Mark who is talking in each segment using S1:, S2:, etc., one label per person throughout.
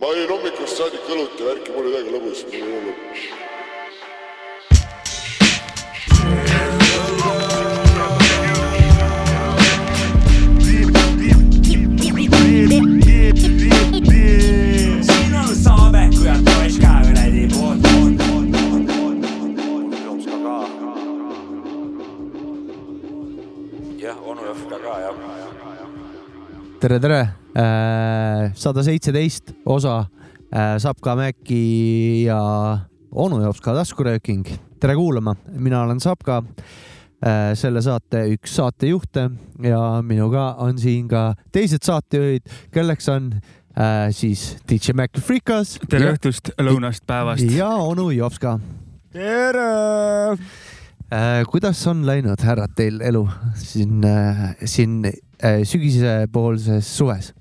S1: ma olin hommikust saadik õlut ja värki , mul oli väga lõbus , mul ei olnud .
S2: siin on Saave , kui on Toiska kuradi poolt . jah , onu Jõhka ka jah .
S3: tere , tere . sada seitseteist osa äh, Sapka Mäki ja onu Jopska taskurööking . tere kuulama , mina olen Sapka , selle saate üks saatejuhte ja minuga on siin ka teised saatejuhid , kelleks on äh, siis DJ Mac Frikas
S4: tere
S3: ja,
S4: õhtust , lõunast , päevast .
S3: ja onu Jopska .
S5: tere !
S3: Äh, kuidas on läinud , härrad , teil elu siin , siin äh, sügisepoolses suves ?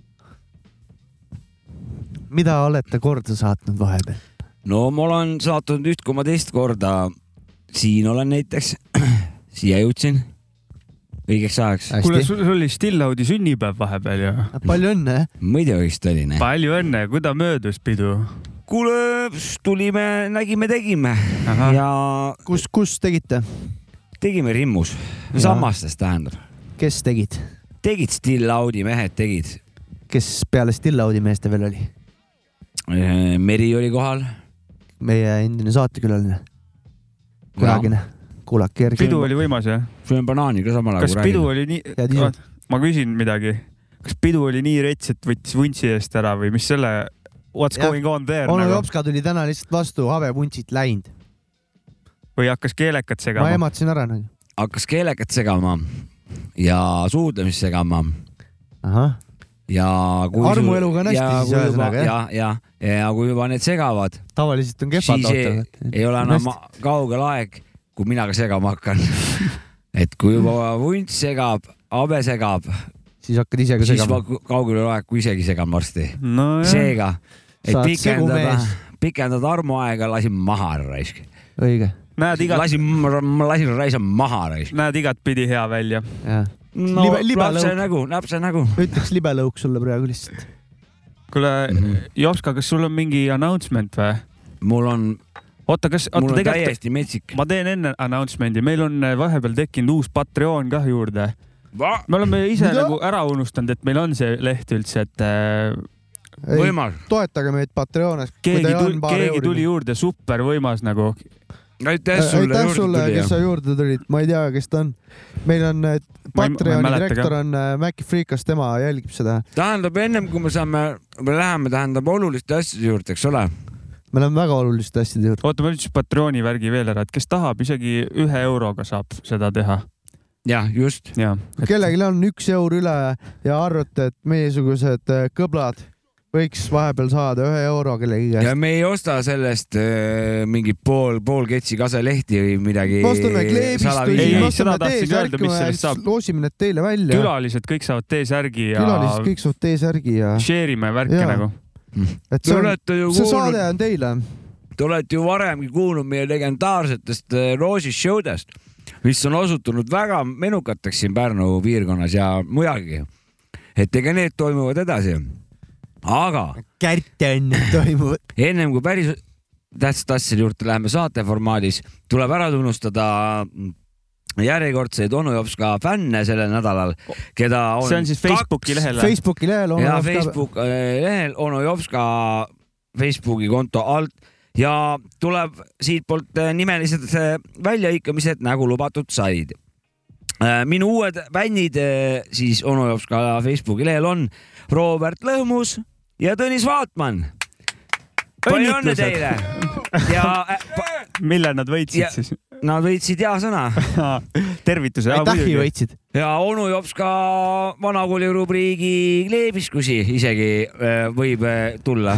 S3: mida olete korda saatnud vahepeal ?
S6: no ma olen saatnud üht koma teist korda . siin olen näiteks , siia jõudsin õigeks ajaks .
S4: kuule ,
S3: hästi ,
S4: sul sul oli Stillaudi sünnipäev vahepeal ju .
S3: palju õnne , äh.
S6: muidu vist oli nii .
S4: palju õnne , kuidas möödus pidu ?
S6: kuule , tulime , nägime , tegime
S3: Ah.
S4: Ahah.
S6: ja
S3: kus , kus tegite ,
S6: tegime Rimmus ,
S3: Jaa.
S6: Sammastes tähendab .
S3: kes tegid ,
S6: tegid Stillaudi mehed , tegid .
S3: kes peale Stillaudi meeste veel oli ?
S6: Meri oli kohal .
S3: meie endine saatekülaline , kunagine , kuulake järgi .
S4: pidu oli võimas jah ?
S6: söön banaani ka samal ajal
S4: kas . pidu oli
S3: Head
S4: nii
S3: isu. ,
S4: ma küsin midagi , kas pidu oli nii rets , et võttis vuntsi eest ära või mis selle , what's
S3: Jah.
S4: going on there
S3: onu
S4: nagu
S3: Jopska tuli täna lihtsalt vastu , habepuntsid läinud ,
S4: või hakkas keelekat
S3: ma
S4: segama ?
S3: ehmatasin ära nagu .
S6: hakkas keelekat segama ja suudlemist segama
S3: ahah ,
S6: ja .
S3: Armueluga on hästi siis ühesõnaga,
S6: jah ? ja , ja kui juba need segavad ,
S3: tavaliselt on kehvad
S6: siis ei, ei ole enam kaugel aeg , kui mina ka segama hakkan . et kui juba vunt segab , habe segab ,
S3: siis hakkad ise ka
S6: siis ma
S3: segama .
S6: ku- kaugel ei ole aeg , kui isegi segan varsti .
S4: nojah ,
S6: seega , et
S3: Sa oled
S6: pikendada
S3: segumees. ,
S6: pikendada armuaega , lasin maha raisk .
S3: õige ,
S4: näed igat ,
S6: lasin , lasin raisa maha raisk .
S4: näed igatpidi hea välja .
S3: jah .
S6: no
S3: Libe- libe
S6: lapse
S3: lõug.
S6: nägu , lapse nägu .
S3: ütleks libelõuk sulle praegu lihtsalt .
S4: kuule , Jopska , kas sul on mingi announcement või ?
S6: mul on ,
S4: oota , kas , oota
S6: mul on
S4: tegelikult
S6: täiesti metsik .
S4: ma teen enne announcement'i , meil on eh, vahepeal tekkinud uus Patreon kah juurde . me oleme ise
S3: Mida?
S4: Mida? nagu ära unustanud , et meil on see leht üldse , et äh,
S6: võimalus ,
S3: toetage meid Patreonis .
S4: keegi tuli , keegi tuli . juurde , super võimas nagu .
S6: aitäh sulle .
S3: Äh, aitäh sulle , kes sa juurde tulid , ma ei tea , kes ta on . meil on eh,
S4: Ma ei- ma ei
S3: Patreoni
S4: mäleta
S3: direktor on eh, Maci Freekas , tema jälgib seda .
S6: tähendab , ennem kui me saame , me läheme , tähendab oluliste asjade juurde , eks ole .
S3: me oleme väga oluliste asjade juurde .
S4: oota , ma ütlesin Patreoni värgi veel ära , et kes tahab , isegi ühe euroga saab seda teha .
S6: jah , just .
S4: ja ,
S3: kellelgi on üks eur üle ja arvate , et meiesugused eh, kõblad võiks vahepeal saada ühe euro kellegi
S6: ja
S3: käest .
S6: me ei osta sellest äh, mingit pool , pool ketsi kaselehti või midagi .
S3: ostame kleebist
S4: Ei, ei,
S3: või
S4: seda
S3: ostame
S4: tahtsin öelda, mis sellest
S3: T-särki
S4: saab. ,
S3: loosime need teile välja .
S4: külalised kõik saavad T-särgi ja
S3: külalised kõik saavad T-särgi ja ,
S4: share ime värke
S3: Jaa.
S4: nagu .
S3: et
S6: Te
S3: see on ,
S6: olete ju
S3: see saade
S6: kuulnud ,
S3: on teile
S6: te olete ju varemgi kuulnud meie legendaarsetest äh, Roosi show dest , mis on osutunud väga menukateks siin Pärnu piirkonnas ja mujalgi . et ega need toimuvad edasi . aga
S3: kärten toimuvad .
S6: ennem kui päris tähtsate asjade juurde läheme saate formaadis , tuleb ära tunnustada järjekordseid onu jops ka fänne sellel nädalal , keda on .
S4: see on siis Facebooki lehel .
S3: Facebooki lehel on .
S6: ja Facebook äh, lehel onu jops ka Facebooki konto alt ja tuleb siitpoolt äh, nimelised äh, väljahõikamised , nagu lubatud said . minu uued bändid äh, siis onu jops ka Facebooki lehel on Robert Lõhmus ja Tõnis Vaatmann . palju õnne
S4: õnnitlused ,
S6: teile ja äh, pa-
S4: millal nad võitsid
S6: Ja-
S4: siis ?
S6: nad võitsid hea sõna
S4: tervituse .
S3: aitähi võitsid .
S6: ja onu jops ka vanakooli rubriigi kleebiskusi isegi äh, võib äh, tulla ,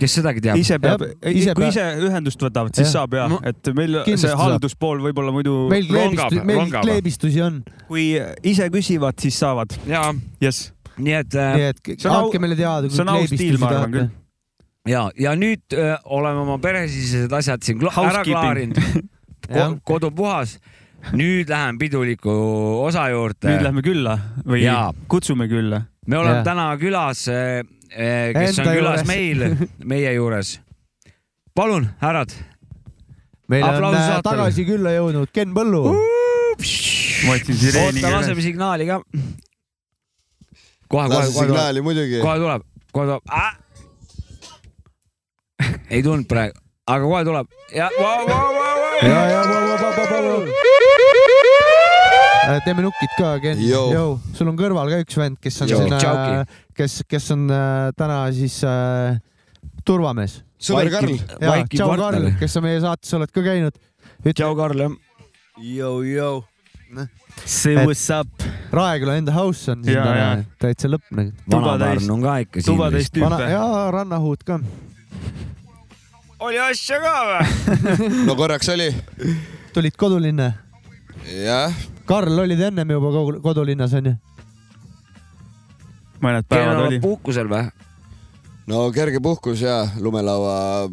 S6: kes sedagi teab .
S4: ise peab ,
S3: ise
S4: kui
S3: peab-
S4: ise ühendust võtavad , siis
S3: Jah.
S4: saab ja
S6: Ma- ,
S4: et meil
S3: Kindlasti
S4: see
S3: saab.
S4: halduspool võib-olla muidu ,
S3: meil
S6: Rongab,
S3: kleebistusi , meil
S6: rongab.
S3: kleebistusi on ,
S4: kui ise küsivad , siis saavad .
S6: ja
S4: jess ,
S6: nii et äh,
S3: nii et
S4: see on au-
S3: andke meile teada ,
S4: see
S3: kui
S4: on aus stiil ,
S3: kleebistusi
S4: ma arvan
S3: tahate
S4: küll ..
S6: ja , ja nüüd äh, oleme oma peresisesed asjad siin kla- ära
S4: Housekeeping.
S6: klaarinud
S3: Jah. ,
S6: kodu puhas . nüüd lähen piduliku osa
S4: nüüd
S6: juurde .
S4: lähme külla või
S6: Jaa.
S4: kutsume külla .
S6: me oleme
S3: Jah.
S6: täna külas äh, kes on
S3: Enda
S6: külas
S3: juures.
S6: meil , meie juures . palun , härrad .
S3: meil on
S6: Aplaus
S3: äh,
S6: saatele.
S3: tagasi külla jõudnud Ken Põllu .
S4: ma võtsin sireeni
S6: oota ,
S4: käes
S6: laseme . signaali ka . kohe , kohe , kohe
S7: lase
S6: tuleb ,
S7: signaali muidugi .
S6: kohe tuleb , kohe tuleb ah! . ei tulnud praegu , aga kohe tuleb . ja ,
S3: ja , ja , Äh, teeme nukid ka , Ken .
S7: Joo.
S3: sul on kõrval ka üks vend , kes on
S7: Joo.
S3: siin
S6: Tšauki. ,
S3: kes , kes on äh, täna siis äh, turvamees .
S7: sõber Karl .
S3: ja ,
S6: Vaiki
S3: tšau , Karl
S6: partner ,.
S3: kes sa meie saates oled ka käinud .
S6: tšau , Karl , jah .
S4: see
S3: Et-
S4: what's up ,
S3: Raeküla enda house on siin
S4: Jaa,
S3: täna
S4: jaa.
S3: täitsa lõpp nagu .
S6: vana
S4: Tuba täis-
S6: Pärnu on ka ikka siin
S4: tubatäis .
S3: vana
S4: tüüpe .
S3: ja rannahuut ka .
S6: oli asja ka või ?
S7: no korraks oli .
S3: tulid kodulinna .
S7: jah ,
S3: Karl , olid ennem juba kogu- kodulinnas onju ?
S4: mõned
S6: Ken on
S4: päevad oli
S6: olnud . puhkusel või ?
S7: no kerge puhkus ja lumelaua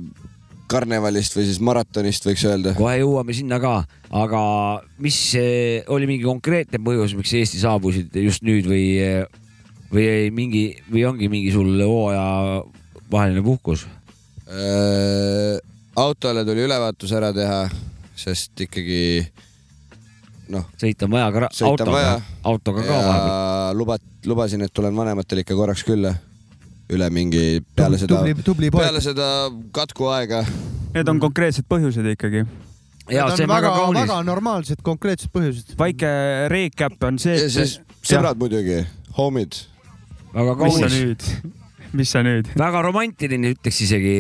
S7: karnevalist või siis maratonist võiks öelda .
S6: kohe jõuame sinna ka , aga mis eh, oli mingi konkreetne põhjus , miks Eesti saabusid just nüüd või , või ei mingi või ongi mingi sul hooaja vaheline puhkus ?
S7: Äh, autole tuli ülevaatus ära teha , sest ikkagi noh ,
S6: sõita on vaja ka ra-
S7: Sõita on
S6: autoga
S7: vaja. ,
S6: autoga ka vahepeal .
S7: ja lubat- , lubasin , et tulen vanematele ikka korraks külla . üle mingi peale seda ,
S3: tubli , tubli poeg
S7: peale . seda katkuaega .
S4: Need on konkreetsed põhjused ikkagi .
S6: ja see on väga, kaunis
S3: väga . normaalsed konkreetsed põhjused .
S4: väike recap on see ,
S7: ja
S4: et
S7: siis sõbrad muidugi , homid .
S6: väga
S4: mis sa
S6: kaunis ,
S4: nüüd , mis sa nüüd ,
S6: väga romantiline , ütleks isegi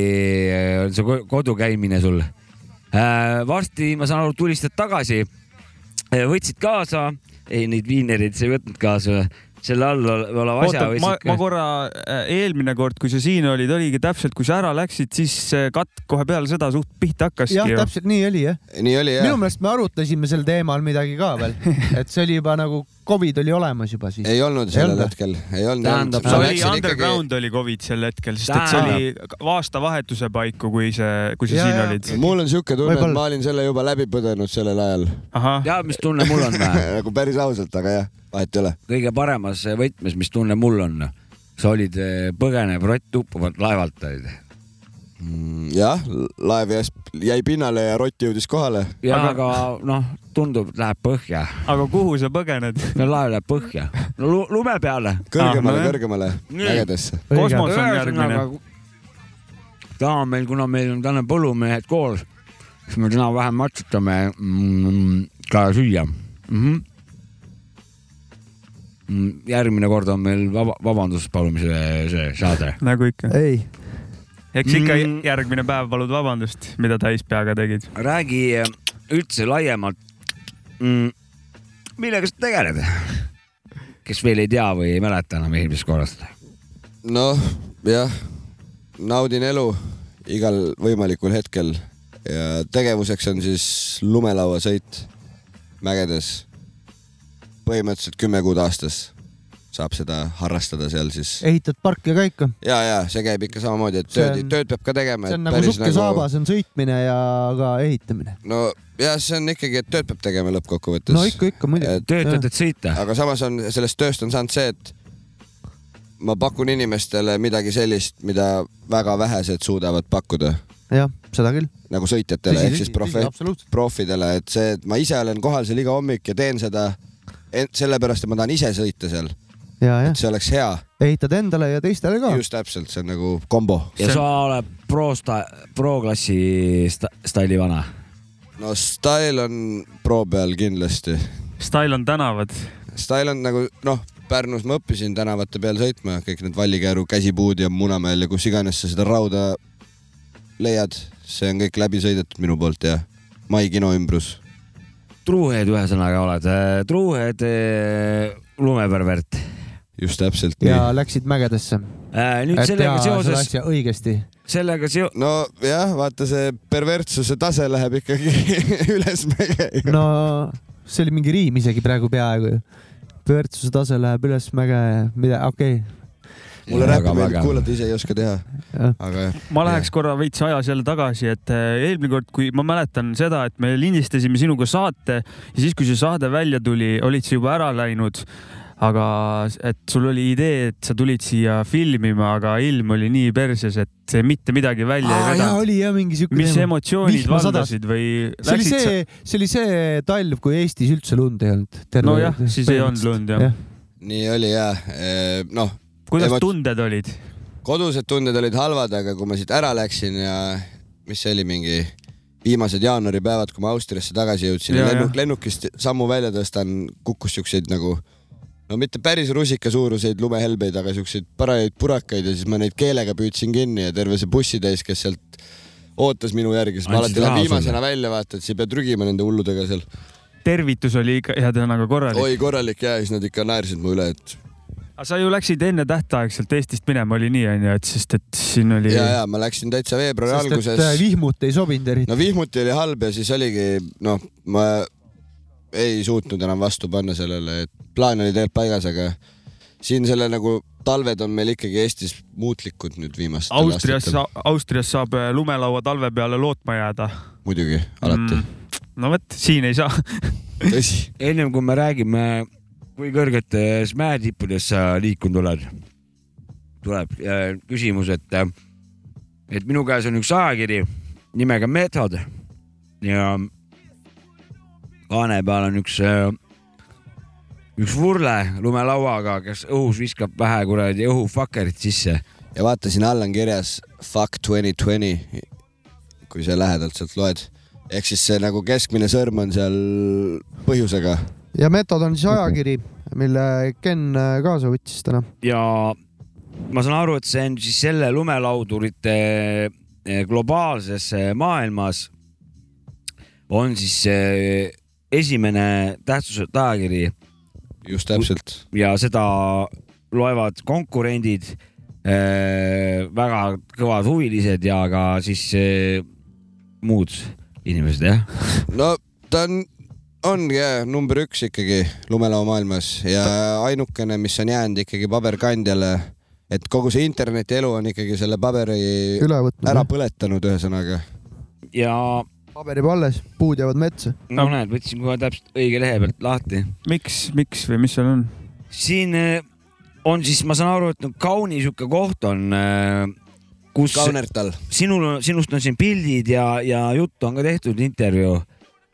S6: eh, on see ko- kodukäimine sul . varsti , ma saan aru , tulistad tagasi . võtsid kaasa , ei neid viinereid sa ei võtnud kaasa , selle all ole- oleva asja
S4: oota , ma ,
S6: võtsid
S4: ma korra äh, eelmine kord , kui sa siin olid , oligi täpselt , kui sa ära läksid , siis äh, katk kohe peale seda suht pihta hakkaski
S3: jah ,
S4: ju .
S3: täpselt nii oli jah .
S7: nii oli
S3: minu
S7: jah ?
S3: meelest me arutasime sel teemal midagi ka veel , et see oli juba nagu Covid oli olemas juba siis .
S7: ei olnud
S3: Ei
S7: sellel
S3: olnud.
S7: hetkel , ei olnud .
S6: Tähendab,
S4: see
S6: Ma
S4: oli underground ikkagi... oli Covid sel hetkel , sest et see oli aastavahetuse paiku , kui see , kui sa
S3: Jaa,
S4: ja, siin ja.
S3: jaa.
S4: olid .
S7: mul on siuke tunne , et
S3: Võib-olla.
S7: ma olin selle juba läbi põdenud sellel ajal .
S4: ahah ,
S6: tead , mis tunne mul on või ?
S7: nagu päris ausalt , aga jah , vahet ei ole .
S6: kõige paremas võtmes , mis tunne mul on . sa olid eh, põgenev rott uppuvalt laevalt olid .
S7: Mm, jah , laev jäi, jäi pinnale ja rott jõudis kohale .
S6: ja
S4: Aga-
S6: aga noh , tundub , et läheb põhja .
S4: aga kuhu sa põgened ?
S6: no laev läheb põhja . no lu- lume peale .
S4: Ah,
S7: kõrgemale ah, ,
S4: nojah.
S7: kõrgemale ,
S6: Nii.
S7: mägedesse .
S4: kosmos on järgmine .
S3: nagu-
S6: ühesõnaga , täna on meil , kuna meil on täna põllumehed koos , siis me täna vähem matsutame mm, ka süüa mm . -hmm. Mm, järgmine kord on meil vaba , vabandust , palume see , see saade .
S4: nagu ikka .
S3: ei ,
S4: eks ikka
S6: Mm.
S4: järgmine päev palud vabandust , mida täis peaga tegid .
S6: räägi eh, üldse laiemalt mm, . millega sa tegeled ? kes veel ei tea või ei mäleta enam eelmisest korrast .
S7: noh , jah , naudin elu igal võimalikul hetkel ja tegevuseks on siis lumelauasõit mägedes . põhimõtteliselt kümme kuud aastas saab seda harrastada seal siis .
S3: ehitad parki ka ikka .
S7: ja , ja see käib ikka samamoodi , et
S3: See
S7: tööd
S3: on- ,
S7: tööd peab ka tegema .
S3: see on nagu sukkesaabas nagu... on sõitmine ja ka ehitamine .
S7: no jah , see on ikkagi , et tööd peab tegema lõppkokkuvõttes .
S3: no ikka , ikka muidugi .
S7: Et-
S6: töötad , et sõita .
S7: aga samas on sellest tööst on saanud see , et ma pakun inimestele midagi sellist , mida väga vähesed suudavad pakkuda
S3: jah , seda küll .
S7: nagu sõitjatele ehk siis profe- ,
S3: absoluutselt .
S7: profidele , et see , et ma ise olen kohal seal iga hommik ja teen seda en- sellepärast , et ma tahan ise sõita seal , et
S3: ja , jah ,
S7: see oleks hea .
S3: ehitad endale ja teistele ka .
S7: just täpselt , see on nagu kombo .
S6: ja sa oled pro sta- , pro-klassi sta- staili vana .
S7: no Style on pro peal kindlasti .
S4: Style on tänavad .
S7: Style on nagu noh , Pärnus ma õppisin tänavate peal sõitma , kõik need Vallikäru käsipuud ja Munamäel ja kus iganes sa seda rauda leiad , see on kõik läbi sõidetud minu poolt ja Mai kino ümbrus .
S6: truuhead ühesõnaga oled , truuhead eh, lumepärvert .
S7: just täpselt nii
S3: ja . läksid mägedesse .
S6: Äh, nüüd
S3: et teha
S6: sellega
S3: seda
S6: seoses ,
S3: asja õigesti .
S6: sellega seo- ,
S7: nojah , vaata see perverssuse tase läheb ikkagi ülesmäge .
S3: no see oli mingi riim isegi praegu peaaegu ju . pöördsuse tase läheb üles mäge , mida , okei
S7: mulle
S6: Väga
S7: räppi meeldib
S6: vägev.
S7: kuulata , ise ei oska teha ,
S3: okay. .
S7: aga jah .
S4: ma läheks korra veits ajas jälle tagasi , et äh, eelmine kord , kui ma mäletan seda , et me lindistasime sinuga saate ja siis , kui see saade välja tuli , olid sa juba ära läinud . aga et sul oli idee , et sa tulid siia filmima , aga ilm oli nii perses , et see mitte midagi välja ei
S3: jaa ,
S4: vedanud .
S3: oli jah mingi siuke .
S4: mis emotsioonid
S3: Vihma sadas.
S4: valdasid või
S3: see oli
S4: läksid sa ?
S3: see , see oli see talv , kui Eestis üldse lund ei olnud .
S4: nojah , siis ei olnud lund jah .
S7: nii oli ja noh ,
S4: kuidas
S7: Emot-
S4: tunded olid ?
S7: kodused tunded olid halvad , aga kui ma siit ära läksin ja mis see oli , mingi viimased jaanuaripäevad , kui ma Austriasse tagasi jõudsin ja,
S4: Jaa,
S7: ja lennuk,
S4: jah.
S7: lennukist sammu välja tõstan , kukkus siukseid nagu no mitte päris rusika suuruseid lumehelbeid , aga siukseid parajaid purakaid ja siis ma neid keelega püüdsin kinni ja terve see bussitäis , kes sealt ootas minu järgi , sest ma
S6: Andsid
S7: alati lähen
S6: raha
S7: viimasena välja , vaata , et sa pead rügima nende hulludega seal .
S4: tervitus oli ikka ühesõnaga korralik .
S7: oi korralik ja siis nad ikka naersid mu üle , et
S4: aga sa ju läksid enne tähtaegselt Eestist minema , oli nii onju , et sest , et siin oli .
S7: ja , ja ma läksin täitsa veebruari
S3: sest
S7: alguses
S3: et . äh, vihmut ei sobinud eriti .
S7: no vihmuti oli halb ja siis oligi , noh , ma ei suutnud enam vastu panna sellele , et plaan oli tegelikult paigas , aga siin selle nagu talved on meil ikkagi Eestis muutlikud nüüd viimastel
S4: Austrias
S7: aastatel .,
S4: Austrias saab äh, lumelaua talve peale lootma jääda .
S7: muidugi , alati mm. ..
S4: no vot , siin ei saa .
S7: tõsi .
S6: ennem kui me räägime , kui kõrgetes mäetippudes sa liikunud oled , tuleb äh, küsimus , et , et minu käes on üks ajakiri nimega Metod ja kaane peal on üks , üks vurle lumelauaga , kes õhus viskab vähe kuradi õhufakerit sisse .
S7: ja vaata , siin all on kirjas fuck twenty twenty , kui sa lähedalt sealt loed . ehk siis see nagu keskmine sõrm on seal põhjusega .
S3: ja Metod on siis ajakiri , mille Ken äh, kaasa võttis täna .
S6: ja ma saan aru , et see on siis selle lumelaudurite globaalses eh, maailmas on siis see esimene tähtsuselt ajakiri
S7: just täpselt .
S6: ja seda loevad konkurendid , väga kõvad huvilised ja ka siis eh, muud inimesed jah .
S7: no ta on , ongi jah, number üks ikkagi lumelaomaailmas ja ainukene , mis on jäänud ikkagi paberkandjale , et kogu see internetielu on ikkagi selle paberi
S3: üle võtnud
S7: ära
S3: Ära... ,
S7: põletanud , ühesõnaga .
S6: ja
S3: paberib alles , puud jäävad metsa .
S6: no näed , võtsin kohe täpselt õige lehe pealt lahti
S4: miks , miks või mis seal on ?
S6: siin eh, on siis , ma saan aru , et no kauni sihuke koht on , kus Kaune.
S7: kaunertal .
S6: sinul , sinust on siin pildid ja , ja juttu on ka tehtud , intervjuu ,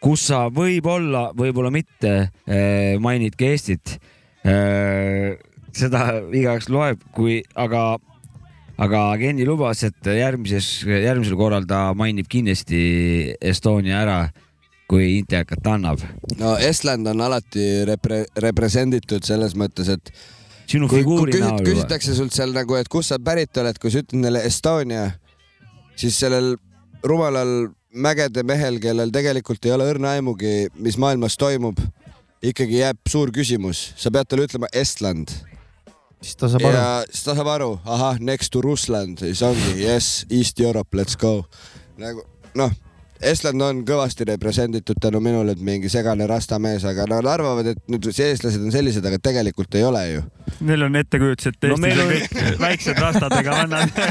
S6: kus sa võib-olla , võib-olla mitte eh, mainid ka Eestit . seda igaüks loeb , kui , aga , aga Kenny lubas , et järgmises , järgmisel korral ta mainib kindlasti Estonia ära , kui intekat annab .
S7: no Estland on alati repre- , represenditud selles mõttes , et
S6: sinu
S7: kui, kui
S6: figuuri
S7: küsit-
S6: näol .
S7: küsitakse sult seal nagu , et kust sa pärit oled , kui sa ütled neile Estonia , siis sellel rumalal mägede mehel , kellel tegelikult ei ole õrna aimugi , mis maailmas toimub , ikkagi jääb suur küsimus , sa pead talle ütlema Estland
S3: siis ta saab aru .
S7: ja siis ta saab aru , ahah , next to Rusland , siis ongi yes , East Europe , let's go . nagu noh , Estland on kõvasti representitud tänu minule , et mingi segane rastamees , aga nad arvavad , et nüüd see eestlased on sellised , aga tegelikult ei ole ju .
S4: Neil on ettekujutus , et Eestis
S6: No
S4: no,
S6: meil
S4: on
S6: on-
S4: kõik väiksed rastadega vannad .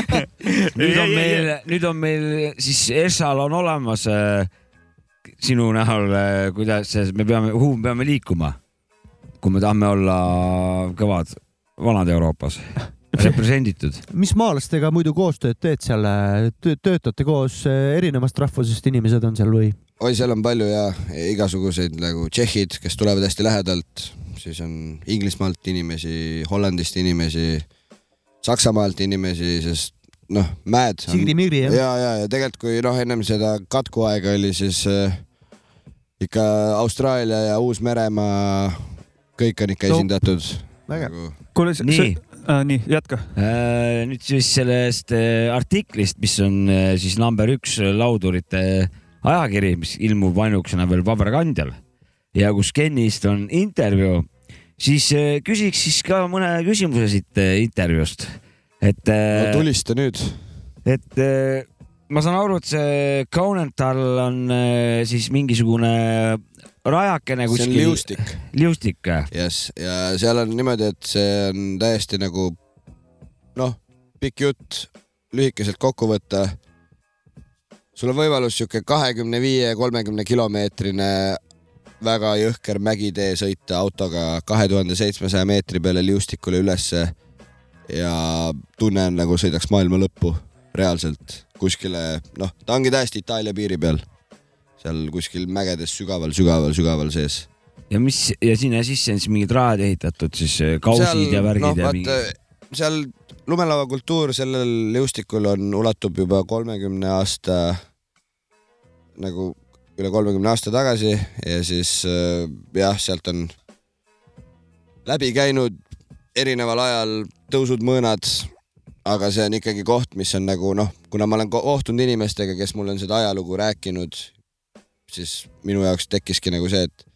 S4: Ei,
S6: nüüd on
S4: ei,
S6: meil , nüüd on meil siis ešalon olemas äh, sinu näol , kuidas see- me peame , kuhu me peame liikuma , kui me tahame olla kõvad vanad Euroopas , represenditud .
S3: mis maalastega muidu koostööd teed seal ? töötate koos , erinevast rahvusest inimesed on seal või ?
S7: oi , seal on palju ja igasuguseid nagu tšehhid , kes tulevad hästi lähedalt , siis on Inglismaalt inimesi , Hollandist inimesi , Saksamaalt inimesi , sest noh , mäed on
S3: Sigri-Migri jah ?
S7: ja , ja , ja tegelikult , kui noh , ennem seda katkuaega oli , siis äh, ikka Austraalia ja Uus-Meremaa , kõik on ikka
S3: No,
S7: esindatud Nagu,
S3: vägev .
S7: no, .
S4: kuule ,
S6: nii ,
S4: nii jätka .
S6: Äh, nüüd siis sellest äh, artiklist , mis on äh, siis number üks laudurite ajakiri , mis ilmub ainukesena veel paberkandjal ja kus Kennist on intervjuu , siis äh, küsiks siis ka mõne küsimuse siit äh, intervjuust , et
S7: no
S6: äh,
S7: tulista nüüd .
S6: et eh, ma saan aru , et see Kaunental on eh, siis mingisugune rajakene
S3: Nagu
S7: see
S6: kuskil .
S7: on liustik ,
S6: liustik . äh.
S7: jess , ja seal on niimoodi , et see on täiesti nagu noh , pikk jutt , lühikeselt kokku võtta . sul on võimalus sihuke kahekümne viie , kolmekümne kilomeetrine väga jõhker mägitee sõita autoga kahe tuhande seitsmesaja meetri peale liustikule ülesse ja tunne on nagu sõidaks maailma lõppu reaalselt kuskile , noh , ta ongi täiesti Itaalia piiri peal , seal kuskil mägedes sügaval-sügaval-sügaval sees .
S6: ja mis ja sinna sisse on siis mingid rajad ehitatud siis eh, kausid seal, ja värgid no,
S7: noh,
S6: ja
S7: äh,
S6: mingi .
S7: seal lumelauakultuur sellel liustikul on , ulatub juba kolmekümne aasta nagu üle kolmekümne aasta tagasi ja siis äh, jah , sealt on läbi käinud erineval ajal tõusud , mõõnad , aga see on ikkagi koht , mis on nagu noh , kuna ma olen ko- kohtunud inimestega , kes mulle on seda ajalugu rääkinud , siis minu jaoks tekkiski nagu see , et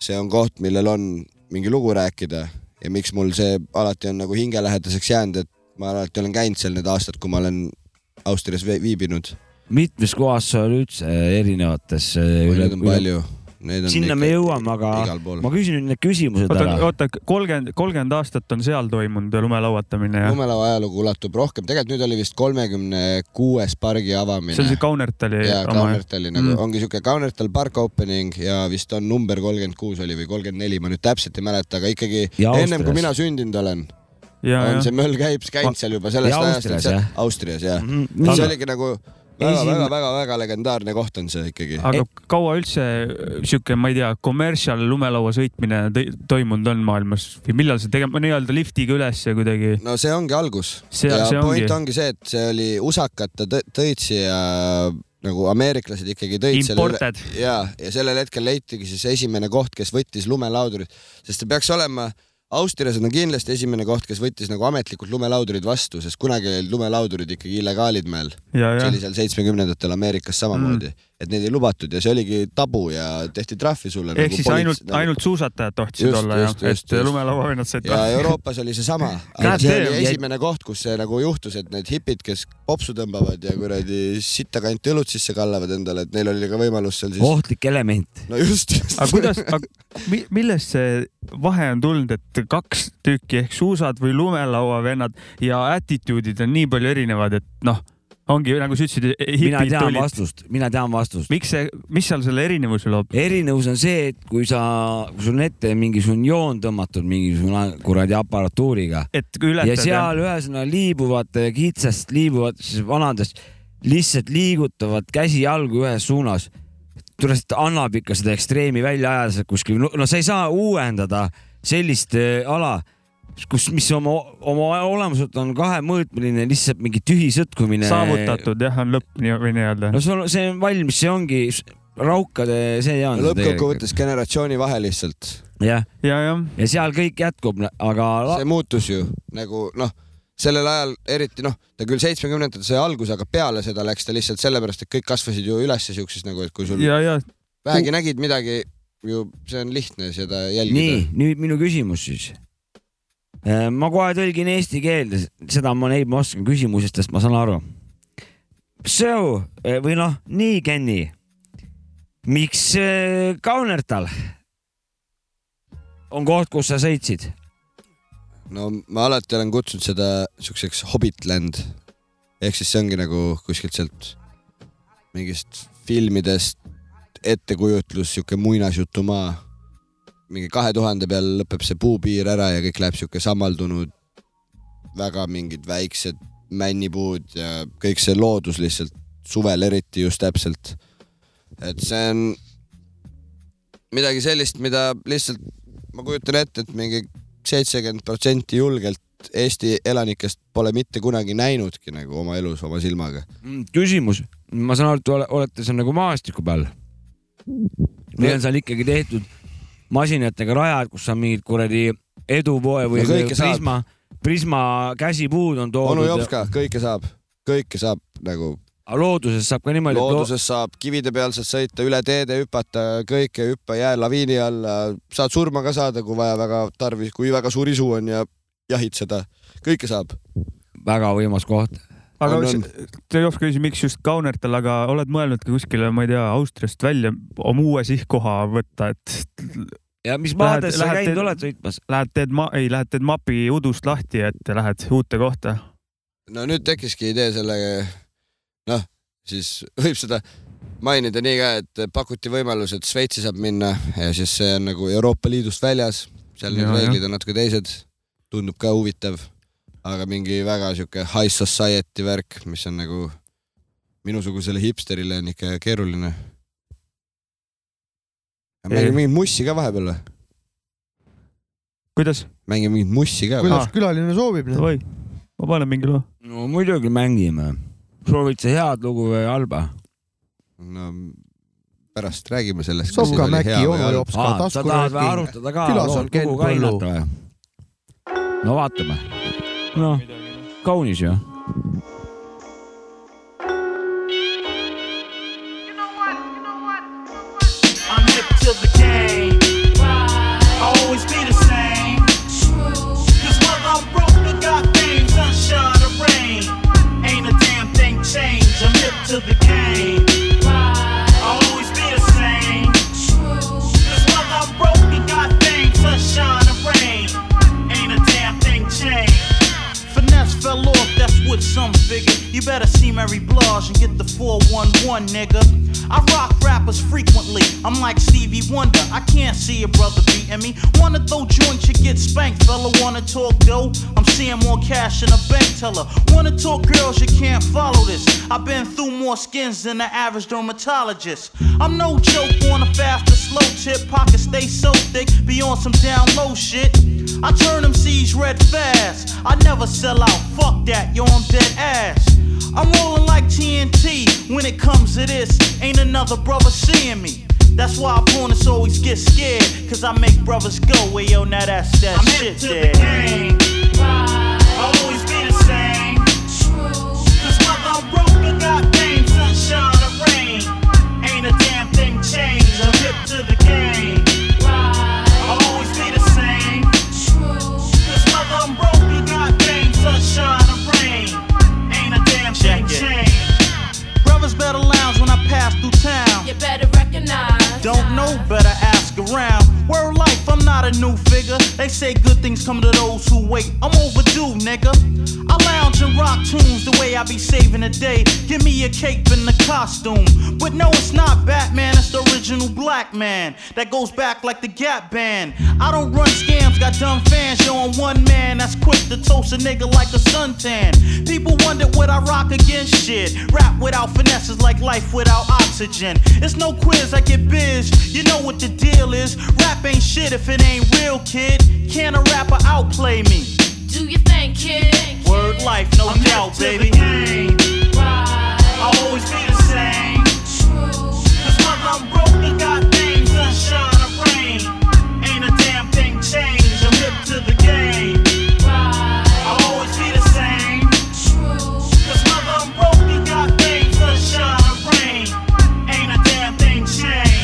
S7: see on koht , millel on mingi lugu rääkida ja miks mul see alati on nagu hingelähedaseks jäänud , et ma alati olen käinud seal need aastad , kui ma olen Austrias vi- viibinud .
S6: mitmes kohas sa oled üldse eh, erinevates eh, üle
S7: Neid on . palju . Neid on
S6: sinna me jõuame , aga
S7: igal pool
S6: ma . küsin nüüd need küsimused
S4: oota
S6: ära ,.
S4: oota , kolmkümmend , kolmkümmend aastat on seal toimunud lumelauatamine ja
S7: lumelaua ajalugu ulatub rohkem , tegelikult nüüd oli vist kolmekümne kuues pargi avamine .
S4: see on see Kaunertali
S7: ja
S4: oma jah ?
S7: Kaunertali nagu
S4: Mm.
S7: mm. ongi siuke Kaunertal park opening ja vist on number kolmkümmend kuus oli või kolmkümmend neli , ma nüüd täpselt ei mäleta , aga ikkagi
S6: Ja
S7: ennem kui
S6: Austrias.
S7: mina sündinud olen ,
S4: ja ,
S7: on
S4: ja
S7: see möll käib ,
S4: Ma- Mhm.
S7: käinud seal juba sellest
S6: ja
S7: ajast ,
S6: Austrias,
S7: et see
S6: jah.
S7: Austrias jah mm .
S6: nii
S7: -hmm. see
S6: see...
S7: oligi nagu
S6: Esim-
S7: väga-väga-väga-väga legendaarne koht on see ikkagi .
S4: aga kaua üldse äh, sihuke , ma ei tea , commercial lumelaua sõitmine tõ- toimunud on maailmas või millal see tegema , nii-öelda liftiga ülesse kuidagi ?
S7: no see ongi algus .
S4: See-
S7: ja
S4: see
S7: point
S4: ongi.
S7: ongi see , et see oli usakate tõ- tõid siia nagu ameeriklased ikkagi tõid
S4: Imported.
S7: selle ja , ja sellel hetkel leitigi siis esimene koht , kes võttis lumelaudurid , sest see peaks olema austriased on kindlasti esimene koht , kes võttis nagu ametlikult lumelaudurid vastu , sest kunagi olid lumelaudurid ikkagi illegaalid meil .
S4: ja ,
S7: see
S4: ja
S7: oli seal seitsmekümnendatel Ameerikas samamoodi mm. , et neid ei lubatud ja see oligi tabu ja tehti trahvi sulle .
S4: ehk siis ainult , ainult suusatajad tohtisid
S7: nagu Just,
S4: olla jah
S7: just, , just,
S4: et
S7: just.
S4: lumelauavennad said
S7: ja
S4: trahvi.
S7: Euroopas oli seesama , aga
S4: God
S7: see
S4: damn,
S7: oli
S4: jäi-
S7: esimene koht , kus see nagu juhtus , et need hipid , kes popsu tõmbavad ja kuradi sitta kanti õlut sisse kallavad endale , et neil oli ka võimalus seal siis .
S6: ohtlik element .
S7: no just , just .
S4: aga kuidas , millest see vahe on tulnud , et kaks tükki ehk suusad või lumelauavennad ja attitude'id on nii palju erinevad , et noh , ongi nagu sa ütlesid ,
S6: mina
S4: hipid
S6: tean
S4: tulid .
S6: vastust , mina tean vastust .
S4: miks see , mis seal selle erinevuse loob ?
S6: erinevus on see , et kui sa , kui sul on ette mingisugune joon tõmmatud mingisugune kuradi aparatuuriga
S4: et kui
S6: ja
S4: ületad ja
S6: seal ühesõnaga liibuvad eh, kitsast , liibuvad siis vanadest , lihtsalt liigutavad käsi-jalgu ühes suunas . tulles , et annab ikka seda ekstreemi välja ajada sealt kuskil , no sa ei saa uuendada sellist eh, ala , kus , mis oma , oma olemuselt on kahemõõtmeline , lihtsalt mingi tühi sõtkumine .
S4: saavutatud jah , on lõpp nii või nii-öelda
S6: no sul , see on valmis , see ongi s- raukade , see on .
S7: lõppkokkuvõttes generatsiooni vahe lihtsalt ,
S6: jah ,
S4: ja , jah ,
S6: ja seal kõik jätkub , aga la-
S4: Ah.
S7: see muutus ju nagu noh , sellel ajal eriti noh , ta küll seitsmekümnendatel sai alguse , aga peale seda läks ta lihtsalt sellepärast , et kõik kasvasid ju ülesse siukses nagu , et kui sul
S4: ja , ja
S7: vähegi nägid midagi ju see on lihtne seda jälgida
S6: nii . nüüd minu küsimus siis . ma kohe tõlgin eesti keelde , seda ma neid ma oskan küsimusestest , ma saan aru . So eh, või noh , nii Kenny , miks eh, Kaunertal on koht , kus sa sõitsid ?
S7: no ma alati olen kutsunud seda siukseks Hobbitland ehk siis see ongi nagu kuskilt sealt mingist filmidest ettekujutlus , siuke muinasjutumaa . mingi kahe tuhande peal lõpeb see puupiir ära ja kõik läheb siuke sammaldunud , väga mingid väiksed männipuud ja kõik see loodus lihtsalt suvel eriti just täpselt . et see on midagi sellist , mida lihtsalt ma kujutan ette , et mingi seitsekümmend protsenti julgelt Eesti elanikest pole mitte kunagi näinudki nagu oma elus oma silmaga .
S6: küsimus , ma saan aru , et te ole- olete seal nagu maastiku peal . või on seal ikkagi tehtud masinatega rajad , kus on mingid kuradi edupoe või
S7: No
S6: no
S7: kõike saab.
S6: prisma , prisma käsipuud on
S7: onu
S6: toodud .
S7: Jopska , kõike saab , kõike saab nagu
S6: aga looduses saab ka niimoodi , et
S7: looduses saab kivide peal saad sõita , üle teede hüpata , kõike hüppa jäälaviini alla , saad surma ka saada , kui vaja väga tarvis , kui väga suur isu on ja jahid seda , kõike saab .
S6: loo- väga võimas koht .
S4: aga
S7: On,
S4: s-
S7: on.
S4: te ei oska küsida , miks just Kaunertal , aga oled mõelnud ka kuskile , ma ei tea , Austriast välja oma uue sihtkoha võtta , et
S6: ja mis
S4: Lähed-
S6: maades sa
S4: lähed
S6: käinud
S4: te-
S6: oled sõitmas ?
S4: lähed teed ma- , ei , lähed teed mapi udust lahti , et lähed uute kohta .
S7: no nüüd tekkiski idee selle , noh , siis võib seda mainida nii ka , et pakuti võimalus , et Šveitsi saab minna ja siis see on nagu Euroopa Liidust väljas , seal need
S4: Jaa, jah.
S7: reeglid on natuke teised , tundub ka huvitav , aga mingi väga sihuke high society värk , mis on nagu minusugusele hipsterile on ikka keeruline .
S4: Ei.
S7: mängin mingit mussi ka vahepeal või ?
S4: kuidas ?
S7: mängin mingit mussi ka või ?
S3: kuidas külaline soovib ? noh.
S4: davai , ma panen mingi loo .
S6: no muidugi mängime . soovid sa head lugu või halba ?
S7: no pärast räägime sellest .
S3: Sopka Mäki , onu . Jopska ,
S6: sa tahad veel
S3: taskurööking .
S6: arutada ka ?
S3: Külas on Ken
S6: lugu ka
S3: Põllu.
S6: hinnata või ? no vaatame . noh , kaunis ju .
S8: I'm hip to the game. I always be the same. Cause when I'm broke, I got fame, sunshine or rain. Ain't a damn thing changed. I'm hip to the game. I always be the same. Cause when I'm broke, I got fame, sunshine or rain. Ain't a damn thing changed. Finesse fell off, that's what some figure. You better see Mary Blige and get the 411, nigga. I rock rappers frequently, I'm like Stevie Wonder. I can't see a brother beating me. One of those joints you get spanked, fella wanna talk dough. I'm seeing more cash in a bank teller. Wanna talk girls, you can't follow this. I've been through more skins than the average dermatologist. I'm no joke on a faster slow tip, pockets stay so thick, be on some down low shit. I turn them C's red fast. I never sell out. Fuck that, yo, I'm dead ass. I'm rolling like TNT when it comes to this. Ain't another brother seeing me. That's why opponents always get scared. Cause I make brothers go. Well, yo, now that's that shit there. Always be the same. Cause when I'm broke, I got fame, sunshine, or rain. Ain't a damn thing changed. I'm hip to the game. I'll always be the same. Cause when I'm broke, you got fame, sunshine, or rain. Ain't a damn thing changed. Brothers better lounge when I pass through town.
S9: You better recognize.
S8: Don't know, better ask around. Word life, I'm not a new figure. They say good things come to those who wait. I'm overdue, nigga. I lounge and rock tunes the way I be saving the day. Give me a cape and a costume. But no, it's not Batman, it's the original black man. That goes back like the Gap Band. I don't run scams, got dumb fans. Yo, I'm one man that's quick to toast a nigga like a suntan. People wonder would I rock against shit. Rap without finesse is like life without oxygen. It's no quiz, I get biz. You know what the deal is. Rap ain't shit if it ain't real, kid. Can a rapper outplay me?
S9: Do your thing, kid.
S8: Word life, no doubt, baby. I'll always be the same. Cause when I'm broke, I got fame, sunshine, or rain. Ain't a damn thing changed. I'm hip to the game. I'll always be the same. Cause when I'm broke, I got fame, sunshine, or rain. Ain't a damn thing changed.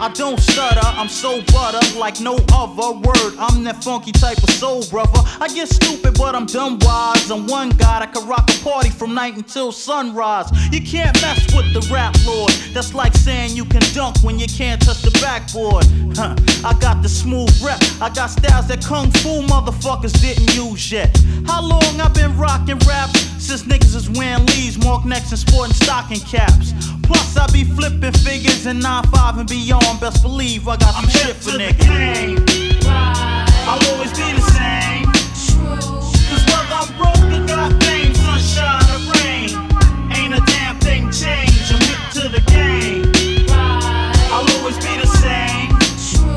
S8: I don't stutter, I'm so butter like no other word. I'm that funky type of soul brother. I get stupid, but I'm dumb wise. I'm one god, I can rock a party from night until sunrise. You can't mess with the rap lord. That's like saying you can dunk when you can't touch the backboard. Huh. I got the smooth rep, I got styles that kung fu motherfuckers didn't use yet. How long I been rocking raps? Since niggas is wearing leaves, mark necks, and sporting stocking caps. Plus, I be flipping figures in 9-5 and beyond. Best believe I got some shit for niggas. I'll always be the same. Cause when I'm broke, I got fame, sunshine, or rain. Ain't a damn thing changed. I'm hip to the game. I'll always be the same.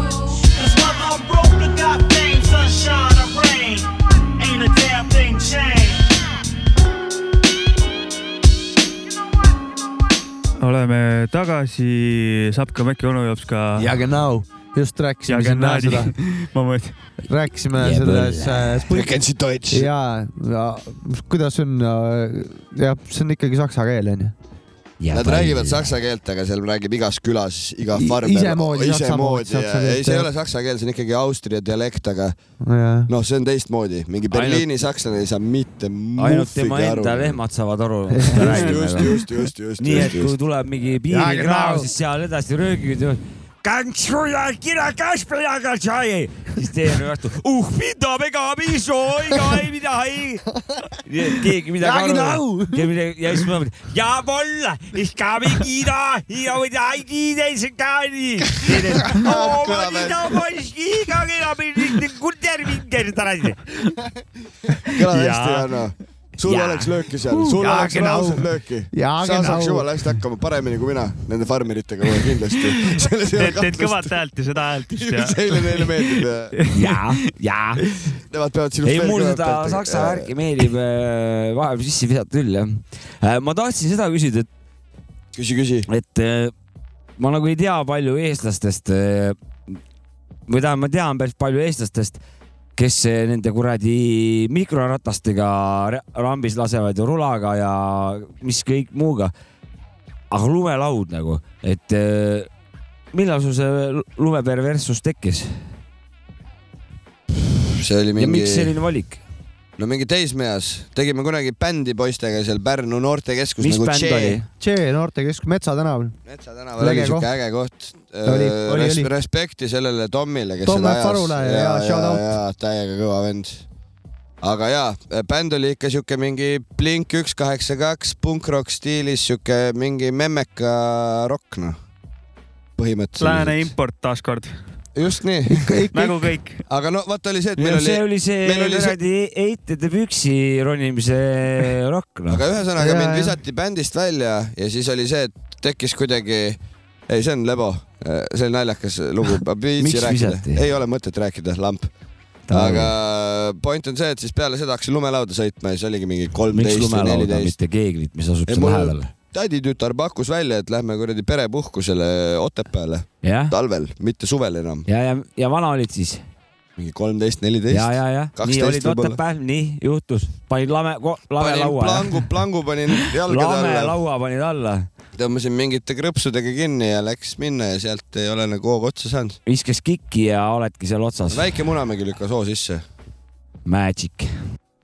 S8: Cause when I'm broke, I got fame, sunshine, or rain. Ain't a damn thing changed.
S4: oleme tagasi , Sapka Mäkki onu jops ka .
S3: Jagenau , just rääkisime siin täna seda ,
S4: ma mõtlen ,
S3: rääkisime
S6: Ja
S3: selles äh,
S7: Kensi Deutsch .
S3: ja, ja kuidas on , jah , see on ikkagi saksa keel onju .
S7: Nad räägivad saksa keelt , aga seal räägib igas külas iga
S3: I-
S7: farmer .
S3: isemoodi
S7: isemoodi
S3: saksa-
S7: ja
S3: saksa
S7: ei ,
S3: keelt,
S7: see ei
S3: jah.
S7: ole saksa keel , see on ikkagi Austria dialekt , aga
S3: jah ,
S7: noh , see on teistmoodi . mingi
S6: Ainult-
S7: Berliini sakslane ei saa mitte
S6: ainult tema
S7: muhvigi aru
S6: enda . lehmad saavad aru .
S7: just , just , just , just , just ,
S6: nii et
S7: just ,
S6: kui
S7: just .
S6: tuleb mingi piirikraav , siis seal edasi röögivad ja Gansuja kira kaspela katsai . siis teine vastu , uh mida me ka ei soovi ka ei midagi . keegi midagi
S3: Räägi
S6: aru ei saanud . ja siis ma mõtlen , ja volla , siis ka mingi ida , ja midagi teise ka nii .
S10: Kõlab, et-
S6: Jaa.
S7: kõlab hästi , Janno . sul
S6: Jaa.
S7: oleks lööki seal , sul
S3: Jaa,
S7: oleks
S3: genau.
S7: lauset lööki .
S3: Jaa,
S7: sa
S3: genau.
S7: saaks jumala hästi hakkama , paremini kui mina nende farmeritega kohe kindlasti . selles ei ole
S4: teed , teed kõvat
S7: kahtlust .
S4: häält ja seda häält just ja .
S7: Seile neile meeldib ja
S6: ja , ja
S7: nemad peavad sinust
S6: ei , mul seda saksa värki . meeldib äh, vahepeal sisse visata küll jah äh, . ma tahtsin seda küsida , et ,
S7: küsi , küsi .
S6: et äh, ma nagu ei tea palju eestlastest äh, või tähendab , ma tean päris palju eestlastest , kes äh, nende kuradi mikroratastega re- rambis lasevad ja rulaga ja mis kõik muuga . aga lumelaud nagu , et äh, millal sul see lu- lumeperverssus tekkis
S7: see oli
S6: ja
S7: mingi
S6: miks , selline valik ?
S7: no mingi teismeeas , tegime kunagi bändi poistega seal Pärnu noortekeskus
S6: mis
S7: nagu
S6: bänd oli ?
S3: Tšee noortekeskus Metsa tänaval .
S7: Metsa tänaval
S3: Lege
S7: oli siuke
S3: koht.
S7: äge koht .
S3: Oli- oli- oli.
S7: respekti sellele Tommile , kes
S3: Tom
S7: seda
S3: F. Arule ja shout out.
S7: jaa , täiega kõva vend . aga jaa , bänd oli ikka siuke mingi Blink üks kaheksa kaks punkrock stiilis siuke mingi memmeka rokk noh ,
S4: Lääne
S7: põhimõtteliselt .
S4: import taaskord ,
S7: just nii ,
S4: nagu kõik .
S7: aga no vot oli see , et
S6: meil
S7: meil
S6: oli, see
S7: oli ,
S6: oli see
S7: meil oli see-
S6: kuradi eitede püksi ronimise rokk , noh .
S7: aga ühesõnaga
S3: Jaa,
S7: mind
S3: jaa.
S7: visati bändist välja ja siis oli see , et tekkis kuidagi , ei , see on lebo , see on naljakas lugu ,
S6: Miks
S7: viitsi rääkida
S6: visati? ,
S7: ei ole mõtet rääkida , lamp . aga point on see , et siis peale seda hakkasin lumelauda sõitma ja siis oligi mingi
S6: miks
S7: kolmteist või
S6: lumelauda ,
S7: neliteist .
S6: mitte keeglit , mis asub
S7: Ei,
S6: seal
S7: mul-
S6: lähedal ?
S7: täditütar pakkus välja , et lähme kuradi perepuhkusele Otepääle
S6: jah ,
S7: talvel , mitte suvel enam ,
S6: ja , ja , ja vana olid siis ?
S7: mingi kolmteist ,
S6: ja ,
S7: neliteist .
S6: ja , ja , nii
S7: 12
S6: olid
S7: võib-olla.
S6: Otepääl , nii juhtus , panid lame , lame
S7: panin
S6: laua ,
S7: plangu , plangu panin jalgade
S6: lame
S7: alla ,
S6: laua panid alla ,
S7: tõmbasin mingite krõpsudega kinni ja läks minna ja sealt ei ole nagu hoogu otsa saanud .
S6: viskas kikki ja oledki seal otsas .
S7: väike munamägi lükkas hoo sisse ,
S6: Magic .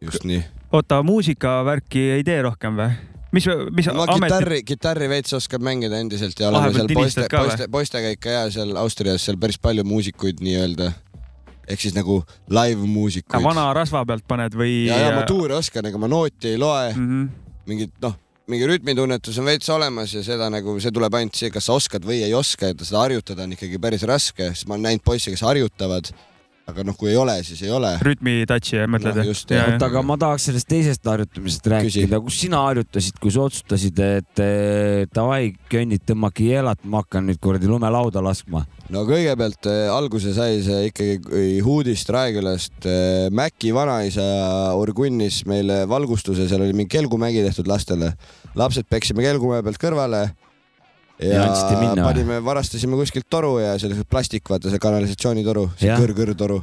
S7: just nii .
S4: oota , muusikavärki ei tee rohkem või ? mis , mis
S7: ma
S4: ametit ,
S7: kitarri , kitarri veits oskan mängida endiselt ja oleme
S4: Vahepeal
S7: seal poiste
S4: tinistad , ka või?
S7: poiste , poistega ikka ja seal Austrias seal päris palju muusikuid nii-öelda . ehk siis nagu live muusikuid .
S4: vana rasva pealt paned või ? äh, mhm,
S7: ja , ja ma tuure oskan , ega ma nooti ei loe ,
S4: tunnen .
S7: mingit noh , mingi rütmitunnetus on veits olemas ja seda nagu , see tuleb ainult see , kas sa oskad või ei oska , et seda harjutada on ikkagi päris raske , sest ma olen näinud poisse , kes harjutavad . aga noh , kui ei ole , siis ei ole .
S4: rütmi touch'i mõtled
S7: Jah,
S4: jah?
S7: just,
S4: ja,
S7: jah.
S6: oota , aga ma tahaks sellest teisest harjutamisest rääkida , kus sina harjutasid , kui sa otsustasid , et eh, davai , kõnnid , tõmmake jeelat , ma hakkan nüüd kuradi lumelauda laskma .
S7: no kõigepealt eh, alguse sai see ikkagi kui Huudist Raekülast eh, Mäki vanaisa orgunnis meile valgustuse , seal oli mingi kelgumägi tehtud lastele . lapsed peksime kelgumäe pealt kõrvale .
S6: Ja andsite minna või?
S7: panime , varastasime kuskilt toru ja see oli see plastik , vaata see kanalisatsioonitoru , see
S6: Jah.
S7: kõrgkõrtoru .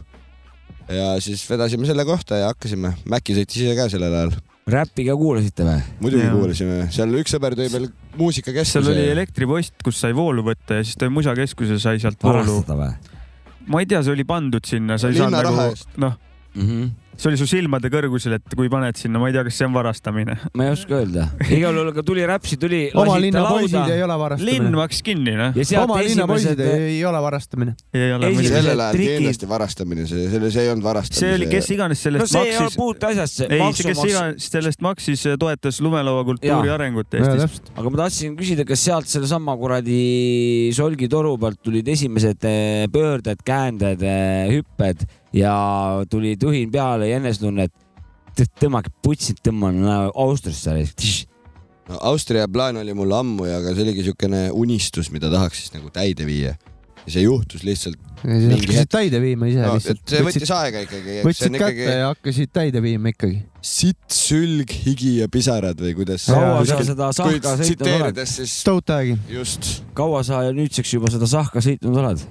S7: ja siis vedasime selle kohta ja hakkasime . Mäki sõitis ise ka sellel ajal .
S6: räppi ka kuulasite või ?
S7: muidugi
S4: Jaa.
S7: kuulasime , seal üks sõber tõi meil muusikakeskuse .
S4: seal oli elektripost , kus sai voolu võtta ja siis tõi musakeskuse , sai sealt voolu .
S6: varastada või
S4: ma ei tea , see oli pandud sinna , sa ei saanud
S7: Linnaraha
S4: nagu
S7: eest. ,
S4: noh ,
S6: mm ? -hmm.
S4: see oli su silmade kõrgusel , et kui paned sinna , ma ei tea , kas see on varastamine .
S6: ma ei oska öelda , igal juhul aga tuli räpsi , tuli .
S3: oma linna poisid ei ole
S4: linn
S3: varastamine .
S4: maksis kinni , noh .
S6: ja sealt
S3: oma linna
S6: esimesed eh,
S3: poisid , ei ole varastamine .
S4: ei ole
S6: Esimene-
S4: muidugi .
S7: sellel ajal
S6: trikid.
S7: kindlasti varastamine , see , see , see ei olnud varastamine .
S4: see oli , kes iganes
S6: no
S4: sellest
S6: see ei ole
S4: maksis ,
S6: puutu asjasse ,
S4: ei , kes
S6: maksumaks ,
S4: iganes sellest maksis , toetas lumelaua kultuuri
S6: Jaa.
S4: arengut Eestis .
S3: täpselt .
S6: aga ma tahtsin küsida , kas sealt sellesama kuradi solgitoru pealt tulid esimesed eh, pöörded , käänded , hüpped ja tuli tuhin peale ja enesetunne , et tõmmake putsid , tõmban näo- Austriasse näiteks.
S7: no, . Austria plaan oli mul ammu ja , aga see oligi niisugune unistus , mida tahaks siis nagu täide viia . ja see juhtus lihtsalt
S3: siis
S7: Mingi
S3: hakkasid
S7: hetk-
S3: täide viima ise
S7: no, ,
S3: lihtsalt .
S7: et see võttis aega ikkagi . see
S3: võtsid
S7: on
S3: kätte
S7: ikkagi
S3: ja hakkasid täide viima ikkagi .
S7: sitt , sülg , higi ja pisarad või kuidas .
S6: kaua sa seda
S7: kui
S6: sahka sõitnud oled ,
S7: tsiteerides siis
S3: Stout tag'i .
S7: just
S6: kaua sa nüüdseks juba seda sahka sõitnud oled ?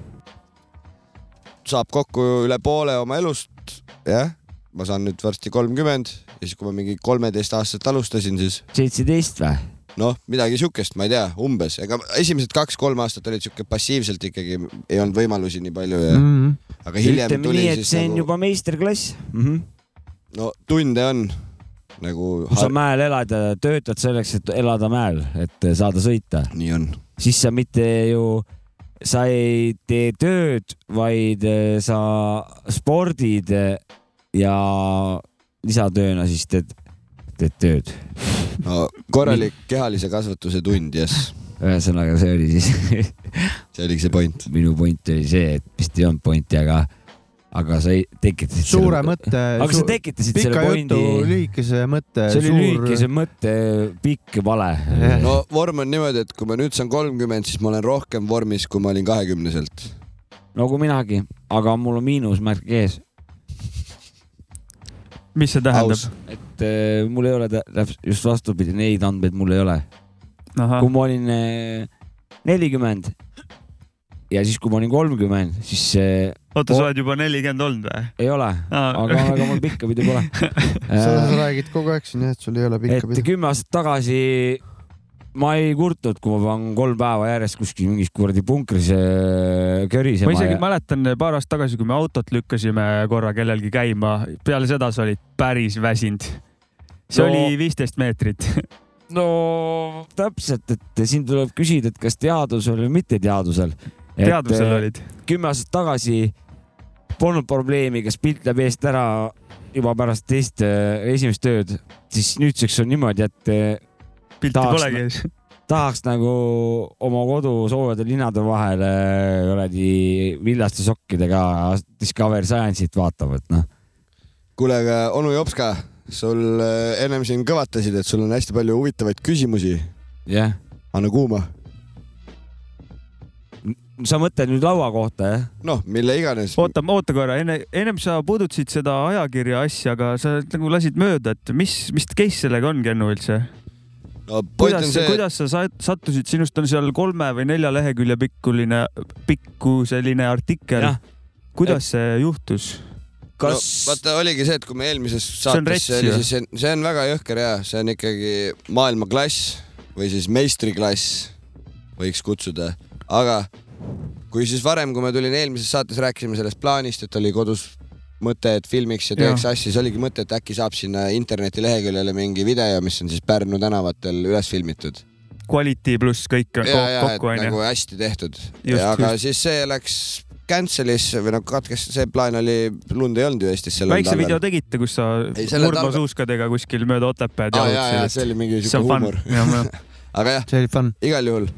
S7: saab kokku üle poole oma elust , jah , ma saan nüüd varsti kolmkümmend ja siis , kui ma mingi kolmeteist aastaselt alustasin , siis
S6: seitseteist või ?
S7: noh , midagi siukest , ma ei tea , umbes , ega esimesed kaks-kolm aastat olid siuke passiivselt ikkagi , ei olnud võimalusi nii palju ja
S3: Mhm.
S7: aga hiljem
S6: ütleme
S7: tuli
S6: nii , et
S7: siis
S6: see on
S7: nagu Mhm.
S6: juba meisterklass mm . -hmm.
S7: no tunde on nagu
S6: kui sa
S7: har...
S6: mäel elad ja töötad selleks , et elada mäel , et saada eh, sõita ,
S7: nii on .
S6: siis sa mitte ju sa ei tee tööd , vaid äh, sa spordid äh, ja lisatööna siis teed , teed tööd .
S7: no korralik kehalise kasvatuse tund , jess .
S6: ühesõnaga , see oli siis .
S7: see oligi see point .
S6: minu point oli see , et vist ei olnud pointi , aga , aga sa ei- tekitasid .
S3: suure mõtte .
S6: aga sa tekitasid selle pointi .
S3: lühikese mõtte .
S6: see oli lühikese mõtte , pikk vale .
S7: no vorm on niimoodi , et kui ma nüüd saan kolmkümmend , siis ma olen rohkem vormis , kui ma olin kahekümneselt .
S6: nagu minagi , aga mul on miinusmärk ees .
S4: mis see tähendab ?
S6: et äh, mul ei ole tä- täpselt , just vastupidi , neid andmeid mul ei ole .
S4: Ah.
S6: kui ma olin äh, nelikümmend ja siis , kui ma olin kolmkümmend , siis äh,
S4: oota , sa
S6: o-
S4: oled juba nelikümmend olnud või ?
S6: ei ole ,
S4: Aa.
S6: aga , aga mul pikka pidu pole .
S3: seda sa räägid kogu aeg siin jah , et sul ei ole pikka
S6: et
S3: pidu .
S6: kümme aastat tagasi ma ei kurtnud , kui ma panen kolm päeva järjest kuskil mingis kuradi punkris äh, körisema .
S4: ma isegi ja... mäletan eh, paar aastat tagasi , kui me autot lükkasime korra kellelgi käima , peale seda sa olid päris väsinud . see
S6: No-
S4: no... oli viisteist meetrit .
S6: no täpselt , et siin tuleb küsida , et kas teadusel või mitte teadusel .
S4: Teadvusel
S6: eh,
S4: olid. .
S6: kümme aastat tagasi polnud probleemi , kas pilt läheb eest ära juba pärast teist , esimest tööd , siis nüüdseks on niimoodi , et .
S4: pilti polegi ees. .
S6: tahaks nagu oma kodu soojade linnade vahele eh, kuradi villaste sokkidega Discover Science'it vaatama , et noh .
S7: kuule , aga onu Jopska , sul äh, ennem siin kõvatasid , et sul on hästi palju huvitavaid küsimusi .
S6: jah .
S7: anna kuuma .
S6: sa mõtled nüüd laua kohta , jah ?
S7: noh , mille iganes .
S4: oota , oota korra , enne , ennem sa puudutasid seda ajakirja asja , aga sa nagu lasid mööda , et mis , mis case sellega on , Kennu üldse ?
S7: no point on
S4: kuidas ,
S7: see ,
S4: kuidas sa sa- sattusid , sinust on seal kolme või nelja lehekülje pikkuline , pikku selline artikkel
S7: Jah. .
S4: kuidas see juhtus ?
S7: kas no, vaata oligi see , et kui me eelmises saates ,
S4: rets
S7: see oli
S4: ju.
S7: siis , see on väga jõhker ja see on ikkagi maailmaklass või siis meistriklass võiks kutsuda , aga kui siis varem , kui ma tulin eelmises saates , rääkisime sellest plaanist , et oli kodus mõte , et filmiks ja teeks
S4: Jah.
S7: asju , siis oligi mõte , et äkki saab sinna internetileheküljele mingi video , mis on siis Pärnu tänavatel üles filmitud .
S4: Quality pluss kõik
S7: ja , ja ,
S4: ko-
S7: et
S4: kokku onju
S7: nagu . hästi tehtud .
S4: Just,
S7: aga
S4: just.
S7: siis see läks cancel'isse või noh , katkes , see plaan oli , lund ei olnud ju Eestis sellel
S4: väikse video tegite , kus sa
S7: Ei, sellel talvel-
S4: murdmaasuuskadega kuskil mööda Otepääd
S7: Aa, Ah, jaa, jaa, see oli mingi sihuke huumor. aga jah ,
S3: see oli fun .
S7: igal juhul .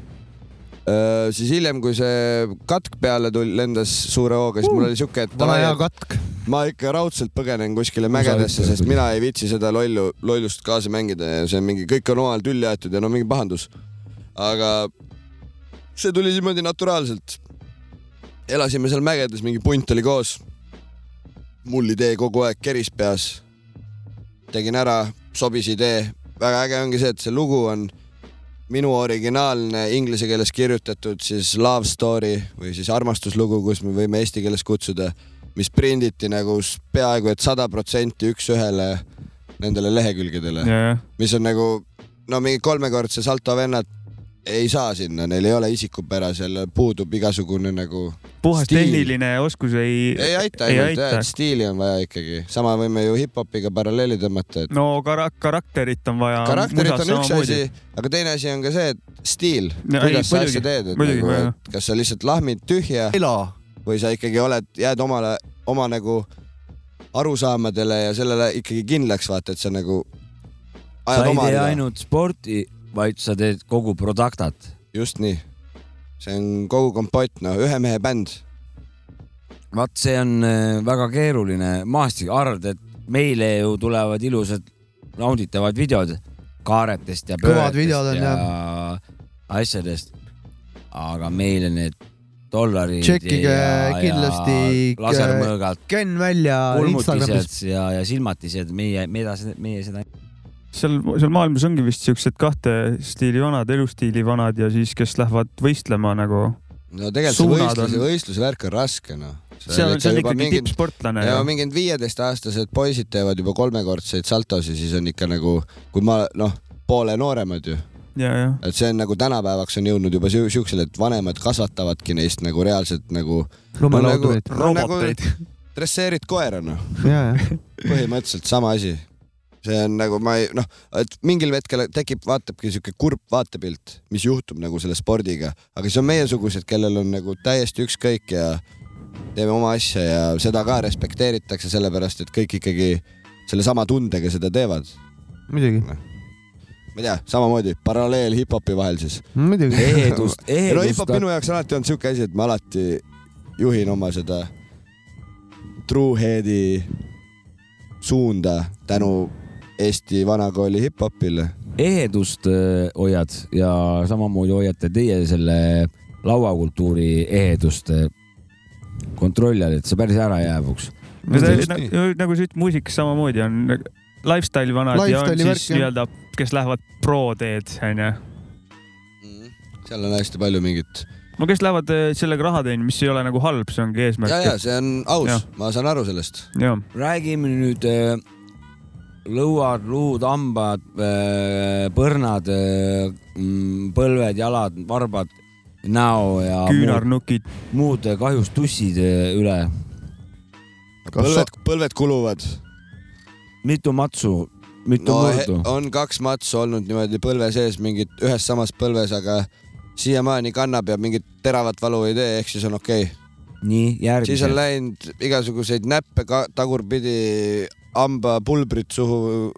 S7: siis hiljem , kui see katk peale tuli , lendas suure hooga , siis mul oli siuke , et
S3: vana
S7: davai,
S3: hea
S7: et
S3: katk .
S7: ma ikka raudselt põgenen kuskile mägedesse , sest mina ei viitsi seda lollu , lollust kaasa mängida ja see on mingi , kõik on omavahel tülli aetud ja no mingi pahandus . aga see tuli niimoodi naturaalselt . elasime seal mägedes , mingi punt oli koos . mul idee kogu aeg keris peas . tegin ära , sobis idee . väga äge ongi see , et see lugu on minu originaalne inglise keeles kirjutatud siis love story või siis armastuslugu , kus me võime eesti keeles kutsuda , mis prinditi nagu s- peaaegu et sada protsenti üks-ühele nendele lehekülgedele
S4: Jajah.
S7: mis on nagu no mingi kolmekordse salto vennad ei saa sinna , neil ei ole isikupära , seal puudub igasugune nagu .
S4: puhas tehniline oskus ei .
S7: ei aita
S4: ei
S7: ainult jah ,
S4: aita
S7: et . stiili on vaja ikkagi , sama võime ju hip-hopiga paralleeli tõmmata , et no,
S4: no kara- , karakterit on vaja .
S7: karakterit on üks asi , aga teine asi on ka see , et stiil
S4: No ei,
S7: no, , kuidas sa
S4: muidugi,
S7: asja teed , et
S4: muidugi,
S7: nagu ,
S4: jaa.
S7: et kas sa lihtsalt lahmid tühja
S3: ela
S7: või sa ikkagi oled , jääd omale , oma nagu arusaamadele ja sellele ikkagi kindlaks , vaata , et sa nagu
S6: sa
S7: ajad
S6: ei
S7: oma
S6: tee
S7: rida.
S6: ainult sporti , vaid sa teed kogu produktat .
S7: just nii . see on kogu kompott , no ühe mehe bänd .
S6: vaat see on äh, väga keeruline maastik , arvad , et meile ju tulevad ilusad nauditavad videod kaaretest ja
S3: Kõvad videod on,
S6: pööretest ja asjadest . aga meile need dollarid .
S3: tšekkige kindlasti
S6: lasermõõgad ,
S3: Ken välja Instagramis .
S6: kulmutised ja , ja silmatised , meie , mida , meie seda .
S4: seal , seal maailmas ongi vist siuksed kahte stiili vanad , elustiili vanad ja siis , kes lähevad võistlema nagu .
S7: no tegelikult see
S4: Suunad
S7: võistluse
S4: on-
S7: on... , võistluse värk on raske , noh .
S4: see on , see on ikkagi mingid... . tippsportlane
S7: ja . mingid viieteistaastased poisid teevad juba kolmekordseid saltosi , siis on ikka nagu , kui ma , noh , poole nooremad ju .
S4: ja , ja .
S7: et see on nagu tänapäevaks on jõudnud juba siu- siuksele , et vanemad kasvatavadki neist nagu reaalselt nagu .
S3: lumelaudurid .
S7: no, nagu
S4: Roboteid.
S7: dresseerid koera , noh .
S3: ja , ja .
S7: põhimõtteliselt sama asi . see on nagu ma ei noh , et mingil hetkel tekib , vaatabki sihuke kurb vaatepilt , mis juhtub nagu selle spordiga , aga siis on meiesugused , kellel on nagu täiesti ükskõik ja teeme oma asja ja seda ka respekteeritakse , sellepärast et kõik ikkagi sellesama tundega seda teevad .
S3: muidugi .
S7: ma ei tea , samamoodi paralleel hip-hopi vahel siis .
S3: Muidugi. Ehedust-
S7: no
S3: ehedust-
S7: hip-hop minu jaoks on alati olnud siuke asi , et ma alati juhin oma seda true head'i suunda tänu Eesti vanakooli hip-hopile .
S6: ehedust öö, hoiad ja samamoodi hoiate teie selle lauakultuuri ehedust öö, kontrolli all , et see päris ära ei jääbuks .
S4: nagu, nagu sa ütled , muusikas samamoodi on lifestyle'i vanad
S6: Lifestyle'i
S4: lifestyle ja on
S6: värk,
S4: siis
S6: jah.
S4: nii-öelda , kes lähevad pro teed , onju .
S7: seal on hästi palju mingit .
S4: no kes lähevad eh, sellega raha teenima , mis ei ole nagu halb , see ongi eesmärk .
S7: ja , ja see on aus , ma saan aru sellest .
S4: Jah.
S6: räägime nüüd öö, lõuad , luud , hambad , põrnad , põlved , jalad , varbad , näo ja
S4: Küünarnukid. ,
S6: muud kahjustussid öö, üle .
S7: põlved , põlved kuluvad .
S6: mitu matsu , mitu
S7: no, he- oh.
S6: mõõtu no, ?
S7: on kaks matsu olnud niimoodi põlve sees , mingid ühes samas põlves , aga siiamaani kannab ja mingit teravat valu ei tee , ehk siis on okei okay. .
S6: nii , järgmised.
S7: siis on läinud igasuguseid näppe ka tagurpidi , hambapulbrit suhu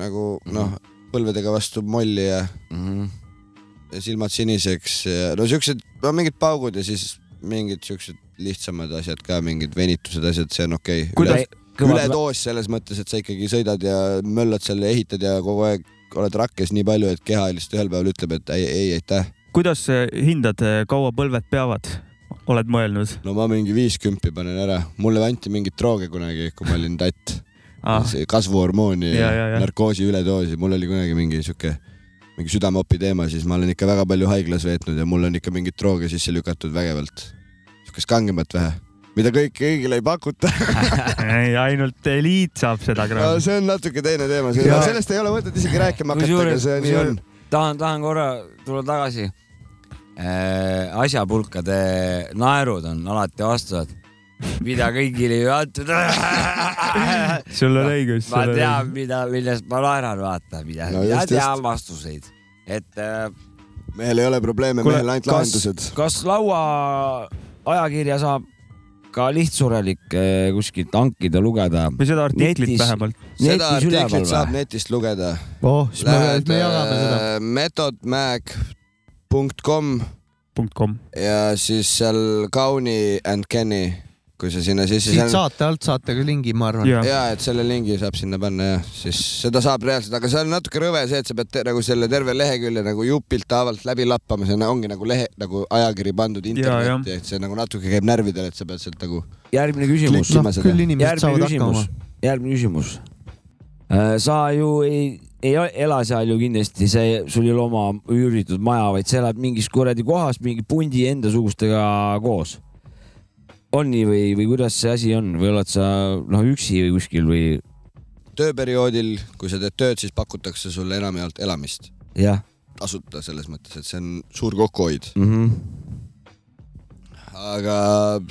S7: nagu noh , põlvedega vastu molli ja
S6: mm , -hmm.
S7: ja silmad siniseks ja no siuksed , no mingid paugud ja siis mingid siuksed lihtsamad asjad ka , mingid venitused , asjad , see on okei
S6: Kuidas-
S7: okay. .
S6: kõva-
S7: ületoos selles mõttes , et sa ikkagi sõidad ja möllad seal ja ehitad ja kogu aeg oled rakkes nii palju , et keha lihtsalt ühel päeval ütleb , et ei , ei , aitäh .
S4: kuidas eh, hindad , kaua põlved peavad , oled mõelnud ?
S7: no ma mingi viiskümmend panen ära , mulle anti mingeid drooge kunagi , kui ma olin tatt
S4: Ah.
S7: ah. . kasvuhormooni ja,
S4: Ja,
S7: ja,
S4: ja,
S7: ja
S4: ja.
S7: narkoosi üledoosi , mul oli kunagi mingi sihuke , mingi südameopi teema , siis ma olen ikka väga palju haiglas veetnud ja mul on ikka mingeid drooge sisse lükatud vägevalt . sihukest kangemat vähe , mida kõik kõigile ei pakuta .
S4: ei , ainult eliit saab seda
S7: no
S4: kraami .
S7: see on natuke teine teema ,
S4: Ja-
S7: sellest ei ole mõtet isegi rääkima hakata , aga see nii on .
S6: tahan , tahan korra tulla tagasi . asjapulkade naerud on alati vastused , mida kõigile ei antud .
S4: sul on õigus .
S6: ma tean , mida , millest ma naeran , vaata , mida
S7: No
S6: no, , mina
S7: just,
S6: tean
S7: just.
S6: vastuseid , et äh, .
S7: mehel ei ole probleeme , mehel ainult lahendused .
S6: kas laua ajakirja saab ka lihtsurelik äh, kuskilt hankida , lugeda ?
S4: või seda artiklit vähemalt.
S7: seda artiklit saab netist lugeda .
S3: oh , siis me, me
S7: äh,
S3: jagame seda .
S7: metodmag.com
S4: .com
S7: ja siis seal Kauni and Kenny , kui sa sinna sisse .
S3: siit saate alt saate ka lingi , ma arvan .
S7: ja, ja , et selle lingi saab sinna panna ja siis seda saab reaalselt , aga see on natuke rõve see , et sa pead te, nagu selle terve lehekülje nagu jupilt haavalt läbi lappama , see on- ongi nagu lehe nagu ajakiri pandud internetti , et see nagu natuke käib närvidele , et sa pead sealt nagu .
S6: järgmine küsimus .
S7: Klikkima Noh, seda. küll inimesed saavad hakkama. .
S6: järgmine küsimus . sa ju ei , ei ela seal ju kindlasti , see , sul ei ole oma üüritud maja , vaid sa elad mingis kuradi kohas mingi pundi endasugustega koos . on nii või , või kuidas see asi on või oled sa noh , üksi või kuskil või
S7: tööperioodil , kui sa teed tööd , siis pakutakse sulle enamjaolt elamist
S6: jah
S7: tasuta selles mõttes , et see on suur kokkuhoid .
S6: mm ? -hmm.
S7: aga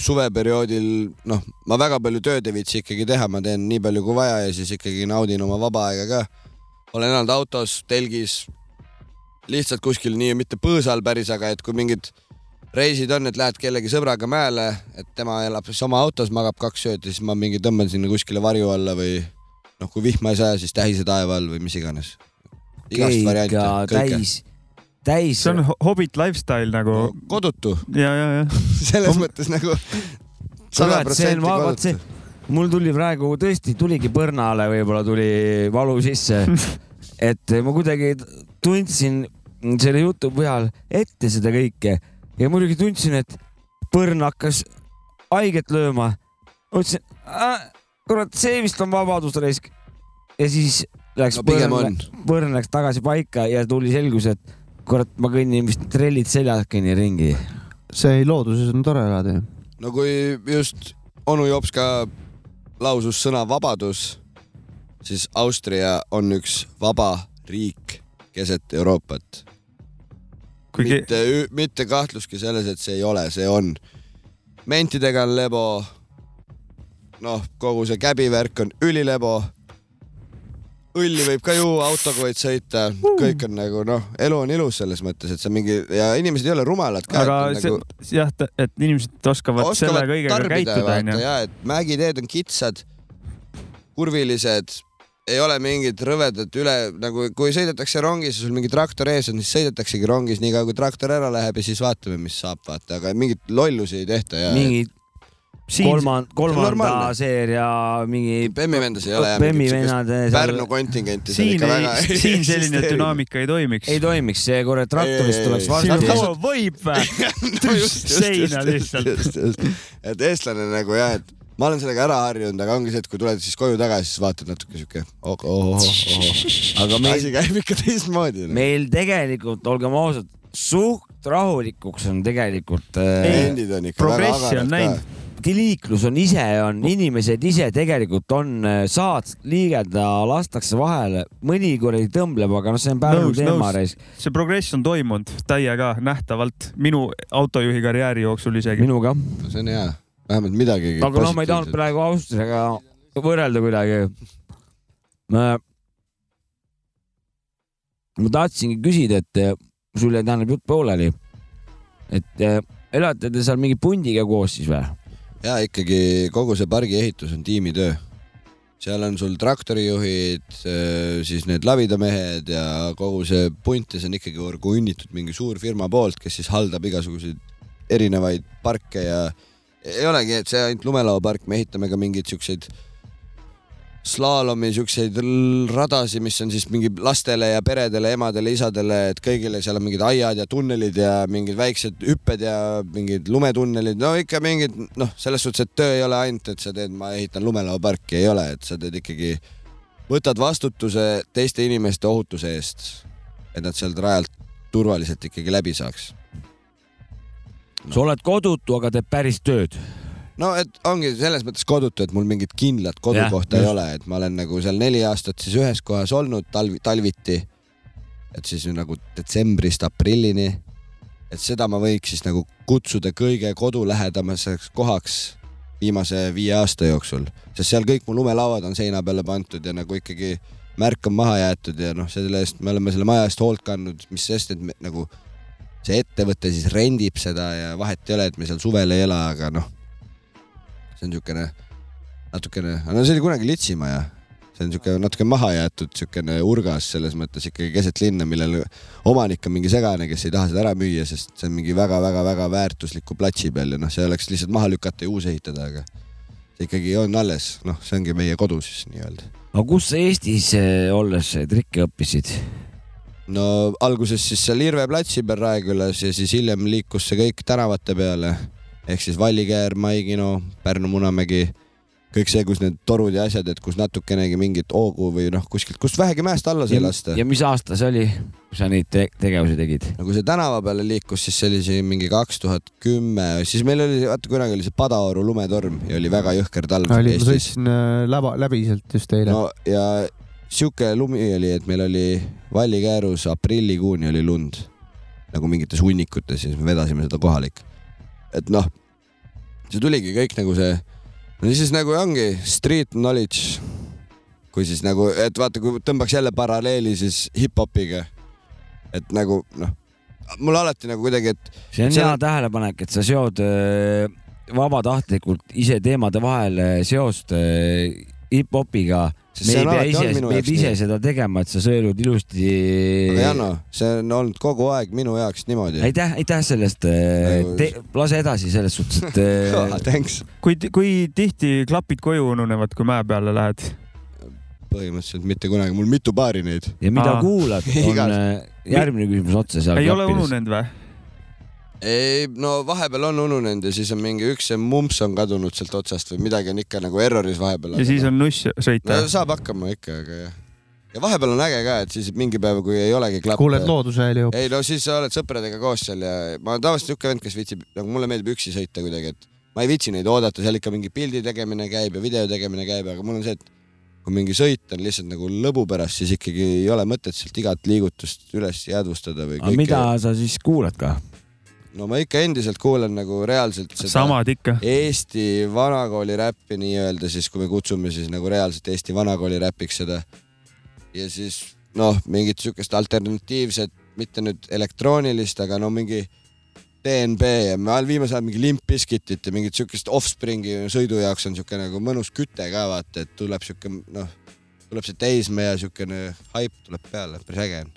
S7: suveperioodil , noh , ma väga palju tööd ei viitsi ikkagi teha , ma teen nii palju kui vaja ja siis ikkagi naudin oma vaba aega ka . olen elanud autos , telgis , lihtsalt kuskil nii , mitte põõsal päris , aga et kui mingid reisid on , et lähed kellegi sõbraga mäele , et tema elab siis oma autos , magab kaks ööd ja siis ma mingi tõmban sinna kuskile varju alla või noh , kui vihma ei saja , siis tähise taeva all või mis iganes . igast
S6: Keika
S7: variante , kõike
S6: täis- . täis .
S4: see on ho- hobbit lifestyle nagu no, .
S7: kodutu .
S4: ja , ja , ja .
S7: selles mõttes nagu sada protsenti kodutu .
S6: mul tuli praegu tõesti , tuligi põrnale , võib-olla tuli valu sisse . et ma kuidagi tundsin selle jutu põhjal ette seda kõike ja muidugi tundsin , et põrn hakkas haiget lööma . mõtlesin , kurat , see vist on vabadusreisk . ja siis läks
S7: No pigem
S6: põrn , põrn läks tagasi paika ja tuli selgus , et kurat , ma kõnnin vist trellid seljas kõnnin ringi .
S3: see looduses on tore elada ju .
S7: no kui just onu Jops ka lausus sõna vabadus , siis Austria on üks vaba riik keset Euroopat .
S4: Kuigi-
S7: mitte , mitte kahtlustki selles , et see ei ole , see on . mentidega on lebo . noh , kogu see käbivärk on ülilebo . õlli võib ka juua , autoga võid sõita , kõik on nagu noh , elu on ilus selles mõttes , et see mingi ja inimesed ei ole rumalad ka .
S4: aga see
S7: nagu,
S4: jah , et inimesed oskavad, selle
S7: oskavad
S4: kõigega
S7: tarbida
S4: käituda
S7: vaata
S4: onju .
S7: ja , et mägiteed on kitsad , kurvilised , ei ole mingit rõvedat üle , nagu kui sõidetakse rongis ja sul mingi traktor ees on , siis sõidetaksegi rongis niikaua , kui traktor ära läheb ja siis vaatame , mis saab , vaata , aga mingit lollusi ei tehta ja .
S6: mingi kolmand- , kolmanda seeria mingi .
S7: Bemmi vendas ei ole jah .
S6: Bemmi vennad .
S7: Pärnu kontingenti seal
S6: siin
S7: ikka
S6: ei-
S7: väga .
S6: siin selline dünaamika
S4: ei toimiks .
S6: ei toimiks , see kurat traktorist tuleks varsti .
S4: võib
S6: seina lihtsalt.
S7: lihtsalt . et eestlane nagu jah , et ma olen sellega ära harjunud , aga ongi see , et kui tuled siis koju tagasi , siis vaatad natuke siuke oh, , oh. ohoh , ohoh .
S6: Aga meil-
S7: asi käib ikka teistmoodi . noh.
S6: meil tegelikult , olgem ausad , suht rahulikuks on tegelikult .
S7: Endid on ikka väga Progressi agarad on ka. näinud. .
S6: liiklus on ise , on inimesed ise tegelikult on , saad liigelda , lastakse vahele , mõni kuradi tõmbleb , aga noh , see on Pärnu teema reis .
S4: see progress on toimunud täiega nähtavalt minu autojuhi karjääri jooksul isegi .
S6: minuga .
S7: see on hea , vähemalt midagigi .
S6: aga noh , ma ei tahtnud praegu Austriaga võrrelda kuidagi . ma ma tahtsingi küsida , et eh, sul jäi tähendab jutt pooleli . et eh, elate te seal mingi pundiga koos siis või ?
S7: ja ikkagi kogu see pargi ehitus on tiimitöö . seal on sul traktorijuhid , siis need lavidamehed ja kogu see punt ja see on ikkagi nagu õnnitud mingi suur firma poolt , kes siis haldab igasuguseid erinevaid parke ja ei olegi , et see ainult lumelauapark , me ehitame ka mingeid siukseid slaalomi siukseid l- radasid , mis on siis mingi lastele ja peredele , emadele , isadele , et kõigile seal on mingid aiad ja tunnelid ja mingid väiksed hüpped ja mingid lumetunnelid , no ikka mingid noh , selles suhtes , et töö ei ole ainult , et sa teed , ma ehitan lumelaoparki , ei ole , et sa teed ikkagi , võtad vastutuse teiste inimeste ohutuse eest , et nad sealt rajalt turvaliselt ikkagi läbi saaks .
S6: sa oled kodutu , aga teed päris tööd .
S7: no et ongi selles mõttes kodutu , et mul mingit kindlat kodukohta
S6: Jah,
S7: ei
S6: just.
S7: ole , et ma olen nagu seal neli aastat siis ühes kohas olnud talvi , talviti . et siis ju nagu detsembrist aprillini . et seda ma võiks siis nagu kutsuda kõige kodulähedamaseks kohaks viimase viie aasta jooksul , sest seal kõik mu lumelauad on seina peale pandud ja nagu ikkagi märk on maha jäetud ja noh , selle eest me oleme selle maja eest hoolt kandnud , mis sest , et me, nagu see ettevõte siis rendib seda ja vahet ei ole , et me seal suvel ei ela , aga noh , see on niisugune natukene , no see oli kunagi litsimaja , see on niisugune natuke mahajäetud niisugune urgas selles mõttes ikkagi keset linna , millel omanik on mingi segane , kes ei taha seda ära müüa , sest see on mingi väga-väga-väga väärtusliku platsi peal ja noh , see oleks lihtsalt maha lükata ja uus ehitada , aga see ikkagi on alles , noh , see ongi meie kodu siis nii-öelda .
S6: aga kus sa Eestis eh, olles trikke õppisid ?
S7: no alguses siis seal Irve platsi peal Raekülas ja siis hiljem liikus see kõik tänavate peale ehk siis Vallikäär , Mai kino , Pärnu Munamägi , kõik see , kus need torud ja asjad , et kus natukenegi mingit hoogu või noh , kuskilt , kust vähegi mäest alla sai lasta .
S6: ja mis aasta see oli , kui sa neid te tegevusi tegid ?
S7: no kui see tänava peale liikus , siis see oli siin mingi kaks tuhat kümme , siis meil oli , vaata kunagi oli see Padaoru lumetorm ja oli väga jõhker talv
S3: oli , ma
S7: Eestis .
S3: sõitsin äh, läba , läbi sealt just eile
S7: no ja sihuke lumi oli , et meil oli Vallikäärus aprillikuuni oli lund nagu mingites hunnikutes ja siis me vedasime seda kohalik . et noh , see tuligi kõik nagu see , no siis nagu ongi street knowledge . kui siis nagu , et vaata , kui tõmbaks jälle paralleeli siis hip-hopiga , et nagu noh , mul alati nagu kuidagi , et
S6: see on
S7: See
S6: hea
S7: on-
S6: tähelepanek , et sa seod öö, vabatahtlikult ise teemade vahele seost öö, hip-hopiga .
S7: Sest
S6: me
S7: see
S6: ei
S7: on
S6: pea
S7: alati
S6: ise
S7: olnud , minu
S6: me ei
S7: jaoks
S6: pea ise
S7: nii.
S6: seda tegema , et sa sõelud ilusti .
S7: aga Janno , see on olnud kogu aeg minu jaoks niimoodi .
S6: aitäh , aitäh sellest ,
S7: Nagu-
S6: lase edasi selles suhtes , et äh,
S7: Ah,
S6: öö,
S7: thanks .
S4: kui , kui tihti klapid koju ununevad , kui mäe peale lähed ?
S7: põhimõtteliselt mitte kunagi , mul mitu paari neid .
S6: ja mida kuulad , on
S7: Igas-
S6: öö, järgmine küsimus otse seal .
S4: ei ole ununenud või ?
S7: ei , no vahepeal on ununenud ja siis on mingi üks see mumps on kadunud sealt otsast või midagi on ikka nagu erroris vahepeal .
S4: ja siis on nuss sõita
S7: no, . saab hakkama ikka , aga jah . ja vahepeal on äge ka , et siis mingi päev , kui ei olegi klappe .
S3: kuuled looduse hääli hoopis .
S7: ei no siis sa oled sõpradega koos seal ja ma olen tavaliselt niisugune vend , kes viitsib , nagu mulle meeldib üksi sõita kuidagi , et ma ei viitsi neid oodata , seal ikka mingi pildi tegemine käib ja video tegemine käib , aga mul on see , et kui mingi sõit on lihtsalt nagu lõbu pärast , siis ikkagi ei ole mõtet sealt igat liigutust üles jäädvustada või
S6: aga
S7: kõike-
S6: mida sa siis kuulad ka ?
S7: no ma ikka endiselt kuulan nagu reaalselt seda
S4: samad ikka .
S7: Eesti vanakooli räppi nii-öelda siis , kui me kutsume siis nagu reaalselt Eesti vanakooli räpiks seda . ja siis noh , mingit siukest alternatiivset , mitte nüüd elektroonilist , aga no mingi DNB ja me all viimasel ajal mingi Limp Bizkitit ja mingit siukest Offspringi sõidu jaoks on siuke nagu mõnus küte ka vaata , et tuleb siuke noh , tuleb see teismeja siukene haip tuleb peale , päris äge on .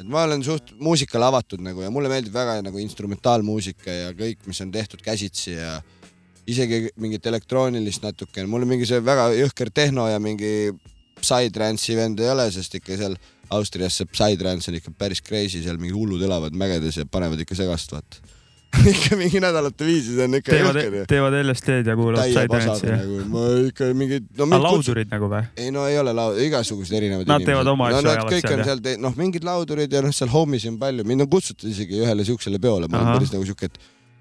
S7: et ma olen suht muusikale avatud nagu ja mulle meeldib väga nagu instrumentaalmuusika ja kõik , mis on tehtud käsitsi ja isegi mingit elektroonilist natukene , mul mingi see väga jõhker tehno ja mingi Psytrance'i vend ei ole , sest ikka seal Austrias see Psytrance on ikka päris crazy , seal mingi hullud elavad mägedes ja panevad ikka segast , vaata . ikka mingi nädalate viisi , see on ikka
S4: teevad
S7: jõhker ju .,
S4: teevad LSD-d ja kuulavad
S7: täie pasaga
S4: Psytrance'i .
S7: nagu , ma ikka mingi no, .
S4: aga laudurid nagu või ?
S7: ei no ei ole laud- , igasugused erinevad
S4: Nad teevad oma asju,
S7: no, nad
S4: ajavad
S7: kõik
S4: seal,
S7: on
S4: jah.
S7: seal , noh , mingid laudurid ja noh , seal homisi on palju , mind on kutsutud isegi ühele siuksele peole , ma
S4: Ahah.
S7: olen päris nagu siuke , et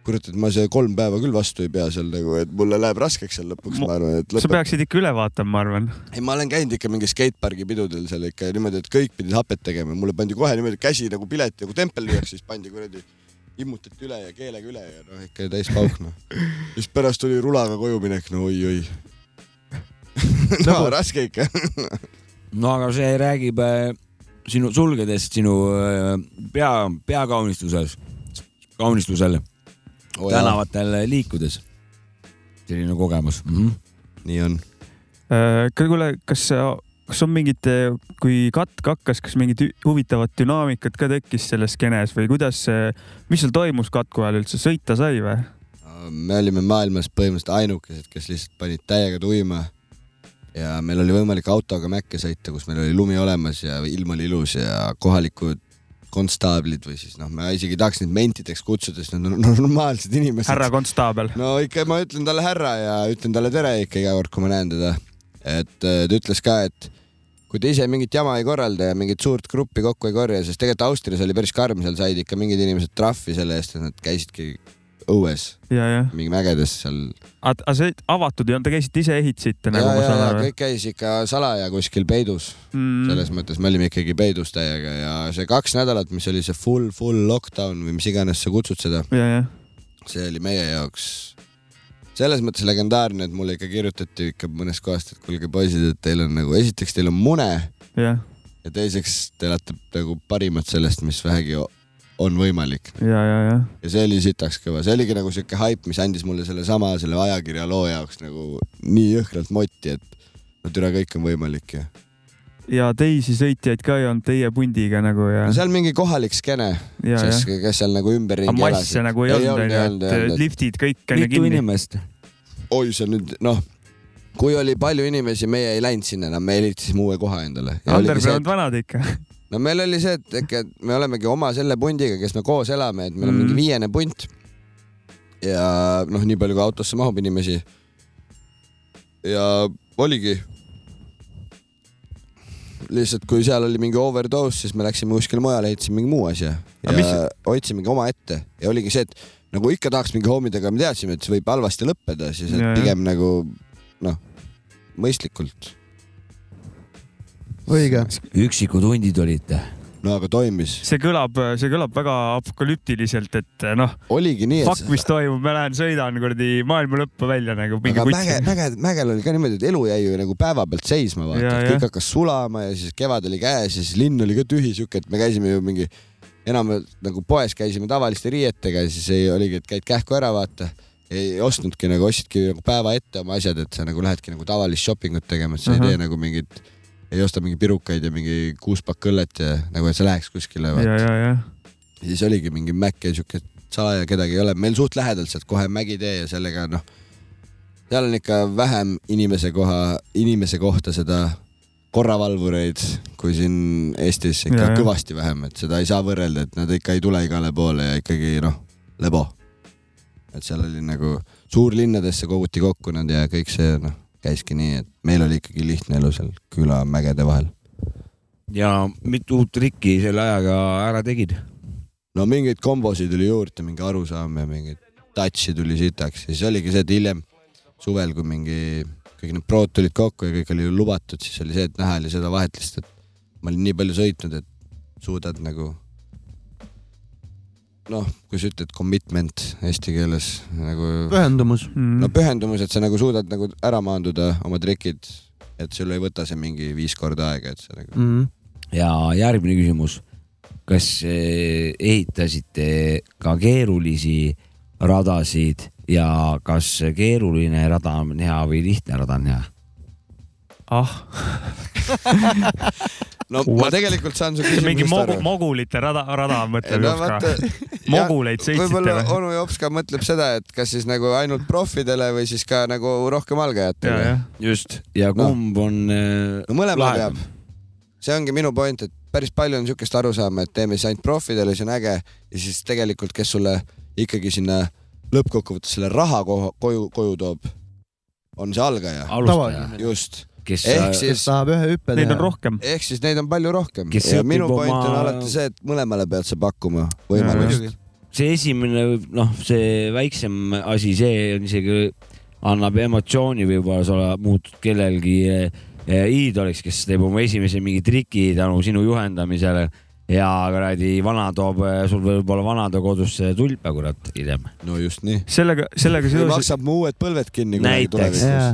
S7: kurat , et ma see kolm päeva küll vastu ei pea seal nagu , et mulle läheb raskeks seal lõpuks , ma arvan , et
S4: sa
S7: lõpeb .
S4: peaksid ikka üle vaatama , ma arvan .
S7: ei , ma olen käinud ikka mingi skatepargi pidudel seal ikka ja niimoodi , et kõik pidid hapet tegema , mulle pandi kohe niimoodi käsi nagu pilet nagu tempel lüüakse , siis pandi kuradi , immutati üle ja keelega üle ja noh , ikka täis pauk noh . siis pärast tuli rulaga koju minek , no oi-oi . no
S4: Nagu-
S7: raske ikka
S6: no aga see räägib äh, sinu sulgedest , sinu äh, pea , peakaunistuses , kaunistusel
S7: oh, , jaa.
S6: tänavatel liikudes . selline kogemus mm . -hmm.
S7: nii on .
S4: Äh, kuule , kas , kas on mingit , kui katk hakkas , kas mingit ü- huvitavat dünaamikat ka tekkis selles skeenes või kuidas , mis seal toimus katku ajal üldse , sõita sai või ?
S7: Äh, me olime maailmas põhimõtteliselt ainukesed , kes lihtsalt panid täiega tuima . ja meil oli võimalik autoga mäkke sõita , kus meil oli lumi olemas ja ilm oli ilus ja kohalikud konstaablid või siis noh , ma isegi ei tahaks neid mentideks kutsuda , sest nad on normaalsed inimesed .
S4: härra konstaabel .
S7: no ikka ma ütlen talle härra ja ütlen talle tere ikka iga kord , kui ma näen teda . et äh, ta ütles ka , et kui te ise mingit jama ei korralda ja mingit suurt gruppi kokku ei korja , sest tegelikult Austrias oli päris karm , seal said ikka mingid inimesed trahvi selle eest , et nad käisidki õues
S4: ja , ja .
S7: mingi mägedes seal .
S4: aga see avatud ei olnud , te käisite ise ehitasite nagu
S7: ja ,
S4: ma
S7: ja ,
S4: saan
S7: ja
S4: aru
S7: kõik ? käis ikka salaja kuskil peidus mm. . selles mõttes me olime ikkagi peidus täiega ja see kaks nädalat , mis oli see full , full lockdown või mis iganes sa kutsud seda ,
S4: ja , ja .
S7: see oli meie jaoks selles mõttes legendaarne , et mulle ikka kirjutati ikka mõnest kohast , et kuulge poisid , et teil on nagu , esiteks teil on mune
S4: Jah.
S7: ja teiseks te elate nagu parimat sellest , mis vähegi o- on võimalik .
S4: ja , ja , ja .
S7: ja see oli sitaks kõva , see oligi nagu siuke haip , mis andis mulle sellesama , selle ajakirja loo jaoks nagu nii jõhkralt moti , et no türa , kõik on võimalik ja .
S4: ja teisi sõitjaid ka ei olnud teie pundiga nagu ja
S7: no ? seal mingi kohalik skeene ,
S4: Ja,
S7: kes
S4: jah.
S7: kes seal nagu
S4: aga
S7: ümberringi
S4: masse nagu ei olnud , onju , et liftid kõik on ju
S7: Mitu
S4: kinni .
S6: inimest ?
S7: oi , see on nüüd , noh , kui oli palju inimesi , meie ei läinud sinna enam , me elitasime uue koha endale .
S4: Underground vanad ikka .
S7: no meil oli see , et ikka et me olemegi oma selle pundiga , kes me koos elame , et meil on
S4: Mhm.
S7: mingi viiene punt . ja noh , nii palju kui autosse mahub inimesi . ja oligi . lihtsalt , kui seal oli mingi overdose , siis me läksime kuskile mujale , ehitasime mingi muu asja ja
S4: Aga mis-
S7: hoidsimegi omaette ja oligi see , et nagu ikka tahaks mingi homidega , me teadsime , et see võib halvasti lõppeda , siis et
S4: Jajah.
S7: pigem nagu noh , mõistlikult .
S3: õige .
S6: üksikud hundid olid .
S7: no aga toimis .
S4: see kõlab , see kõlab väga apokalüptiliselt , et noh ,
S7: oligi nii , et
S4: fuck , mis toimub , ma lähen sõidan kuradi maailma lõppu välja nagu mingi
S7: aga mäge ,
S4: putsi .
S7: mäge , mägel oli ka niimoodi , et elu jäi ju nagu päevapealt seisma , vaata
S4: Jaa, ,
S7: et
S4: jah.
S7: kõik hakkas sulama ja siis kevad oli käes ja siis linn oli ka tühi , siuke , et me käisime ju mingi , enamjaolt nagu poes käisime tavaliste riietega ja siis ei oligi , et käid kähku ära , vaata . ei ostnudki nagu , ostsidki nagu päeva ette oma asjad , et sa nagu lähedki nagu tavalist shopping ut tegema , et sa uh -huh.
S4: Ahah.
S7: ei tee nagu mingit , ei osta mingi pirukaid ja mingi kuuspakk õllet ja nagu , et sa läheks kuskile ,
S4: ja ,
S7: vaata .
S4: ja , ja .
S7: ja siis oligi mingi Mac ja siuke salaja kedagi ei ole , meil suht lähedalt sealt kohe mägitee ja sellega noh , seal on ikka vähem inimese koha , inimese kohta seda korravalvureid kui siin Eestis ikka
S4: Ja,
S7: ja,
S4: ja.
S7: kõvasti vähem , et seda ei saa võrrelda , et nad ikka ei tule igale poole ja ikkagi noh , lebo . et seal oli nagu suurlinnadesse koguti kokku nad ja kõik see noh , käiski nii , et meil oli ikkagi lihtne elu seal külamägede vahel .
S6: ja mitu trikki selle ajaga ära tegid ?
S7: no mingeid kombosid tuli juurde , mingi arusaam ja mingeid touch'i tuli sitaks ja siis oligi see , et hiljem suvel , kui mingi kõik need prood tulid kokku ja kõik oli ju lubatud , siis oli see , et näha oli seda vahet lihtsalt , et ma olin nii palju sõitnud , et suudad nagu noh , kui sa ütled commitment eesti keeles nagu
S3: pühendumus .
S4: Mm.
S7: no pühendumus , et sa nagu suudad nagu ära maanduda oma trikid et sul ei võta see mingi viis korda aega , et nagu- sellega .
S3: mm. .
S6: ja järgmine küsimus . kas eh, ehitasite ka keerulisi radasid ja kas keeruline rada on hea või lihtne rada on hea ?
S4: ah ,
S7: no
S4: What?
S7: ma tegelikult saan su
S4: see mingi
S7: küsimusest
S4: mogu,
S7: aru .
S4: mogulite rada , rada mõtleb
S7: No
S4: no, Jopska
S7: vaata- .
S4: moguleid sõitsite
S7: võib-olla
S4: või ?
S7: onu Jopska mõtleb seda , et kas siis nagu ainult proffidele või siis ka nagu rohkem
S4: ja ,
S7: algajatele .
S4: jah .
S6: just , ja kumb no. on eh,
S7: no mõlema peab .. see ongi minu point , et päris palju on niisugust arusaama , et teeme siis ainult proffidele , see on äge ja siis tegelikult , kes sulle ikkagi sinna lõppkokkuvõttes selle raha ko- koju , koju toob , on see algaja .
S6: alustaja ,
S7: just ,
S6: kes ,
S7: ehk
S3: kes
S7: siis ,
S3: tahab ühe hüppe
S4: Neid on
S3: teha .
S4: rohkem .
S7: ehk siis neid on palju rohkem
S6: Kes
S7: ja
S6: õpib
S7: minu point on
S6: oma-
S7: alati see , et mõlemale pead sa pakkuma võimalust .
S6: see esimene , noh , see väiksem asi , see on isegi , annab emotsiooni võib-olla , sa oled- muutud kellelgi eh, eh, iidoliks , kes teeb oma esimese mingi triki tänu sinu juhendamisele ja kuradi vana toob eh, sul võib-olla vanadekodusse tulpe , kurat , hiljem .
S7: no just nii .
S4: sellega , sellega
S7: või
S4: seoses ,
S7: maksab mu uued põlved kinni kunagi
S6: Näiteks.
S7: tulevikus .
S3: jaa ,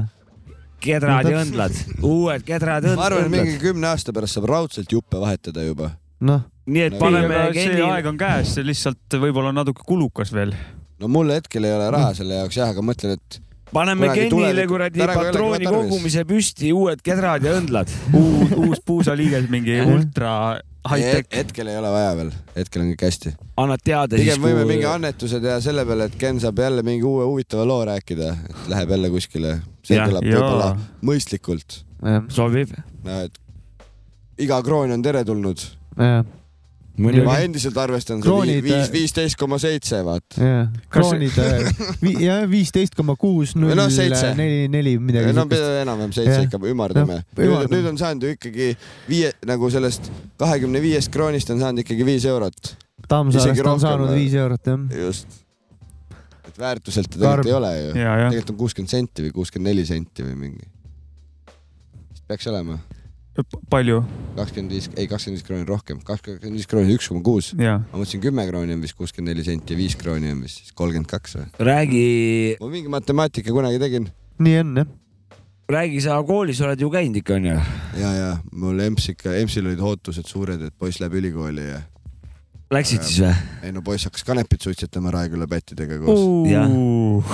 S6: kedrad ja õndlad , uued kedrad ja
S7: ma arvan , et
S6: õndlad .
S7: mingi kümne aasta pärast saab raudselt juppe vahetada juba .
S3: noh ,
S6: nii et paneme
S4: aga see
S6: Kenile
S4: aeg on käes , see lihtsalt võib-olla on natuke kulukas veel .
S7: no mul hetkel ei ole raha selle jaoks jah , aga mõtlen , et
S6: paneme
S7: kunagi
S6: Kenile
S7: tulevikus-
S6: kuradi
S7: täna, kui jällegi
S6: patrooni
S7: ma tarvis.
S6: kogumise püsti , uued kedrad ja õndlad .
S4: uus , uus puusaliiges mingi ultra
S7: het-
S4: high-tech .
S7: e- hetkel ei ole vaja veel , hetkel on kõik hästi .
S6: annad teada siis
S7: pigem , võime mingi annetuse teha selle peale , et Ken saab jälle mingi uue huvitava loo rääkida , et läheb jälle kuskile , see
S4: Jah,
S7: kõlab
S4: jaa.
S7: võib-olla mõistlikult ,
S6: sobib .
S7: no et iga kroon on teretulnud .
S3: jaa ,
S7: ma endiselt arvestan seda
S3: Kroonid,
S7: viis ,
S3: äh,
S7: viisteist koma seitse , vaata .
S3: jaa .
S4: Kas-
S3: kroonid vi- , jah , viisteist koma kuus , null ,
S7: Või noh, seitse.
S3: neli , neli , midagi
S7: no
S3: siukest .
S7: pea- enam-vähem seitse
S3: Jah.
S7: ikka ümardame
S3: Noh, .
S7: nüüd
S3: ümardame.
S7: nüüd on saanud ju ikkagi viie , nagu sellest kahekümne viiest kroonist on saanud ikkagi viis eurot . isegi
S3: Tammsaarest on
S7: rohkem
S3: saanud
S7: või?
S3: viis eurot , jah .
S7: just . et väärtuselt ta
S3: Karm.
S7: tegelikult ei ole ju .
S4: ja , jah .
S7: tegelikult on kuuskümmend senti või kuuskümmend neli senti või mingi . peaks olema
S4: palju ,
S7: kakskümmend viis , ei kakskümmend viis krooni rohkem , kakskümmend viis krooni üks koma kuus .
S4: ja .
S7: ma mõtlesin kümme krooni on vist kuuskümmend neli senti ja viis krooni on vist siis kolmkümmend kaks või ?
S6: räägi ,
S7: ma mingi matemaatika kunagi tegin
S3: nii on , jah .
S6: räägi , sa koolis oled ju käinud ikka onju ?
S7: ja , ja mul EMS ikka , EMS-il olid ootused suured , et poiss läheb ülikooli ja
S6: Läksid siis või ?
S7: ei no poiss hakkas kanepit suitsetama Raeküla pättidega koos .
S6: Jah.
S4: Uh,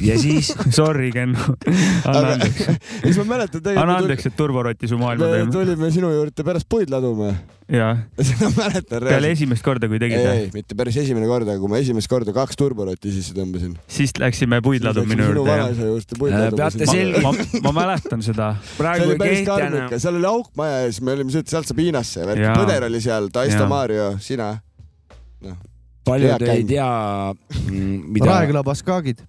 S6: ja siis
S4: sorry , Ken . anna
S7: Aga-
S4: andeks ,
S7: siis ma mäletan
S4: anna andeks , et turvarotti su
S7: me
S4: maailma tõime .
S7: tulime sinu juurde pärast puid laduma .
S4: ja ,
S7: seda ma mäletan
S4: peale esimest korda , kui
S7: ei ,
S4: tegite ,
S7: ei , mitte päris esimene kord , aga kui ma esimest korda kaks turborotti sisse tõmbasin .
S4: siis läksime puid laduma minu
S7: sinu
S4: juurde .
S7: vanaisa juurde puid
S6: Äh,
S7: laduma .
S6: peate selg-
S4: ma , ma mäletan seda .
S7: see
S6: praegu
S7: oli
S6: ei
S7: päris
S6: kehti enam
S7: karmika , seal oli auk maja ees , me olime sealt , sealt saab Hiinasse ,
S4: Jaa.
S7: Põder oli seal , Taisto
S4: Jaa.
S7: Mario , sina . Hea
S6: paljud ei
S7: käim.
S6: tea , mida ,
S3: Raeküla baskaagid .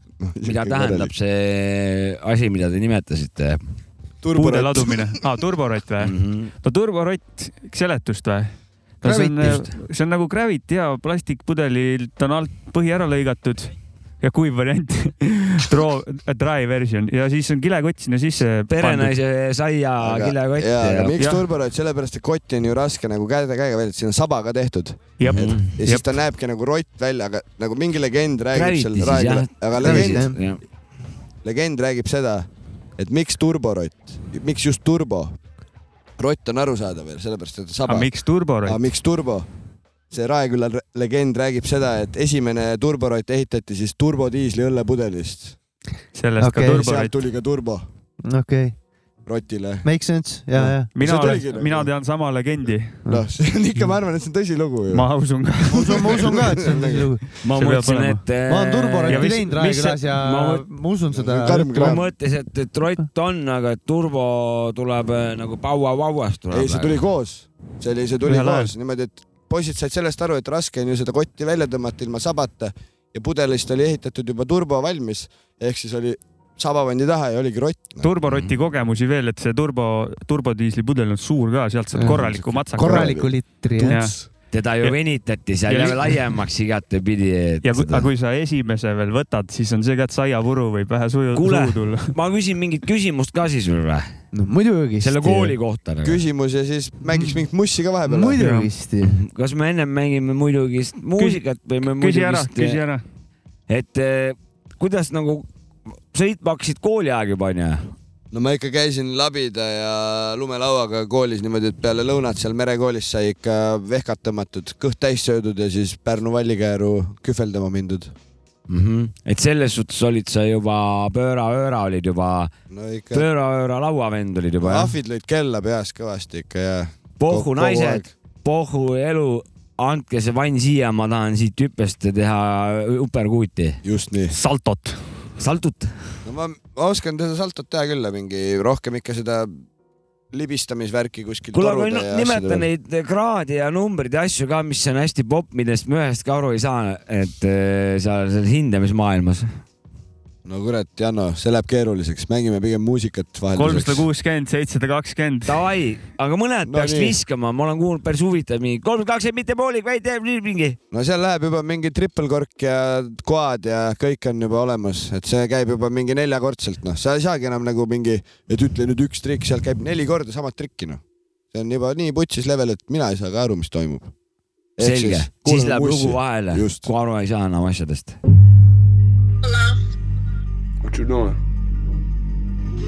S6: mida tähendab see asi , mida te nimetasite
S4: puude
S7: turborott .
S4: ladumine ah, , turborott või ?
S6: mm . -hmm.
S4: no turborott , seletust või ? No see, on,
S6: Gravitist.
S4: see on nagu Gravit ja plastikpudelilt on alt põhi ära lõigatud ja kuiv variant , dry version ja siis on kilekott sinna sisse pandud .
S6: perenaise saia kilekott
S7: jaa , aga
S6: ja
S7: miks
S4: Jah.
S7: turborott , sellepärast et kotti on ju raske nagu käega , käega välja , siin on sabaga tehtud .
S4: jah ,
S7: ja siis
S4: jah ,
S7: ta näebki nagu rott välja , aga nagu mingi legend räägib
S6: Gravity
S7: seal
S6: siis jah
S7: Raeküla ,, aga legend ,
S3: Gravity,
S6: jah .
S7: legend räägib seda , et miks turborott , miks just turbo ? rott on arusaadav veel , sellepärast et saba
S4: aga . miks turborott
S7: aga ? miks turbo ? see Raeküla r- legend räägib seda , et esimene turborott ehitati siis turbodiisli õllepudelist .
S4: sellest okay, ka
S3: Okei,
S7: sealt
S4: turborott .
S7: tuli ka turbo
S3: okei okay. ,
S7: rotile .
S3: make sense , ja , ja .
S4: mina
S7: see tuligi
S4: olen ,
S7: nagu-
S4: mina tean sama legendi ,
S7: noh , see on ikka , ma arvan , et see on tõsilugu ju .
S4: Ah. ma usun ka .
S3: ma usun , ma usun ka , et see on lugu .
S6: ma
S4: See peab
S6: mõtlesin ,
S4: olema.
S6: et . äh,
S3: ma olen
S4: Ja
S3: turboratti
S4: mis-
S3: teinud
S4: mis see-
S3: Raekülas ja
S6: ma
S3: ma,
S6: mõt-
S3: ma usun seda .
S7: Karm
S6: ma
S7: kraam .
S6: mõtlesin , et , et rott on , aga et turbo tuleb eh, nagu pauavauast tuleb .
S7: ei , see tuli koos . see oli , see tuli
S4: Ühel ajal.
S7: koos niimoodi , et poisid said sellest aru , et raske on ju seda kotti välja tõmmata ilma sabata ja pudelist oli ehitatud juba turbo valmis , ehk siis oli saba pandi taha ja oligi rott no. .
S4: turborotti kogemusi veel , et see turbo , turbodiislipudel on suur ka , sealt saab
S3: Jah.
S4: korraliku matsaka .
S3: korraliku liitri , jah .
S4: ja,
S6: teda ju
S4: Ja-
S6: venitati seal
S4: ja
S6: ja
S4: li-
S6: laiemaks igatepidi .
S4: ja kui, aga kui sa esimese veel võtad , siis on see ka , et saiapuru võib vähe suju ,
S6: Kuule.
S4: suhu tulla .
S6: ma küsin mingit küsimust ka siis veel või ?
S3: no muidugi .
S6: selle kooli . kohta nagu .
S7: küsimus ja siis mängiks mingit mussi ka vahepeal .
S3: muidugi .
S6: kas me ennem mängime muidugi muusikat või me
S4: küsi ära , küsi
S6: muidugi ,
S4: ära .
S6: et eh, kuidas nagu sõitma hakkasid kooli aeg juba onju ?
S7: no ma ikka käisin labida ja lumelauaga koolis niimoodi , et peale lõunat seal merekoolis sai ikka vehkad tõmmatud , kõht täis söödud ja siis Pärnu vallikääru kühveldama mindud .
S6: mm .
S3: Mhm.
S6: -hmm. et selles suhtes olid sa juba pööra-ööra olid juba
S7: no ikka
S6: pööra-ööra lauavend olid juba jah ?
S7: ahvid lõid kella peas kõvasti ikka ja .
S6: pohhu naised , pohhu elu , andke see vann siia , ma tahan siit hüppest teha äh, uperkuuti .
S7: just nii .
S4: saltot .
S6: saltut .
S7: no ma, ma oskan seda saltot teha küll , mingi rohkem ikka seda libistamisvärki kuskil .
S6: kuule , aga no, nimeta . neid kraade ja numbrid ja asju ka , mis on hästi popp , millest me ühestki aru ei saa , et eh, seal selles hindamismaailmas .
S7: no kurat , Janno , see läheb keeruliseks , mängime pigem muusikat
S4: kolmsada
S7: vahelduseks .
S4: kuuskümmend , seitsesada kakskümmend .
S6: Davai , aga mõned no, peaks
S7: nii.
S6: nii. viskama , ma olen kuulnud päris huvitav mingi kolmkümmend kaks , mitte poolik , vaid teeb nii mingi .
S7: no seal läheb juba mingi trippelkork ja koad ja kõik on juba olemas , et see käib juba mingi neljakordselt , noh , sa ei saagi enam nagu mingi , et ütle nüüd üks trikk , seal käib neli korda sama trikki , noh . see on juba nii putsis level , et mina ei saa ka aru , mis toimub .
S6: selge , siis läheb lugu vahele , kui aru ei saa enam asjadest .
S11: What you doing?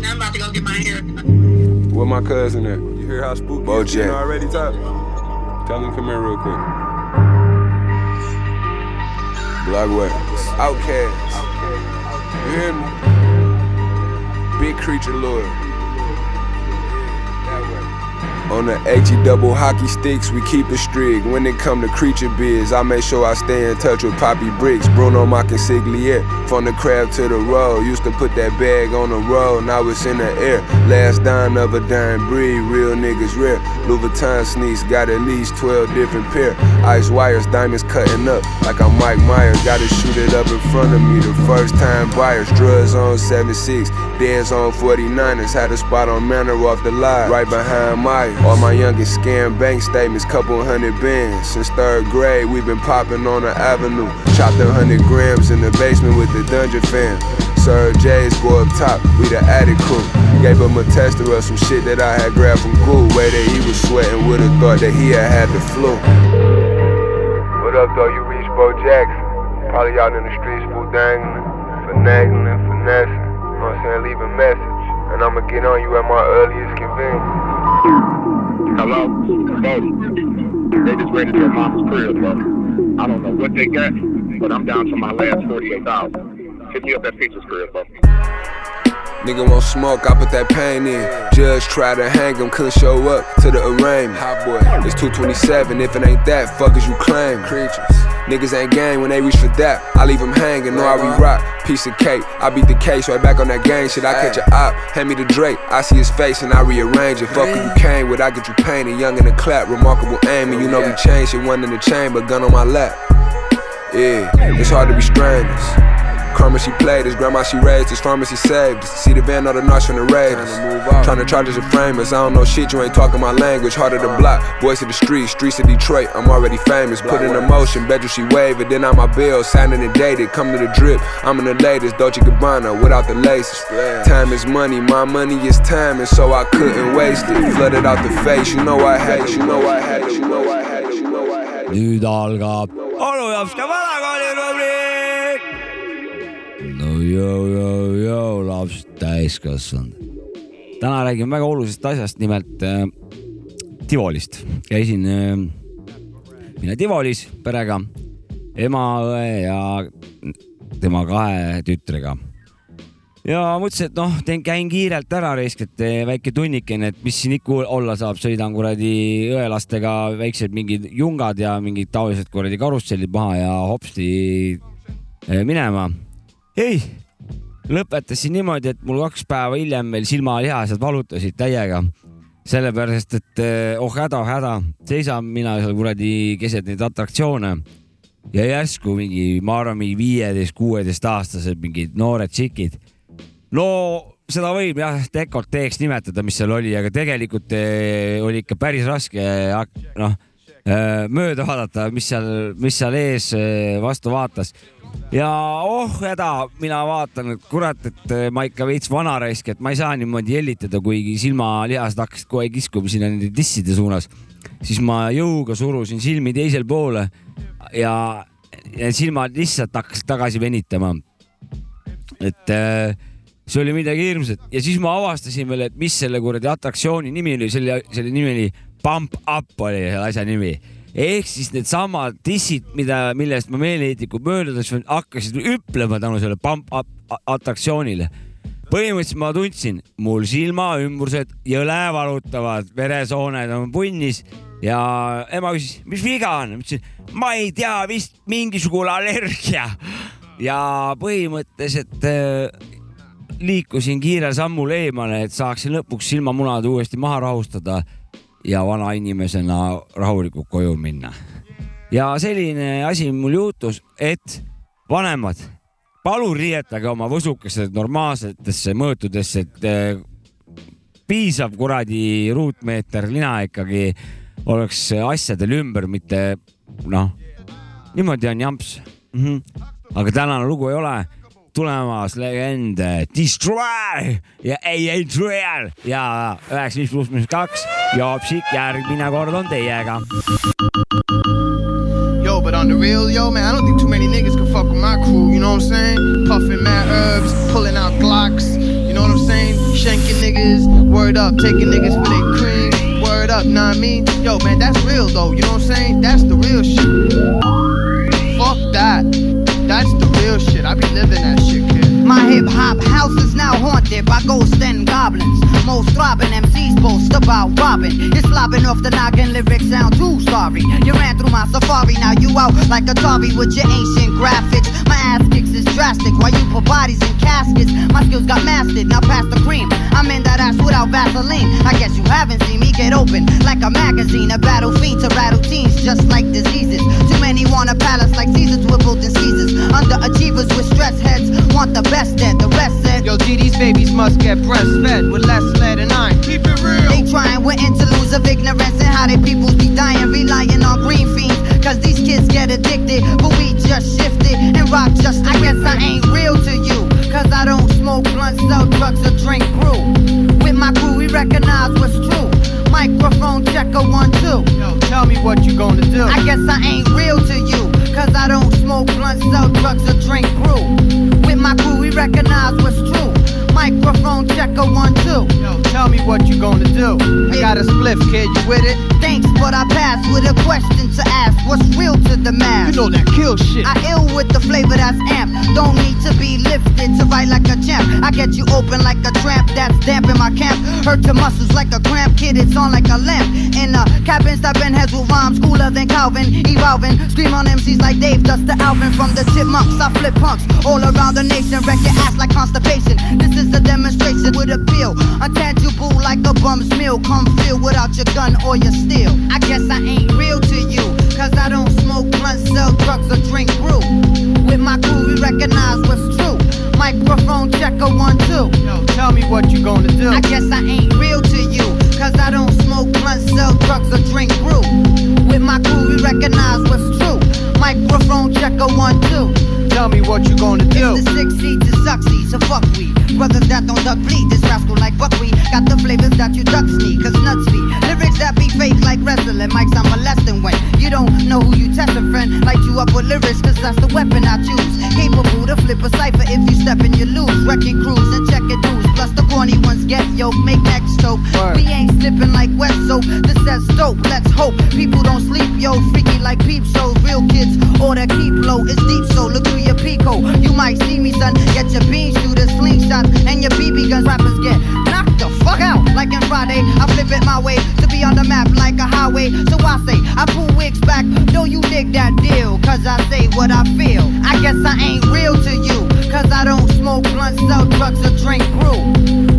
S12: I'm about to go get my hair.
S11: Where my cousin at? You hear how spooky
S12: Bojack.
S11: it's getting already, Top? Tell him come here real quick. Black Way. Outcast. You hear me? Big creature lawyer. On the AG double hockey sticks, we keep it strict. When it come to creature biz, I make sure I stay in touch with Poppy Bricks, Bruno Maconsigliere. From the crab to the road, used to put that bag on the road, now it's in the air. Last dime of a dime breed, real niggas rare. Louis Vuitton sneaks got at least 12 different pair. Ice wires, diamonds cutting up like I'm Mike Myers. Gotta shoot it up in front of me. The first time buyers, drugs on 76, dance on 49ers. Had a spot on Manor off the line, right behind Myers. All my youngest scam bank statements, couple hundred bands. Since third grade, we've been popping on the avenue. Chopped a hundred grams in the basement with the dungeon fam. Sir J's go up top, we the attic crew. Gave him a tester of some shit that I had grabbed from Goo. Way that he was sweating, would've thought that he had had the flu. What up, though? You reach Bo Jackson. Probably out in the streets, fool dangling, finagling, finessing. You know what I'm saying? Leave a message. And I'ma get on you at my earliest convenience. Hello? Baby. They just raided their mom's crib, bro. I don't know what they got, but I'm down to my last 48,000. Hit me up at Peaches crib, bro. Nigga won't smoke, I put that pain in. Judge tried to hang him, couldn't show up to the arraignment. Hot boy, it's 227. If it ain't that, fuck is you claim? Creatures. Niggas ain't gang when they reach for that. I leave them hanging, know I re rock. Piece of cake, I beat the case right back on that gang shit. I catch a op, hand me the Drake. I see his face and I rearrange it. Fuck who you came with, I get you painted. Young in the clap, remarkable aim, and you know we changed it. One in the chamber, gun on my lap. Yeah, it's hard to be strangers. Karma she played us, grandma she raised us, pharmacy saved us. See the van on the notch from the Raiders. Trying to charge us and frame us. I don't know shit, you ain't talking my language. Harder to block, voice of the streets, streets of Detroit. I'm already famous. Put in a motion, bet you she wave it. Then on my bill, signing and dated. Come to the drip, I'm in the latest Dolce Gabbana without the laces. Time is money, my money is time, and so I couldn't waste it. Flooded out the face, you know I had it, you know I had it, you know I had it, you know I had it.
S6: nüüd algab onu Jopska vanakooli rubriik . no jõu , jõu , jõu , laps täiskasvanud . täna räägime väga olulisest asjast , nimelt äh, Tivolist . käisin äh, mina Tivolis perega , ema , õe ja tema kahe tütrega ja mõtlesin , et noh , teen , käin kiirelt ära raisk , et eh, väike tunnikene , et mis siin ikka olla saab , sõidan kuradi õelastega väiksed mingid jungad ja mingid taolised kuradi karussellid maha ja hopsti eh, minema . ei , lõpetasin niimoodi , et mul kaks päeva hiljem veel silmalihased valutasid täiega , sellepärast et eh, oh häda , häda , seisan mina seal kuradi keset neid atraktsioone ja järsku mingi , ma arvan , mingi viieteist , kuueteist aastased mingid noored tšikid . no seda võib jah , dekolteeks nimetada , mis seal oli , aga tegelikult eh, oli ikka päris raske hak- noh eh, mööda vaadata , mis seal , mis seal ees eh, vastu vaatas . ja oh häda , mina vaatan , et kurat , et eh, ma ikka veits vana raisk , et ma ei saa niimoodi jällitada , kuigi silmalihased hakkasid kohe kiskuma sinna nende disside suunas . siis ma jõuga surusin silmi teisele poole ja, ja silmad lihtsalt hakkasid tagasi venitama et äh, see oli midagi hirmsat ja siis ma avastasin veel , et mis selle kuradi atraktsiooni nimi oli , selle , selle nimi oli Pump Up oli selle asja nimi . ehk siis needsamad dissid , mida , millest ma meeleheitlikult möödudes hakkasid hüplema tänu sellele Pump Up a- atraktsioonile . põhimõtteliselt ma tundsin , mul silmaümbrused jõle valutavad , veresooned on punnis ja ema küsis , mis viga on , ma ütlesin , ma ei tea , vist mingisugune allergia ja põhimõtteliselt äh, liikusin kiirel sammul eemale , et saaksin lõpuks silmamunad uuesti maha rahustada ja vanainimesena rahulikult koju minna . ja selline asi mul juhtus , et vanemad , palun riietage oma võsukesed normaalsetesse mõõtudesse , et eh, piisav kuradi ruutmeeter lina ikkagi oleks asjadel ümber , mitte noh , niimoodi on jamps mm . -hmm. aga tänane lugu ei ole tulemas legend Destroy ja AA Trail ja üheksa , viis pluss miinus kaks ja Psik järgmine kord on teiega .
S13: Yo, but on the real, yo, man, I don't think too many niggas can fuck with my crew, you know what I'm saying? Puffin' mad herbs, pulling out Glocks, you know what I'm saying? Shanking niggas, word up, taking niggas for their cream, word up, know what I mean? Yo, man, that's real though, you know what I'm saying? That's the real shit. Fuck that. That's the real shit. I be living that shit, kid.
S14: My hip hop house is now haunted by ghosts and goblins. Most throbbing MCs boast about robbing. It's lobbing off the noggin, lyrics sound too sorry. You ran through my safari, now you out like Atari with your ancient graphics. My ass kicks is drastic, while you put bodies in caskets. My skills got mastered, now pass the cream. I'm in that ass without Vaseline. I guess you haven't seen me get open like a magazine, a battle fiend to rattle teens just like diseases. Too many want a palace like Caesars with built in Caesars. Underachievers with stress heads want the best and the rest said.
S13: Yo, G, these babies must get breastfed with less lead and iron. Keep it real.
S14: They trying with interludes of ignorance and how they people be dying, relying on green fiends. Cause these kids get addicted, but we just shifted and rock just I guess I ain't real to you. Cause I don't smoke blunt, sell drugs, or drink brew. With my crew, we recognize what's true. Microphone checker one, two.
S13: Yo, tell me what you gonna do.
S14: I guess I ain't real to you. Cause I don't smoke blunt, sell drugs, or drink brew. With my crew, we recognize what's true. Microphone checker one, two.
S13: Yo, tell me what you gonna do. I got a spliff, kid, you with it?
S14: Thanks, but I pass with a question to ask. What's real to the mass?
S13: You know that kill shit.
S14: I ill with the flavor that's amp. Don't need to be lifted to write like a champ. I get you open like a tramp that's damp in my camp. Hurt your muscles like a cramp, kid. It's on like a lamp. In a cabin, stopping heads with rhymes cooler than Calvin. Evolving, scream on MCs like Dave Dust the Alvin from the chipmunks. I flip punks all around the nation. Wreck your ass like constipation. This is a demonstration with a bill. Untangible like a bum's meal. Come feel without your gun or your steel. I guess I ain't real to you. Cause I don't smoke blunt, sell drugs, or drink brew. With my crew, we recognize what's true. Microphone checker one, two.
S13: Yo, tell me what you gonna do.
S14: I guess I ain't real to you. Cause I don't smoke blunt, sell drugs, or drink brew. With my crew, we recognize what's true. Microphone checker one, two.
S13: Tell me what you gonna do.
S14: It's the six seed to succeed, so fuck we. Brothers that don't duck bleed, this rascal like buckwheat. Got the flavors that you ducks need, cause nuts be. Lyrics that be fake like wrestling, mics I'm molesting when you don't know who you testing, friend. Light you up with lyrics, cause that's the weapon I choose. Capable to flip a cipher if you step in, you lose. Wrecking crews and checking dudes, plus the corny ones get yoked, make next choke.
S13: Word.
S14: We ain't slipping like wet soap, this says dope, let's hope. People don't sleep, yo, freaky like peep shows. Real kids order keep low, it's deep, so look through your pico. You might see me, son, get your bean shooters, fling shots, and your BB guns. Rappers get knocked the fuck out, like in Friday. I flip it my way to be on the map like a highway. So I say, I pull wigs back, though you dig that deal, cause I say what I feel. I guess I ain't real to you, cause I don't smoke blunt, sell drugs, or drink brew.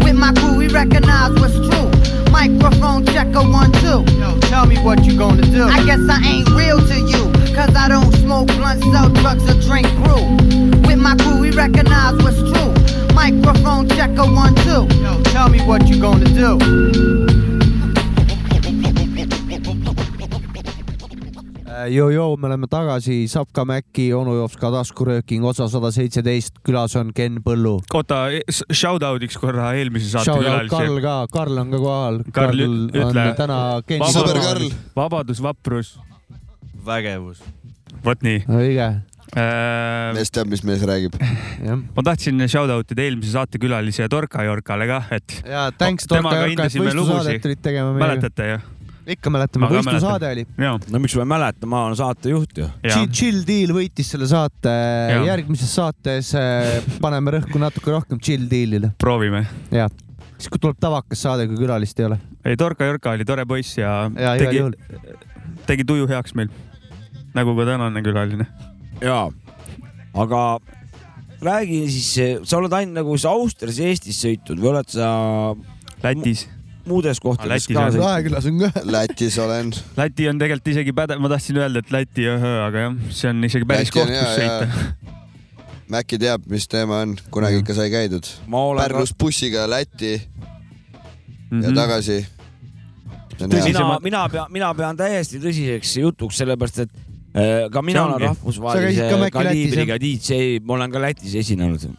S14: With my crew, we recognize what's true. Microphone checker one, two.
S13: Yo, tell me what you gonna do.
S14: I guess I ain't real to you, cause I don't smoke blunt, sell drugs, or drink brew. With my crew, we recognize what's true. Microphone checker one, two.
S13: Yo, tell me what you gonna do.
S3: Jojo , Äh, me oleme tagasi , Sapka Mäkki , onu jops ka taskurööking , osa sada seitseteist , külas on Ken Põllu .
S4: oota , shout out'iks korra eelmise saate
S3: Shoutout Karl
S4: külalisele .
S3: ka , Karl on ka kohal .
S4: Karl ,
S3: on
S4: ütle .
S3: täna Ken .
S4: vabadus , vaprus . vägevus . vot nii .
S3: õige ,
S4: mees
S7: teab , mis mees räägib .
S4: ma tahtsin shout out ida eelmise saatekülalise Dorka Jorkale ka , et .
S3: ja thanks Dorka Jorka , et võistlusaadet tulid tegema meiega .
S4: mäletate ju ?
S3: ikka mäletame , võistlusaade oli .
S6: no miks ma ei mäleta , ma olen saatejuht ju .
S3: Chill, chill Deal võitis selle saate ,
S6: Jaa.
S3: järgmises saates äh, paneme rõhku natuke rohkem Chill Dealile .
S4: proovime .
S3: jah , siis kui tuleb tavakas saade , kui külalist ei ole .
S4: ei , Dorka Jorka oli tore poiss ja,
S3: Ja igal
S4: tegi
S3: juhul. ,
S4: tegi tuju heaks meil . nagu ka tänane külaline .
S6: jaa , aga räägi siis , sa oled ainult nagu sa Austrias ja Eestis sõitnud või oled sa ?
S4: Lätis .
S6: muudes kohtades ka sõitnud ?
S3: Aeglas on ka .
S7: Lätis olen .
S4: Läti on tegelikult isegi pädev , ma tahtsin öelda , et Läti , aga jah , see on isegi päris
S7: Läti on
S4: koht ,
S7: hea,
S4: kus sõita .
S7: Mäkki teab , mis teema on , kunagi ikka sai käidud .
S6: olen Mhm.
S7: Pärnus bussiga Lätti
S4: Mhm.
S7: ja tagasi .
S6: mina , mina pean , mina pean täiesti tõsiseks jutuks , sellepärast et äh, ka
S7: See
S6: mina olen
S7: ongi. Sa käisid ka
S6: rahvusvahelise
S7: Mäkki Lätis,
S6: kaliibriga DJ , ma olen ka Lätis esinenud .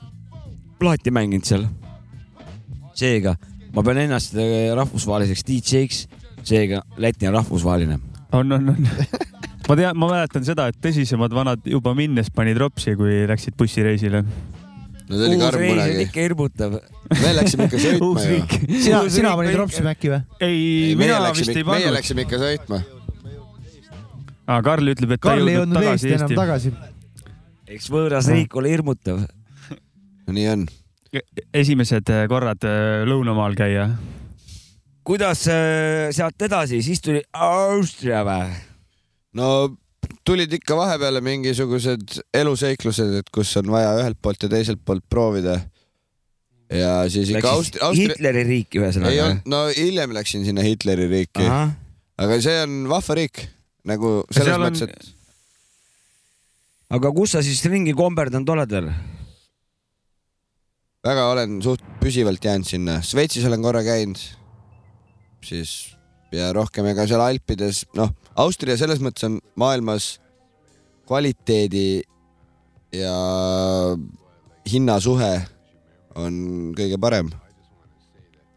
S6: plaati mänginud seal . seega ma pean ennast äh, rahvusvaheliseks DJ-ks , seega Läti on rahvusvaheline .
S4: on , on , on . ma tean , ma mäletan seda , et tõsisemad vanad juba minnes panid ropsi , kui läksid bussireisile .
S7: no see oli karm kunagi .
S6: ikka hirmutav .
S7: me läksime ikka sõitma ju .
S3: sina , sina panid ropsi mäkki või ?
S4: ei , mina vist ei
S7: meie
S4: pannud .
S7: läksime ikka sõitma .
S4: aga Karl ütleb , et ta
S3: Karl
S4: ei
S3: ei
S4: jõudnud
S3: jõudnud Eesti
S4: tagasi
S3: enam
S4: Eesti .
S3: tagasi .
S6: eks võõras riik ole hirmutav .
S7: nii on .
S4: esimesed korrad äh, lõunamaal käia .
S6: kuidas äh, sealt edasi , siis tuli Austria või ?
S7: no tulid ikka vahepeale mingisugused eluseiklused , et kus on vaja ühelt poolt ja teiselt poolt proovida . ja siis ikka Austria , Austria .
S6: Hitleri riiki
S7: ei
S6: ühesõnaga
S7: olnud ,. no hiljem läksin sinna Hitleri riiki
S6: Ahah. .
S7: aga see on vahva riik nagu selles
S6: seal on-
S7: mõttes , et
S6: aga kus sa siis ringi komberdanud oled veel ?
S7: väga olen suht püsivalt jäänud sinna , Šveitsis olen korra käinud , siis ja rohkem ega seal Alpides , noh , Austria selles mõttes on maailmas kvaliteedi ja hinnasuhe on kõige parem .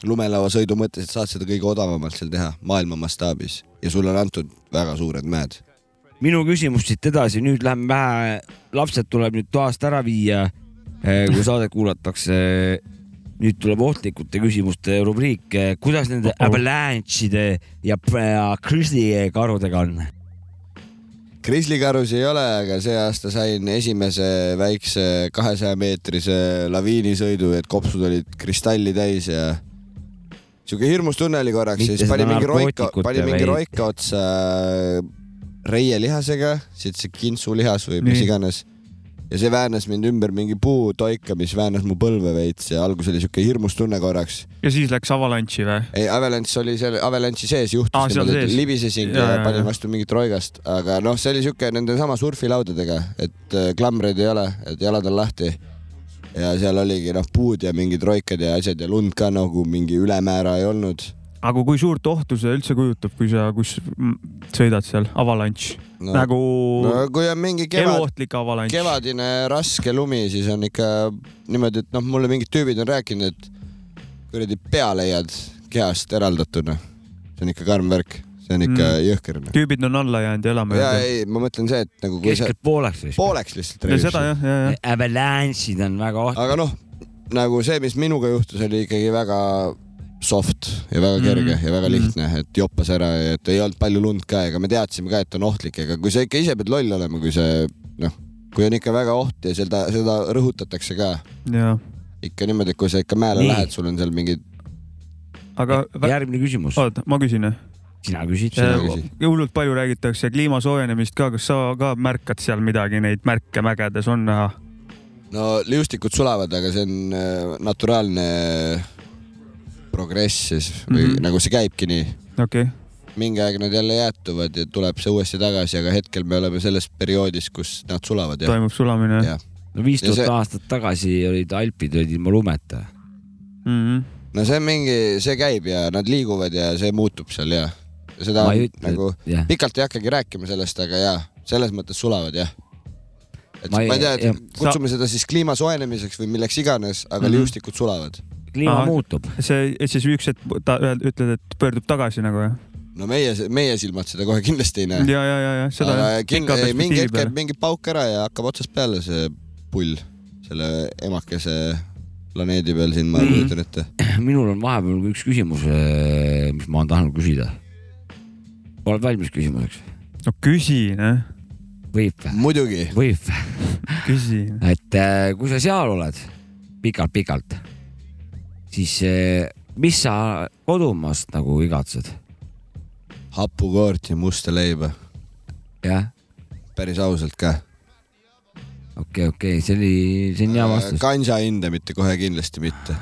S7: lumelauasõidu mõttes , et saad seda kõige odavamalt seal teha maailma mastaabis ja sulle on antud väga suured mäed .
S6: minu küsimus siit edasi , nüüd läheme vähe , lapsed tuleb nüüd toast ära viia , kui saadet kuulatakse . nüüd tuleb ohtlikute küsimuste rubriik , kuidas nende avalanche'ide ja Krisi karudega on ?
S7: krislikarus ei ole , aga see aasta sain esimese väikse kahesaja meetrise laviinisõidu , et kopsud olid kristalli täis ja siuke hirmus tunne oli korraks ,
S6: Mitte
S7: siis pani
S6: seda
S7: mingi roika ,
S6: narkootikute
S7: pani mingi
S6: vaid-
S7: roika otsa äh, reielihasega , siit see kintsulihas või mis
S6: Nii.
S7: iganes . ja see väänas mind ümber mingi puutoika , mis väänas mu põlve veits ja alguses oli siuke hirmus tunne korraks .
S4: ja siis läks avalanši või ?
S7: ei , Avalanche oli seal , Avalanche'i sees
S4: Aa,
S7: juhtus
S4: seal
S7: niimoodi , et
S4: sees.
S7: libisesin
S4: Jaa,
S7: ja, ja
S4: jaa,
S7: panin
S4: jaa.
S7: vastu mingit roigast , aga noh , see oli siuke nendesama surfilaudadega , et äh, klamreid ei ole , et jalad on lahti . ja seal oligi noh , puud ja mingid roikad ja asjad ja lund ka nagu mingi ülemäära ei olnud .
S4: aga kui suurt ohtu see üldse kujutab , kui sa , kus mm, sõidad seal , avalanš
S7: No-
S4: no. ? nagu
S7: no kui on mingi kevad ,
S4: eluohtlik avalanš .
S7: kevadine raske lumi , siis on ikka niimoodi , et noh , mulle mingid tüübid on rääkinud , et kuradi pea leiad kehast eraldatuna . see on ikka karm värk , see on ikka
S4: Mm.
S7: mm. jõhker .
S4: tüübid on alla jäänud ja elama
S7: ja
S4: jäänud .
S7: ei , ma mõtlen see , et nagu kui
S6: Keskelt pooleks siis .
S7: pooleks lihtsalt
S4: ja seda jah , ja , ja .
S6: avalanche'id on väga ohtlikud .
S7: aga noh , nagu see , mis minuga juhtus , oli ikkagi väga soft ja väga
S4: Mhm.
S7: kerge mm. ja väga lihtne , et joppas ära ja et ei olnud palju lund ka , ega me teadsime ka , et on ohtlik , aga kui sa ikka ise pead loll olema , kui see noh , kui on ikka väga oht ja seda , seda rõhutatakse ka
S4: ja ,
S7: ikka niimoodi , et kui sa ikka mäele
S4: Nii.
S7: Nii. lähed , sul on seal mingid ,
S4: aga .
S7: Ah.
S6: järgmine küsimus .
S4: oota , ma küsin jah .
S6: sina küsid .
S4: hullult palju räägitakse kliima soojenemist ka , kas sa ka märkad seal midagi , neid märke mägedes on näha ?
S7: no liustikud sulavad , aga see on äh, naturaalne progress siis või mm
S4: Mhm.
S7: -hmm. nagu see käibki nii
S4: okei okay. ,
S7: mingi aeg nad jälle jäätuvad ja tuleb see uuesti tagasi , aga hetkel me oleme selles perioodis , kus nad sulavad ja
S4: toimub sulamine
S7: Jah.
S6: no viis
S7: Ja
S6: tuhat
S7: see-
S6: aastat tagasi olid Alpid olid ilma lumeta .
S4: mm . -hmm.
S7: no see on mingi , see käib ja nad liiguvad ja see muutub seal ja seda
S6: Ma
S7: on,
S6: ei
S7: ütle,
S6: ütle,
S7: nagu
S6: et- jah.
S7: pikalt ei hakkagi rääkima sellest , aga ja selles mõttes sulavad jah . et
S6: Ma
S7: ma
S6: ei-
S7: ei, ma ei tea ,
S6: jah.
S7: et kutsume seda siis kliima soojenemiseks või milleks iganes , aga mm
S4: Mhm.
S7: -hmm. liustikud sulavad .
S6: kliima
S4: Ahah.
S6: muutub .
S4: see , siis üks hetk ta ütled , et pöördub tagasi nagu jah ?
S7: no meie , meie silmad seda kohe kindlasti ei näe .
S4: ja , ja , ja , ja seda
S7: aga
S4: jah.
S7: kind-
S4: Pika
S7: ei, mingi
S4: perspektiivi
S7: hetk
S4: peale.
S7: käib mingi pauk ära ja hakkab otsast peale see pull selle emakese planeedi peal siin ,
S4: Mm.
S7: ma
S6: Mhm.
S7: kujutan ette .
S6: minul on vahepeal üks küsimus , mis ma olen tahtnud küsida . oled valmis küsimuseks ?
S4: no küsi , noh .
S6: võib .
S7: muidugi .
S6: võib .
S4: küsi .
S6: et äh, kui sa seal oled pikalt-pikalt , siis äh, mis sa kodumaast nagu igatsed ?
S7: hapukoort ja musta leiba .
S6: jah .
S7: päris ausalt ka .
S6: okei , okei , see oli , see on hea
S7: Äh,
S6: vastus .
S7: kansa hinde mitte kohe kindlasti mitte .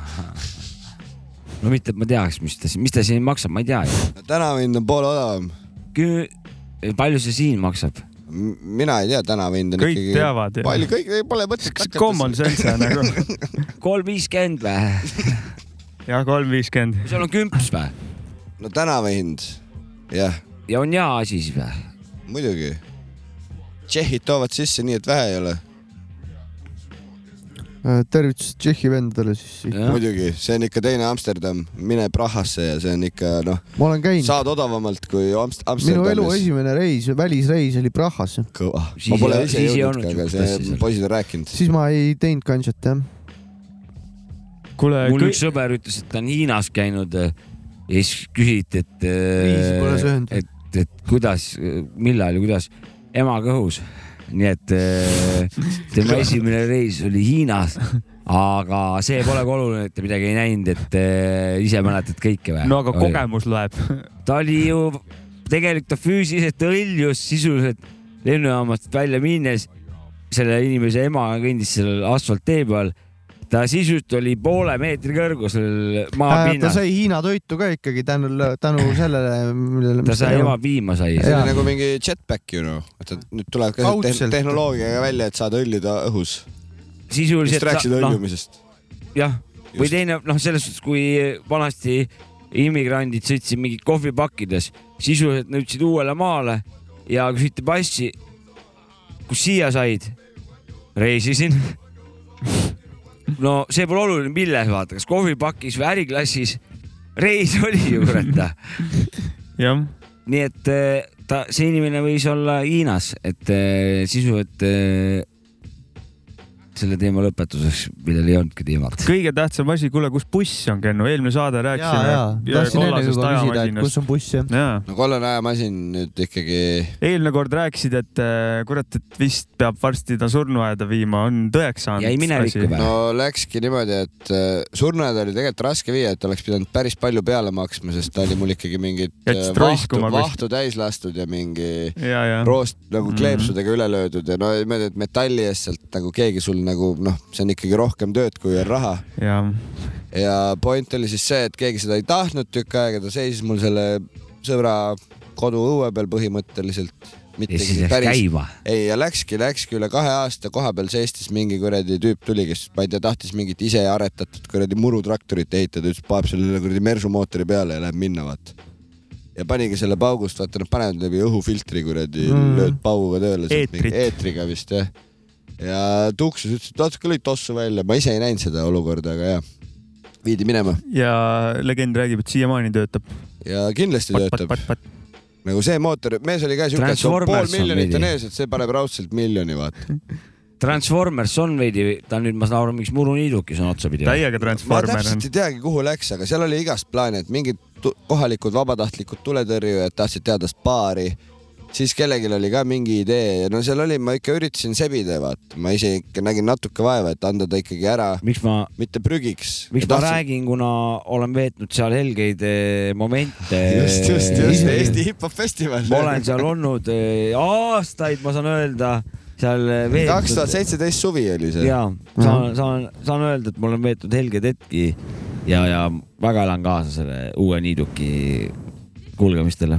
S6: no mitte , et ma teaks , mis ta , mis ta siin maksab , ma ei tea ju .
S7: tänavahind on poole odavam .
S6: eh, palju see siin maksab ?
S7: mina ei tea , tänavahind on
S6: Kõik
S7: ikkagi .
S6: teavad, jah.
S7: palju kõik , pole mõtet .
S4: Kas common sense on nagu ?
S6: kolm viiskümmend või ?
S4: jah , kolm viiskümmend .
S6: sul on kümps või ?
S7: no tänavahind , jah .
S6: ja on hea asi siis või ?
S7: muidugi . tšehhid toovad sisse nii , et vähe ei ole .
S3: tervitused Äh, Tšehhi vendadele siis .
S7: muidugi , see on ikka teine Amsterdam , mine Prahasse ja see on ikka noh .
S3: ma olen käinud.
S7: saad odavamalt kui Amst- ,
S3: minu elu
S7: Amsterdamis .
S3: esimene reis , välisreis oli Prahasse .
S7: kõva . ma pole ise jõudnud , aga see poisid on rääkinud .
S3: siis ma ei teinud kanšat jah .
S4: kuule
S6: mul
S3: kõik-
S6: üks sõber ütles , et ta on Hiinas käinud äh, ja siis küsiti , et .
S3: Viisi pole söönud.
S6: et , et kuidas , millal ja kuidas , ema kõhus . nii et äh, tema esimene reis oli Hiinas , aga see pole ka oluline , et ta midagi ei näinud , et äh, ise mäletad kõike või ?
S4: no aga . kogemus loeb .
S6: ta oli ju , tegelikult ta füüsiliselt hõljus sisuliselt lennujaamast välja minnes . selle inimese ema kõndis seal asfalttee peal . ta sisult oli poole meetri kõrgusel
S3: Äh, ta
S6: maapinnal .
S3: sai Hiina toitu ka ikkagi tänu , tänu sellele , millele .
S6: ta sai ema piima sai .
S7: see oli nagu mingi jetpack ju noh , et et nüüd tuleb ka see
S6: Kaudselt.
S7: tehn- tehnoloogiaga välja , et saad õljuda õhus .
S6: sisuliselt .
S7: vist rääkisid õljumisest .
S6: jah , noh, või teine noh , selles suhtes , kui vanasti immigrandid sõitsid mingid kohvipakkides , sisuliselt nõudsid uuele maale ja küsiti passi . kus siia said ? reisisin . no see pole oluline , milles vaata , kas kohvipakis või äriklassis . reis oli ju kurat .
S4: jah .
S6: nii et eh, ta , see inimene võis olla Hiinas , et eh, sisuliselt eh, selle teema lõpetuseks , millel ei olnudki teemat .
S4: kõige tähtsam asi , kuule , kus buss on , Kennu , eelmine saade rääkisime .
S3: on buss jah
S4: jaa .
S7: no kollane ajamasin nüüd ikkagi .
S4: eelmine kord rääkisid , et äh, kurat , et vist peab varsti ta surnuaeda viima , on tõeks saanud .
S7: no läkski niimoodi , et äh, surnuaed oli tegelikult raske viia , et oleks pidanud päris palju peale maksma , sest ta oli mul ikkagi mingit
S4: Jättis
S7: äh, vahtu,
S4: troiskuma kuskil.
S7: vahtu täis lastud ja mingi
S4: Ja, ja.
S7: roost nagu
S4: Mhm.
S7: kleepsudega üle löödud ja no niimoodi , et metalli eest sealt nagu keegi sul nagu noh , see on ikkagi rohkem tööd , kui on raha
S4: jah ,
S7: ja point oli siis see , et keegi seda ei tahtnud tükk aega , ta seisis mul selle sõbra koduõue peal põhimõtteliselt .
S6: Ja siis läks käima.
S7: ei ja läkski , läkski üle kahe aasta koha peal seistes mingi kuradi tüüp tuli , kes ma ei tea , tahtis mingit ise aretatud kuradi murutraktorit ehitada , ütles , paneb selle üle kuradi mersu mootori peale ja läheb minna , vaata ja panigi selle paugust , vaata nad panevad läbi õhufiltri kuradi mm.
S4: Mm. ,
S7: lööd pauguga tööle .
S4: Eetrit.
S7: eetriga vist jah . ja tuksus , ütles , et natuke lõid tossu välja , ma ise ei näinud seda olukorda , aga jah , viidi minema
S4: ja legend räägib , et siiamaani töötab .
S7: ja kindlasti
S4: Pat,
S7: töötab
S4: pat, .
S7: nagu see mootor , mees oli ka siuke , et sul pool
S6: Transformers on
S7: miljonit on
S6: veidi.
S7: ees , et see paneb raudselt miljoni , vaata .
S6: Transformers on veidi , ta nüüd , ma saan aru , miks muruniidukis on otsapidi .
S7: ma täpselt ei teagi , kuhu läks , aga seal oli igast plaane , et mingid tu- kohalikud vabatahtlikud tuletõrjujad tahtsid teada spaari , siis kellelgi oli ka mingi idee ja no seal oli , ma ikka üritasin sebida , vaata , ma ise ikka nägin natuke vaeva , et anda ta ikkagi ära .
S6: miks ma ,
S7: mitte prügiks .
S6: miks ma räägin , kuna olen veetnud seal helgeid eh, momente .
S7: just , just , just , Eesti hip-hop festival .
S6: ma olen seal olnud eh, aastaid , ma saan öelda , seal eh, veetnud .
S7: kaks tuhat seitseteist suvi oli see .
S6: ja saan , saan , saan öelda , et ma olen veetnud helgeid hetki ja , ja väga elan kaasa selle uue niiduki kulgemistele .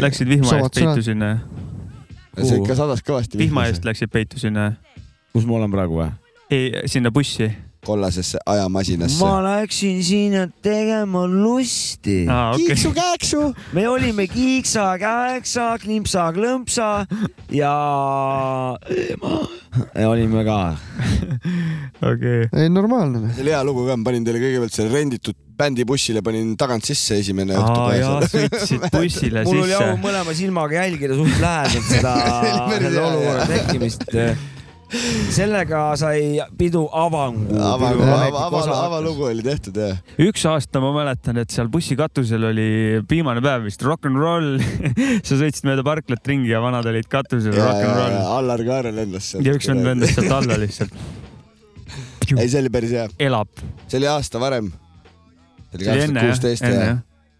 S4: Läksid vihma eest peitu sinna ?
S6: See ikka sadas kõvasti
S4: vihma
S6: vihmasse.
S4: eest läksid peitu sinna ?
S6: kus ma olen praegu või ?
S4: ei , sinna bussi .
S7: kollasesse ajamasinasse
S6: ma läksin sinna tegema lusti
S4: Aa, okei.
S7: kiiksu-kääksu .
S6: me olime kiiksa-kääksa , klimpsa-klõmpsa ja... ja olime ka .
S4: okei
S7: okay. .
S15: ei ,
S3: noh.
S15: normaalne .
S7: see oli hea lugu ka , ma panin teile kõigepealt selle renditud bändibussile , panin tagant sisse esimene õhtu
S4: Aa, jaa, sõitsid bussile
S6: mul oli
S4: äh,
S6: au mõlema silmaga jälgida suht lähedalt seda
S7: See oli päris
S6: selle
S7: hea,
S6: olukorra
S7: jah.
S6: tekkimist . sellega sai pidu avangu .
S7: aval , aval , aval , avalugu oli tehtud jah .
S4: üks aasta ma mäletan , et seal bussikatusel oli viimane päev vist rock n roll . sa sõitsid mööda parklat ringi ja vanad olid katusel
S7: Ja,
S4: rock n
S7: ja,
S4: roll .
S7: ja, Allar Kaare lendas sealt .
S4: ja üks vend lendas sealt alla lihtsalt .
S7: ei , see oli päris hea .
S4: elab .
S7: see oli aasta varem .
S6: See oli
S7: see oli kaks
S6: enne,
S7: tuhat
S6: jah?
S7: kuusteist
S6: Enne,
S7: ja
S6: jah.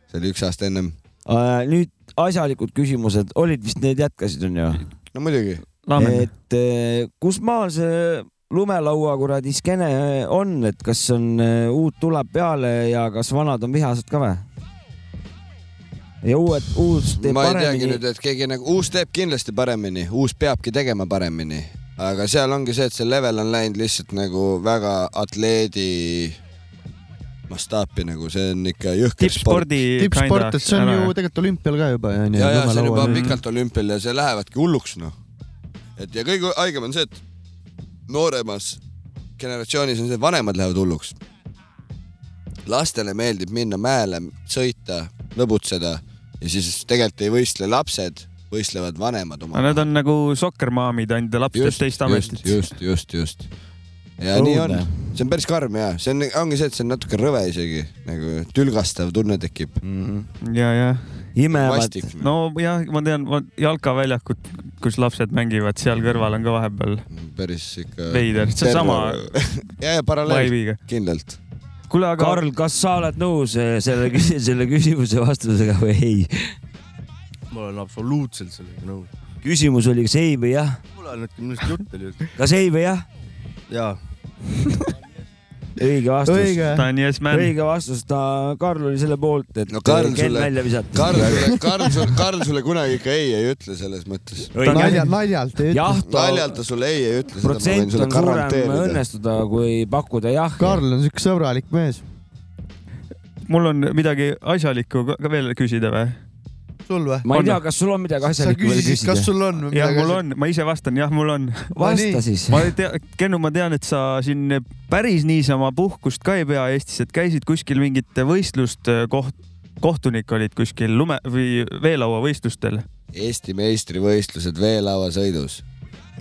S7: see oli üks aasta ennem .
S6: Äh, nüüd asjalikud küsimused , olid vist need jätkasid onju ?
S7: no muidugi .
S4: Laamen.
S6: et eh, kus maal see lumelaua kuradi skeene on , et kas on eh, uut tuleb peale ja kas vanad on vihased ka või ? ja uued , uus teeb
S7: ma ei teagi
S6: paremini
S7: nüüd , et keegi nagu , uus teeb kindlasti paremini , uus peabki tegema paremini , aga seal ongi see , et see level on läinud lihtsalt nagu väga atleedi mastaapi nagu , see on ikka jõhker sport .
S15: tippsport , et see on ju tegelikult olümpial ka juba onju .
S7: ja , ja see on juba pikalt olümpial ja see lähevadki hulluks noh . et ja kõige haigem on see , et nooremas generatsioonis on see , et vanemad lähevad hulluks . lastele meeldib minna mäele , sõita , lõbutseda ja siis tegelikult ei võistle lapsed , võistlevad vanemad
S4: aga
S7: oma .
S4: need on nagu sokkermaamid , ainult laps teeb
S7: Just,
S4: teist ametit .
S7: just , just , just .
S4: Õudne.
S7: ja Õudne. nii on , see on päris karm ja see on , ongi see , et see on natuke rõve isegi nagu tülgastav tunne tekib noh.
S6: mm . -hmm.
S4: ja , ja .
S7: Imevad. Vastik.
S4: no jah , ma tean , jalkaväljakut , kus lapsed mängivad , seal kõrval on ka vahepeal
S7: päris ikka .
S4: veider , see on sama .
S7: ja , ja paralleel
S4: vibe'iga. ,
S7: kindlalt .
S4: kuule , aga .
S6: Karl , kas sa oled nõus eh, selle , selle küsimuse vastusega või ei ?
S16: ma olen absoluutselt sellega nõus .
S6: küsimus oli , kas ei või jah ?
S16: mul on nüüd millest jutt oli .
S6: kas ei või jah ?
S16: jaa .
S6: õige vastus .
S16: Õige. Ta on yes man.
S6: õige vastus , ta , Karl oli selle poolt , et no,
S7: Karl
S6: Ken
S7: sulle-
S6: välja visata .
S7: Karl sulle , Karl sulle , Karl sulle kunagi ikka ei ei ütle selles mõttes .
S6: Õige. Nalja-
S15: naljalt ei
S6: ütle. Jah, ta-
S7: naljalt ta sulle ei ei ütle .
S6: protsent on suurem . õnnestuda , kui pakkuda jah .
S15: Karl on siuke sõbralik mees .
S4: mul on midagi asjalikku ka- ka veel küsida või ?
S15: sul või ?
S6: ma ei tea , kas sul on midagi asjalikku veel küsida ?
S4: jah , mul on , ma ise vastan , jah , mul on .
S6: Vasta nii. siis.
S4: ma tean , Kennu , ma tean , et sa siin päris niisama puhkust ka ei pea Eestis , et käisid kuskil mingit võistlust , koht , kohtunik olid kuskil lume või veelauavõistlustel
S7: Eesti meistrivõistlused veelauasõidus .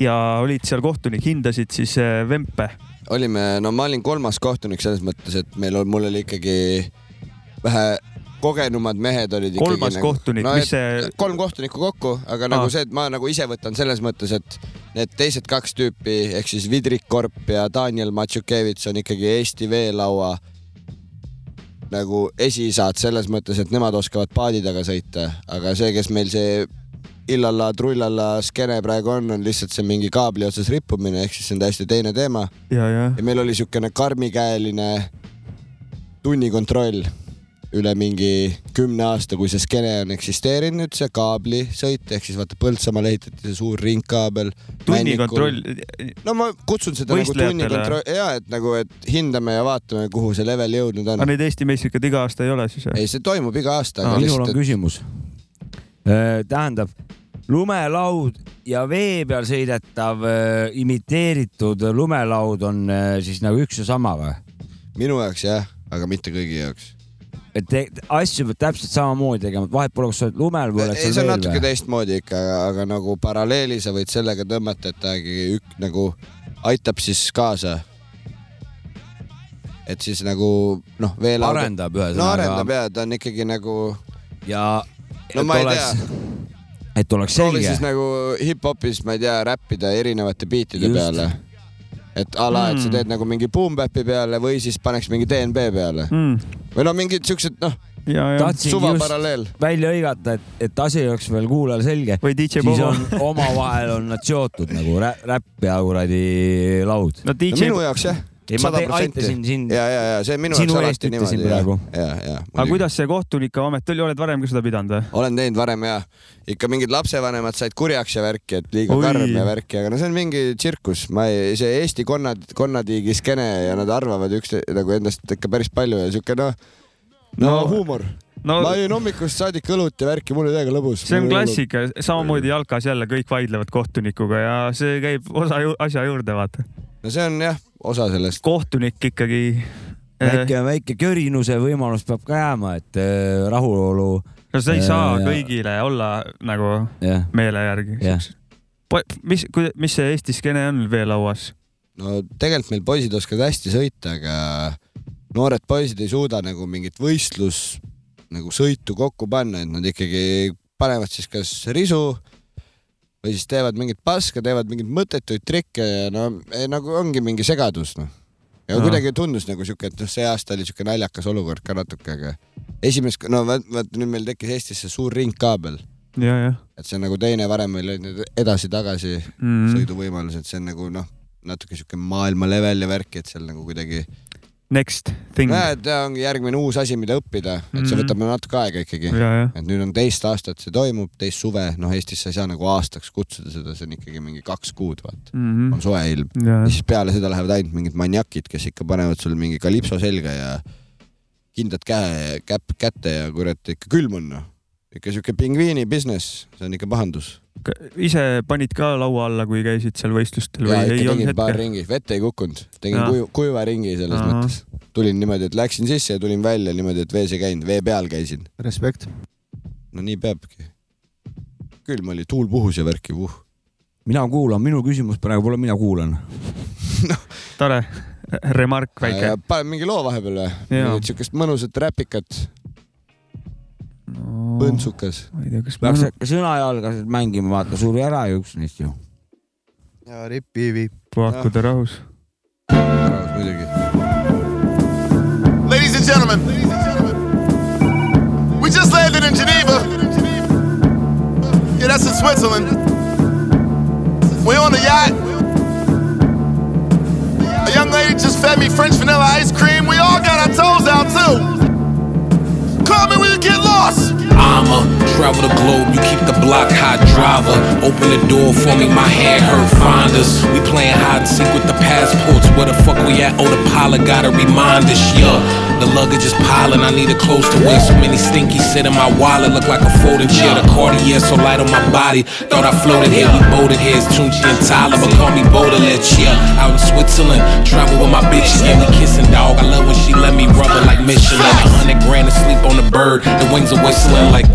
S4: ja olid seal kohtunik , hindasid siis äh, vempe .
S7: olime , no ma olin kolmas kohtunik selles mõttes , et meil on , mul oli ikkagi vähe kogenumad mehed olid ikkagi .
S4: Kolmas kohtunik, mis see- ? Ah.
S7: kolm kohtunikku kokku , aga
S4: Aa.
S7: Aa. nagu see , et ma nagu ise võtan selles mõttes , et need teised kaks tüüpi ehk siis Vidrik Korp ja Daniel Matšukevitš on ikkagi Eesti veelaua nagu esiisad selles mõttes , et nemad oskavad paadi taga sõita , aga see , kes meil see illalla trullalla skeene praegu on , on lihtsalt see mingi kaabli otsas rippumine , ehk siis see on täiesti teine teema .
S4: ja , ja .
S7: ja meil oli niisugune karmikäeline tunnikontroll üle mingi kümne aasta , kui see skeene on eksisteerinud , see kaablisõit ehk siis vaata Põltsamaale ehitati see suur ringkaabel .
S4: tunnikontroll .
S7: no ma kutsun seda nagu tunnikontroll , ja et nagu , et hindame ja vaatame , kuhu see level jõudnud
S4: aga
S7: on .
S4: neid Eesti meistrikaid iga aasta ei ole siis või ?
S7: ei , see toimub iga aasta .
S6: Aga minul on küsimus . tähendab , lumelaud ja vee peal sõidetav äh, imiteeritud lumelaud on äh, siis nagu üks ja sama või ?
S7: minu jaoks jah , aga mitte kõigi jaoks .
S6: et te- asju peab täpselt samamoodi tegema , et vahet pole , kas sa oled lumel või oled
S7: ei ,
S6: sa
S7: see on
S6: veel
S7: natuke
S6: või ?
S7: teistmoodi ikka , aga nagu paralleeli sa võid sellega tõmmata , et ta ikkagi ük- nagu aitab siis kaasa . et siis nagu noh , veel .
S6: Arendab ühesõnaga.
S7: no arendab ja ta on ikkagi nagu .
S6: ja . et
S7: no ma ei
S6: oleks-
S7: tea ,
S6: et oleks
S7: proovi
S6: selge
S7: siis . nagu hip-hopis , ma ei tea , räppida erinevate biitide
S6: Just.
S7: peale . et a la , et sa
S6: Mm.
S7: teed nagu mingi boom bap'i peale või siis paneks mingi DNB peale
S4: mm. .
S7: või no mingid siuksed noh ,
S6: tahtsingi
S7: suva
S6: Hmm. just
S7: paralleel .
S6: välja hõigata , et , et asi oleks veel kuulajal selge .
S4: või DJ
S6: siis
S4: Bobo.
S6: on omavahel on nad seotud nagu rä- räpp ja kuradi laud .
S4: no
S7: No minu jaoks jah ,
S6: ei , ma
S7: sada
S6: te- aitasin
S7: protsenti .
S6: sind .
S7: ja , ja , ja see on minu
S6: sinu
S7: jaoks
S6: eest
S7: alati
S6: ütlesin
S7: niimoodi .
S6: praegu.
S7: ja , ja .
S4: aga kuidas see kohtunike amet oli , oled varem ka seda pidanud või ?
S7: olen teinud varem ja ikka mingid lapsevanemad said kurjaks ja värki , et liiga
S4: Oi.
S7: karm ja värki , aga no see on mingi tsirkus , ma ei , see Eesti konnad , konnatiigi skeene ja nad arvavad üks nagu endast ikka päris palju ja siuke noh , no huumor
S4: no-
S7: no, . ma jõin hommikust saadik õlut ja värki , mul oli täiega lõbus .
S4: see on klassika , samamoodi jalkas jälle kõik vaidlevad kohtunikuga ja see käib osa ju, asja juurde , vaata .
S7: no see on jah , osa sellest .
S4: kohtunik ikkagi . eh,
S6: väike , väike körinuse võimalus peab ka jääma , et äh, rahulolu .
S4: no see ei saa kõigile olla nagu
S6: Jah.
S4: meele järgi
S6: Jah. .
S4: mis , mis see Eesti skeene on veelauas ?
S7: no tegelikult meil poisid oskavad hästi sõita , aga noored poisid ei suuda nagu mingit võistlus nagu sõitu kokku panna , et nad ikkagi panevad siis kas risu või siis teevad mingit paska , teevad mingeid mõttetuid trikke ja no ei, nagu ongi mingi segadus noh . ja
S4: Aa.
S7: no. kuidagi tundus nagu siuke , et noh , see aasta oli siuke naljakas olukord ka natuke , aga esimest , no vaat , vaat nüüd meil tekkis Eestis see suur ringkaabel
S4: ja , jah .
S7: et see on nagu teine , varem meil olid need edasi-tagasi
S4: Mhm.
S7: mm. sõiduvõimalused , see on nagu noh , natuke sihuke maailma level ja värk , et seal nagu kuidagi .
S4: Next thing .
S7: näed , ongi järgmine uus asi , mida õppida , et see
S4: Mhm.
S7: võtab no natuke aega ikkagi
S4: Ja, ja. .
S7: et nüüd on teist aastat see toimub , teist suve , noh , Eestis sa ei saa nagu aastaks kutsuda seda , see on ikkagi mingi kaks kuud , vaata .
S4: Mhm.
S7: on soe ilm .
S4: Ja, ja.
S7: siis peale seda lähevad ainult mingid maniakid , kes ikka panevad sul mingi kalipso selga ja kindad käe , käpp kätte ja kurat ikka külm on noh . ikka sihuke pingviini business , see on ikka pahandus .
S4: ise panid ka laua alla , kui käisid seal võistlustel või
S7: ja
S4: ei
S7: ikka
S4: olnud
S7: tegin paar
S4: hetke ?
S7: ringi , vett ei kukkunud , tegin
S4: Jaa.
S7: kuiva , kuiva ringi selles
S4: Ahah.
S7: mõttes . tulin niimoodi , et läksin sisse ja tulin välja niimoodi , et vees ei käinud , vee peal käisin .
S15: respekt .
S7: no nii peabki . külm oli , tuul puhus ja värki puh .
S6: mina kuulan , minu küsimus praegu pole , mina kuulan .
S4: tore , remark väike .
S7: paneme Äh, mingi loo vahepeal või ?
S4: Jaa.
S7: mingit siukest mõnusat räpikat . põntsukas .
S4: ma ei tea , kas
S6: peaks äkki sõnajalga sealt mängima , vaata , suri ära ju üks neist ju .
S15: ja ripiivi .
S4: puhku ta rahus .
S10: Ladies and gentlemen, we just landed in Geneva. Yeah, that's in Switzerland. We're on a yacht. A young lady just fed me French vanilla ice cream. We all got our toes out too. Call me when you get lost.
S17: I'ma travel the globe, you keep the block hot driver. Open the door for me, my hand hurt finders. We playing hide and seek with the passports. Where the fuck we at? Oh, the pilot got a reminder. Yeah, the luggage is piling. I need a close to wear. So many stinky sit in my wallet. Look like a folding chair. The Cartier so light on my body. Thought I floated here. We boated here. It's Tunchi and Tyler, but call me Baudelaire. Yeah, out in Switzerland. Travel with my bitches. Yeah, we kissing dog. I love when she let me rub her like Michelin. A hundred grand to sleep on the bird. The wings are whistling like.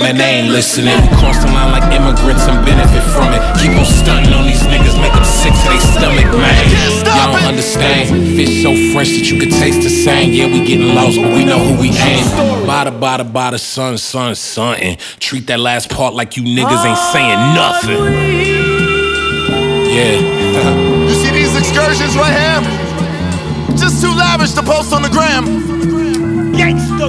S17: Man, they ain't listening. We cross the line like immigrants and benefit from it. Keep on stunting on these niggas, make them sick to their stomach, man. Y'all don't understand. Fish so fresh that you can taste the same. Yeah, we getting lost, but we know who we ain't. Bada, bada, bada, son, son, something. Treat that last part like you niggas ain't saying nothing. Yeah.
S10: You see these excursions right here? Just too lavish to post on the gram. Gangsta,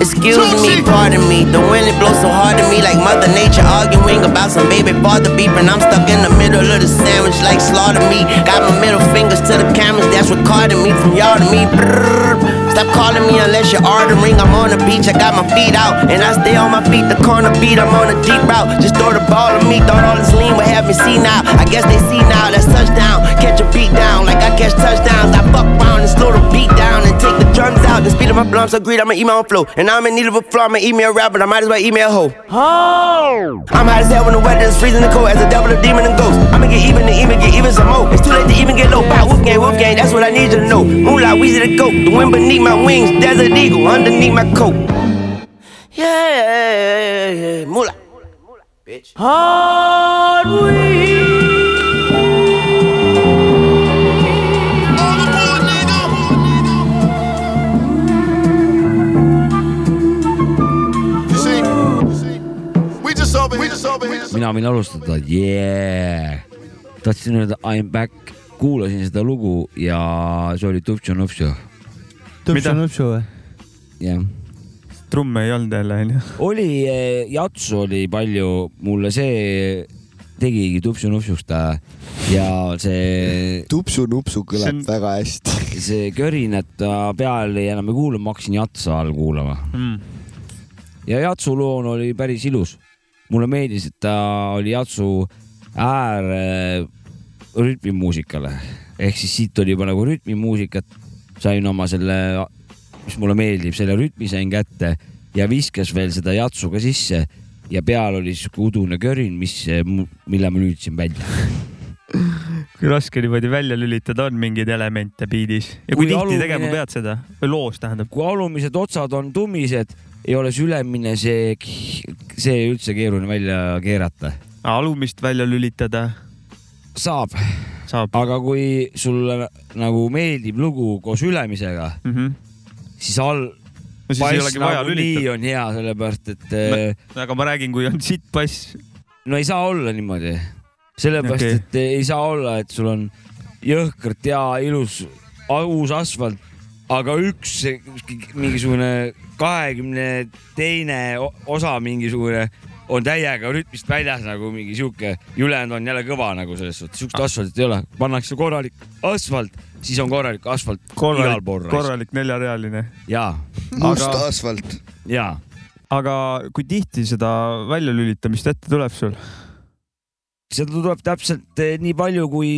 S18: Excuse me, pardon me. The wind it blows so hard to me, like Mother Nature arguing about some baby father beeping. I'm stuck in the middle of the sandwich, like slaughter me. Got my middle fingers to the cameras, that's recording me from y'all to me. Brrr. Stop calling me unless you're ordering. I'm on the beach, I got my feet out, and I stay on my feet. The corner beat, I'm on a deep route. Just throw the ball to me, thought all this lean would have me see now. I guess they see now that's touchdown. Catch a beat down, like I catch touchdowns. I fuck round and slow the beat down and take the drums out. The speed of my blunt so greed, I'ma eat my own flow. And I'm in need of a flow, I'ma eat me a rap, but I might as well eat me a hoe. Oh. I'm hot as hell when the weather is freezing the cold. As a devil, a demon, and ghost. I'ma get even to even get even some more. It's too late to even get low. Bow, wolf gang, wolf gang, that's what I need you to know. Moolah, Weezy the goat. The wind beneath my wings, desert eagle underneath my coat. Yeah, yeah, yeah, yeah. Moolah. Bitch. Hard
S10: You see? We just over here. We just over here.
S6: mina võin alustada , yeah . tahtsin öelda I m back , kuulasin seda lugu ja see oli Tupšanovši ,
S3: tõpsu-nõpsu või ?
S6: jah .
S4: trumme ei olnud jälle , onju .
S6: oli , jatsu oli palju , mulle see tegigi Tupšanovšust ja see .
S7: tupsu-nupsu kõlab
S6: See on-
S7: väga hästi .
S6: see körinata peal ei enam ei kuulanud , ma hakkasin jatsa all kuulama
S4: mm. .
S6: ja jatsu loon oli päris ilus . mulle meeldis , et ta oli jatsu äär äh, rütmimuusikale ehk siis siit oli juba nagu rütmimuusikat , sain oma selle , mis mulle meeldib , selle rütmi sain kätte ja viskas veel seda jatsu ka sisse ja peal oli siuke udune körin , mis , mille ma lüüdsin välja .
S4: raske niimoodi välja lülitada on mingeid elemente biidis ja kui, kui tihti
S6: eh.
S4: tegema pead seda või loos tähendab?
S6: kui alumised otsad on tummised , ei ole see ülemine , see , see üldse keeruline välja keerata .
S4: alumist välja lülitada ?
S6: saab, saab. , aga kui sulle nagu meeldib lugu koos ülemisega
S4: mm , -hmm.
S6: siis all
S4: No siis ei olegi vaja
S6: Mhm. nagu nii
S4: lülitada.
S6: on hea , sellepärast et .
S4: aga ma räägin , kui on sitt bass .
S6: no ei saa olla niimoodi , sellepärast
S4: Okei.
S6: okay. et ei saa olla , et sul on jõhkralt hea ilus a- uus asfalt , aga üks see- ükski- mingisugune kahekümne teine o- osa mingisugune on täiega rütmist väljas nagu mingi sihuke , ülejäänud on jälle kõva nagu selles suhtes ,
S4: Ah.
S6: siukest asfaltit ei ole , pannakse korralik asfalt , siis on korralik asfalt igal pool .
S4: korralik , korralik neljarealine .
S6: jaa .
S7: Must Aga- asfalt .
S6: jaa .
S4: aga kui tihti seda väljalülitamist ette tuleb sul ?
S6: seda tuleb täpselt eh, nii palju , kui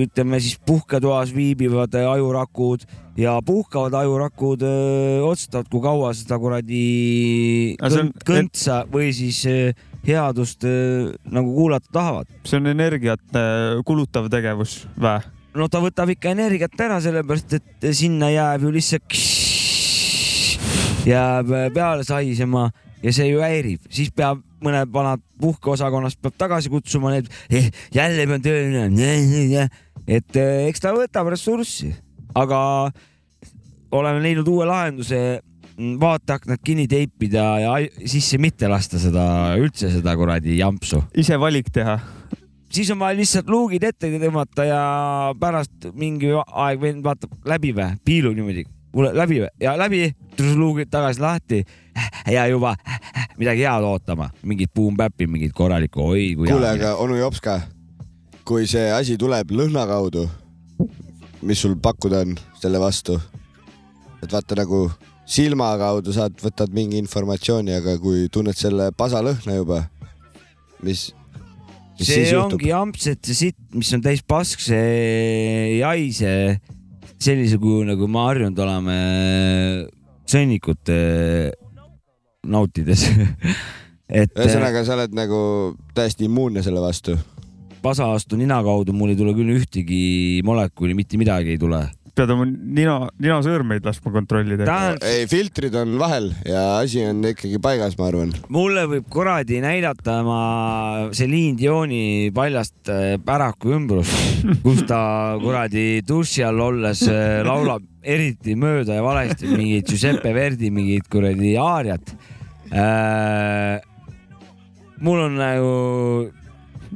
S6: ütleme siis puhketoas viibivad eh, ajurakud ja puhkavad ajurakud öö, otsustavad , kui kaua seda kuradi
S4: Aga see on-
S6: kõn- kõntsa või siis öö, headust öö, nagu kuulata tahavad .
S4: see on energiat äh, kulutav tegevus või ?
S6: no ta võtab ikka energiat ära , sellepärast et sinna jääb ju lihtsalt , jääb peale saisema ja see ju häirib , siis peab mõned vanad puhkeosakonnast peab tagasi kutsuma need eh, , jälle pean tööle minema , et eh, eks ta võtab ressurssi , aga oleme leidnud uue lahenduse , vaateaknad kinni teipida ja ai- sisse mitte lasta seda üldse seda kuradi jampsu .
S4: ise valik teha ?
S6: siis on vaja lihtsalt luugid ette tõmmata ja pärast mingi aeg vend vaatab läbi või , piilub niimoodi , kuule läbi või ja läbi , luugid tagasi lahti ja juba midagi head ootama , mingit boom-bap'i , mingit korralikku , oi kui
S7: kuule ,
S6: hea .
S7: aga onu Jopska , kui see asi tuleb lõhna kaudu , mis sul pakkuda on selle vastu ? et vaata nagu silma kaudu saad , võtad mingi informatsiooni , aga kui tunned selle pasa lõhna juba , mis , mis
S6: see
S7: siis juhtub ?
S6: ongi jampset see sitt , mis on täis pask , see ei haise sellise kuju , nagu me harjunud oleme sõnnikut eh, nautides . et
S7: ühesõnaga , sa oled nagu täiesti immuunne selle vastu .
S6: pasa vastu nina kaudu mul ei tule küll ühtegi molekuli , mitte midagi ei tule .
S4: pead oma nina , ninasõõrmeid laskma kontrollida .
S7: ei , filtrid on vahel ja asi on ikkagi paigas , ma arvan .
S6: mulle võib kuradi näidata oma Celine Dioni paljast äh, päraku ümbrust , kus ta kuradi duši all olles äh, laulab eriti mööda ja valesti mingit Giuseppe Verdi mingit kuradi aariat . mul on nagu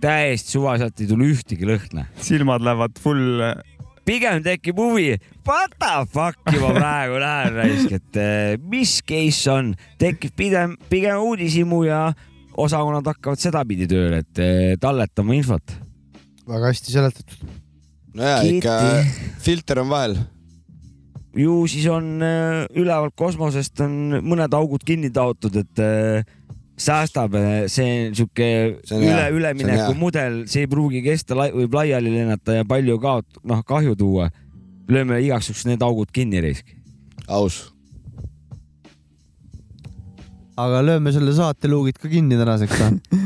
S6: täiesti suva , sealt ei tule ühtegi lõhna .
S4: silmad lähevad full .
S6: pigem tekib huvi , what the fuck juba praegu lähen raisk , et eh, mis case on , tekib pigem , pigem uudishimu ja osakonnad hakkavad sedapidi tööle , et eh, talletama infot .
S15: väga hästi seletatud .
S7: nojaa , ikka filter on vahel .
S6: ju siis on eh, ülevalt kosmosest on mõned augud kinni taotud , et eh, säästab , see on sihuke
S7: See on hea,
S6: üle
S7: see , on
S6: ülemineku
S7: hea.
S6: mudel , see ei pruugi kesta , võib laiali lennata ja palju kaot- , noh , kahju tuua . lööme igaks juhuks need augud kinni , Reisk .
S7: aus .
S3: aga lööme selle saate luugid ka kinni tänaseks või ?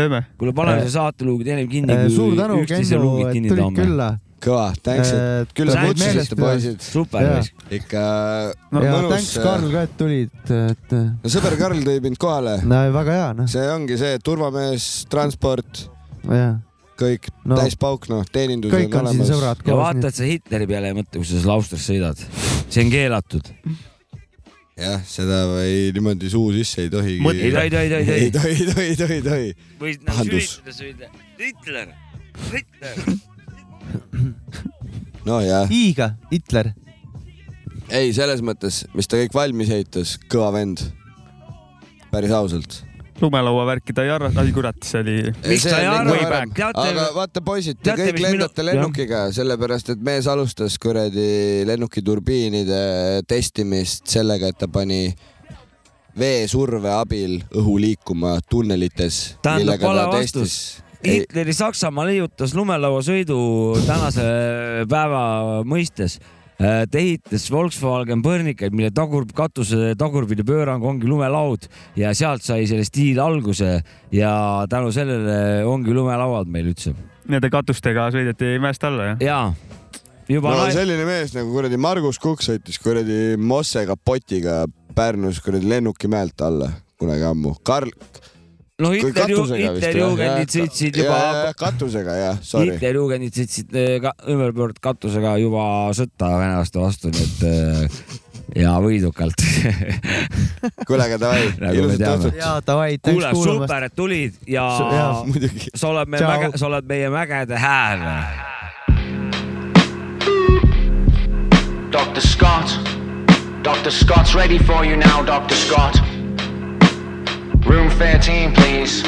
S4: lööme .
S6: kuule , paneme see saateluugid ennem kinni ,
S3: Eh,
S6: kui
S3: suur tänu ,
S6: Nagu üksteise
S3: Kennu ,
S6: luugid
S3: et
S6: kinni
S3: tulid külla . Äh,
S7: kõva , thanks , et küll te kutsusite , poisid . äh,
S6: super
S3: Jaa. .
S7: ikka
S3: Äh. no, . ja
S7: mõnus-
S3: tänks , Karl ka , et tulid , et .
S7: no sõber Karl tõi mind kohale .
S3: no väga hea , noh ,
S7: see ongi see turvamees , transport ,
S3: jah .
S7: kõik
S3: No.
S7: no, täis pauk , noh , teenindus
S3: Kõik on siin sõbrad
S6: ja vaata , et sa Hitleri peale ei mõtle , kui sa laustres sõidad . see on keelatud .
S7: jah , seda ei niimoodi suu sisse ei tohi .
S6: Mõtle- Ei tohi, tohi, tohi, tohi.
S7: ei tohi , ei tohi , ei tohi , ei tohi .
S6: võid
S7: nagu Pahandus.
S6: sõita , Hitler , Hitler .
S7: no jah .
S3: hiiga , Hitler .
S7: ei , selles mõttes , mis ta kõik valmis ehitas , kõva vend . päris ausalt .
S4: lumelauavärki ta ei arva , ai kurat , see oli .
S7: nagu aga vaata , poisid , te kõik lendate lennukiga , sellepärast et mees alustas kuradi lennukiturbiinide testimist sellega , et ta pani veesurve abil õhu liikuma tunnelites .
S6: tähendab , vale vastus . Hitleri Saksamaa leiutas lumelauasõidu tänase päeva mõistes Äh, ta ehitas Volkswagen põrnikaid , mille tagur , katuse tagurpidi pöörang ongi lumelaud ja sealt sai selle stiil alguse ja tänu sellele ongi lumelauad meil üldse .
S4: Nende katustega sõideti mäest alla , jah ?
S6: jaa , juba
S7: no
S6: nai-
S7: selline mees nagu kuradi Margus Kukk sõitis kuradi Mosse kapotiga Pärnus kuradi lennukimäelt alla kunagi ammu . Karl .
S6: no Hitler ju- Hitlerjugendid sõitsid juba-
S7: katusega jah , sorry .
S6: Hitlerjugendid sõitsid eh, ka- ümberpöörd katusega juba sõtta venelaste vastu , nii et eh, ja võidukalt .
S7: kuule , aga davai
S6: Nagu
S7: ilusat õhtut.
S3: Jaa, davai, thanks
S6: kuule ,
S3: kuulamast.
S6: super , et tulid ja
S3: Su- jaa, muidugi.
S6: sa oled meie
S3: Tšau.
S6: mäge , sa oled meie mägede hääl .
S19: Dr. Scott. Dr. Scott's ready for you now, Dr. Scott. Room 13, please.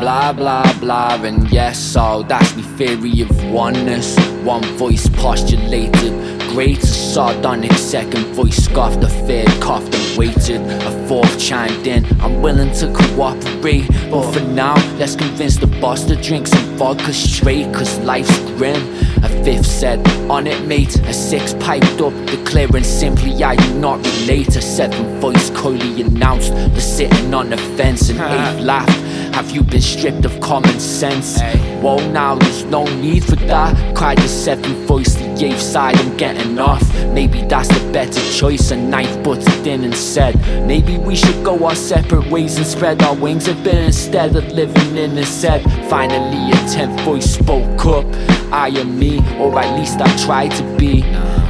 S20: Blah blah blah, and yes, so that's me theory of oneness. One voice postulated, great sardonic second voice scoffed, the fed coughed and waited. A fourth chimed in, I'm willing to cooperate, but for now, let's convince the boss to drink some vodka straight, cause life's grim. A fifth said, on it, mate. A six piped up, declaring simply I do not relate. A seventh voice coyly announced, the sitting on the fence, and eighth laughed. Have you been stripped of common sense? Well, now there's no need for that. Cried the seventh voice, the eighth side, I'm getting off. Maybe that's the better choice. A knife butted in and said, Maybe we should go our separate ways and spread our wings a bit instead of living in and said. Finally, a tenth voice spoke up. I am me, or at least I try to be.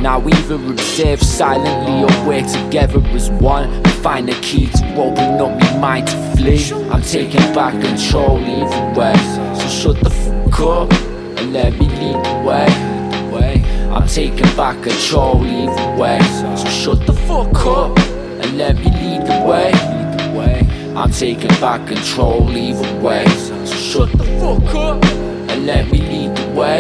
S20: Now, either observe silently or we're together as one. Find the key to open up my mind to flee. I'm taking back control either way. So shut the fuck up and let me lead the way. way. I'm taking back control either way. So shut the fuck up and let me lead the way. Lead the way. I'm taking back control either way. So shut the fuck up and let me lead the way.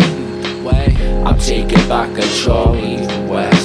S20: way. I'm taking back control either way.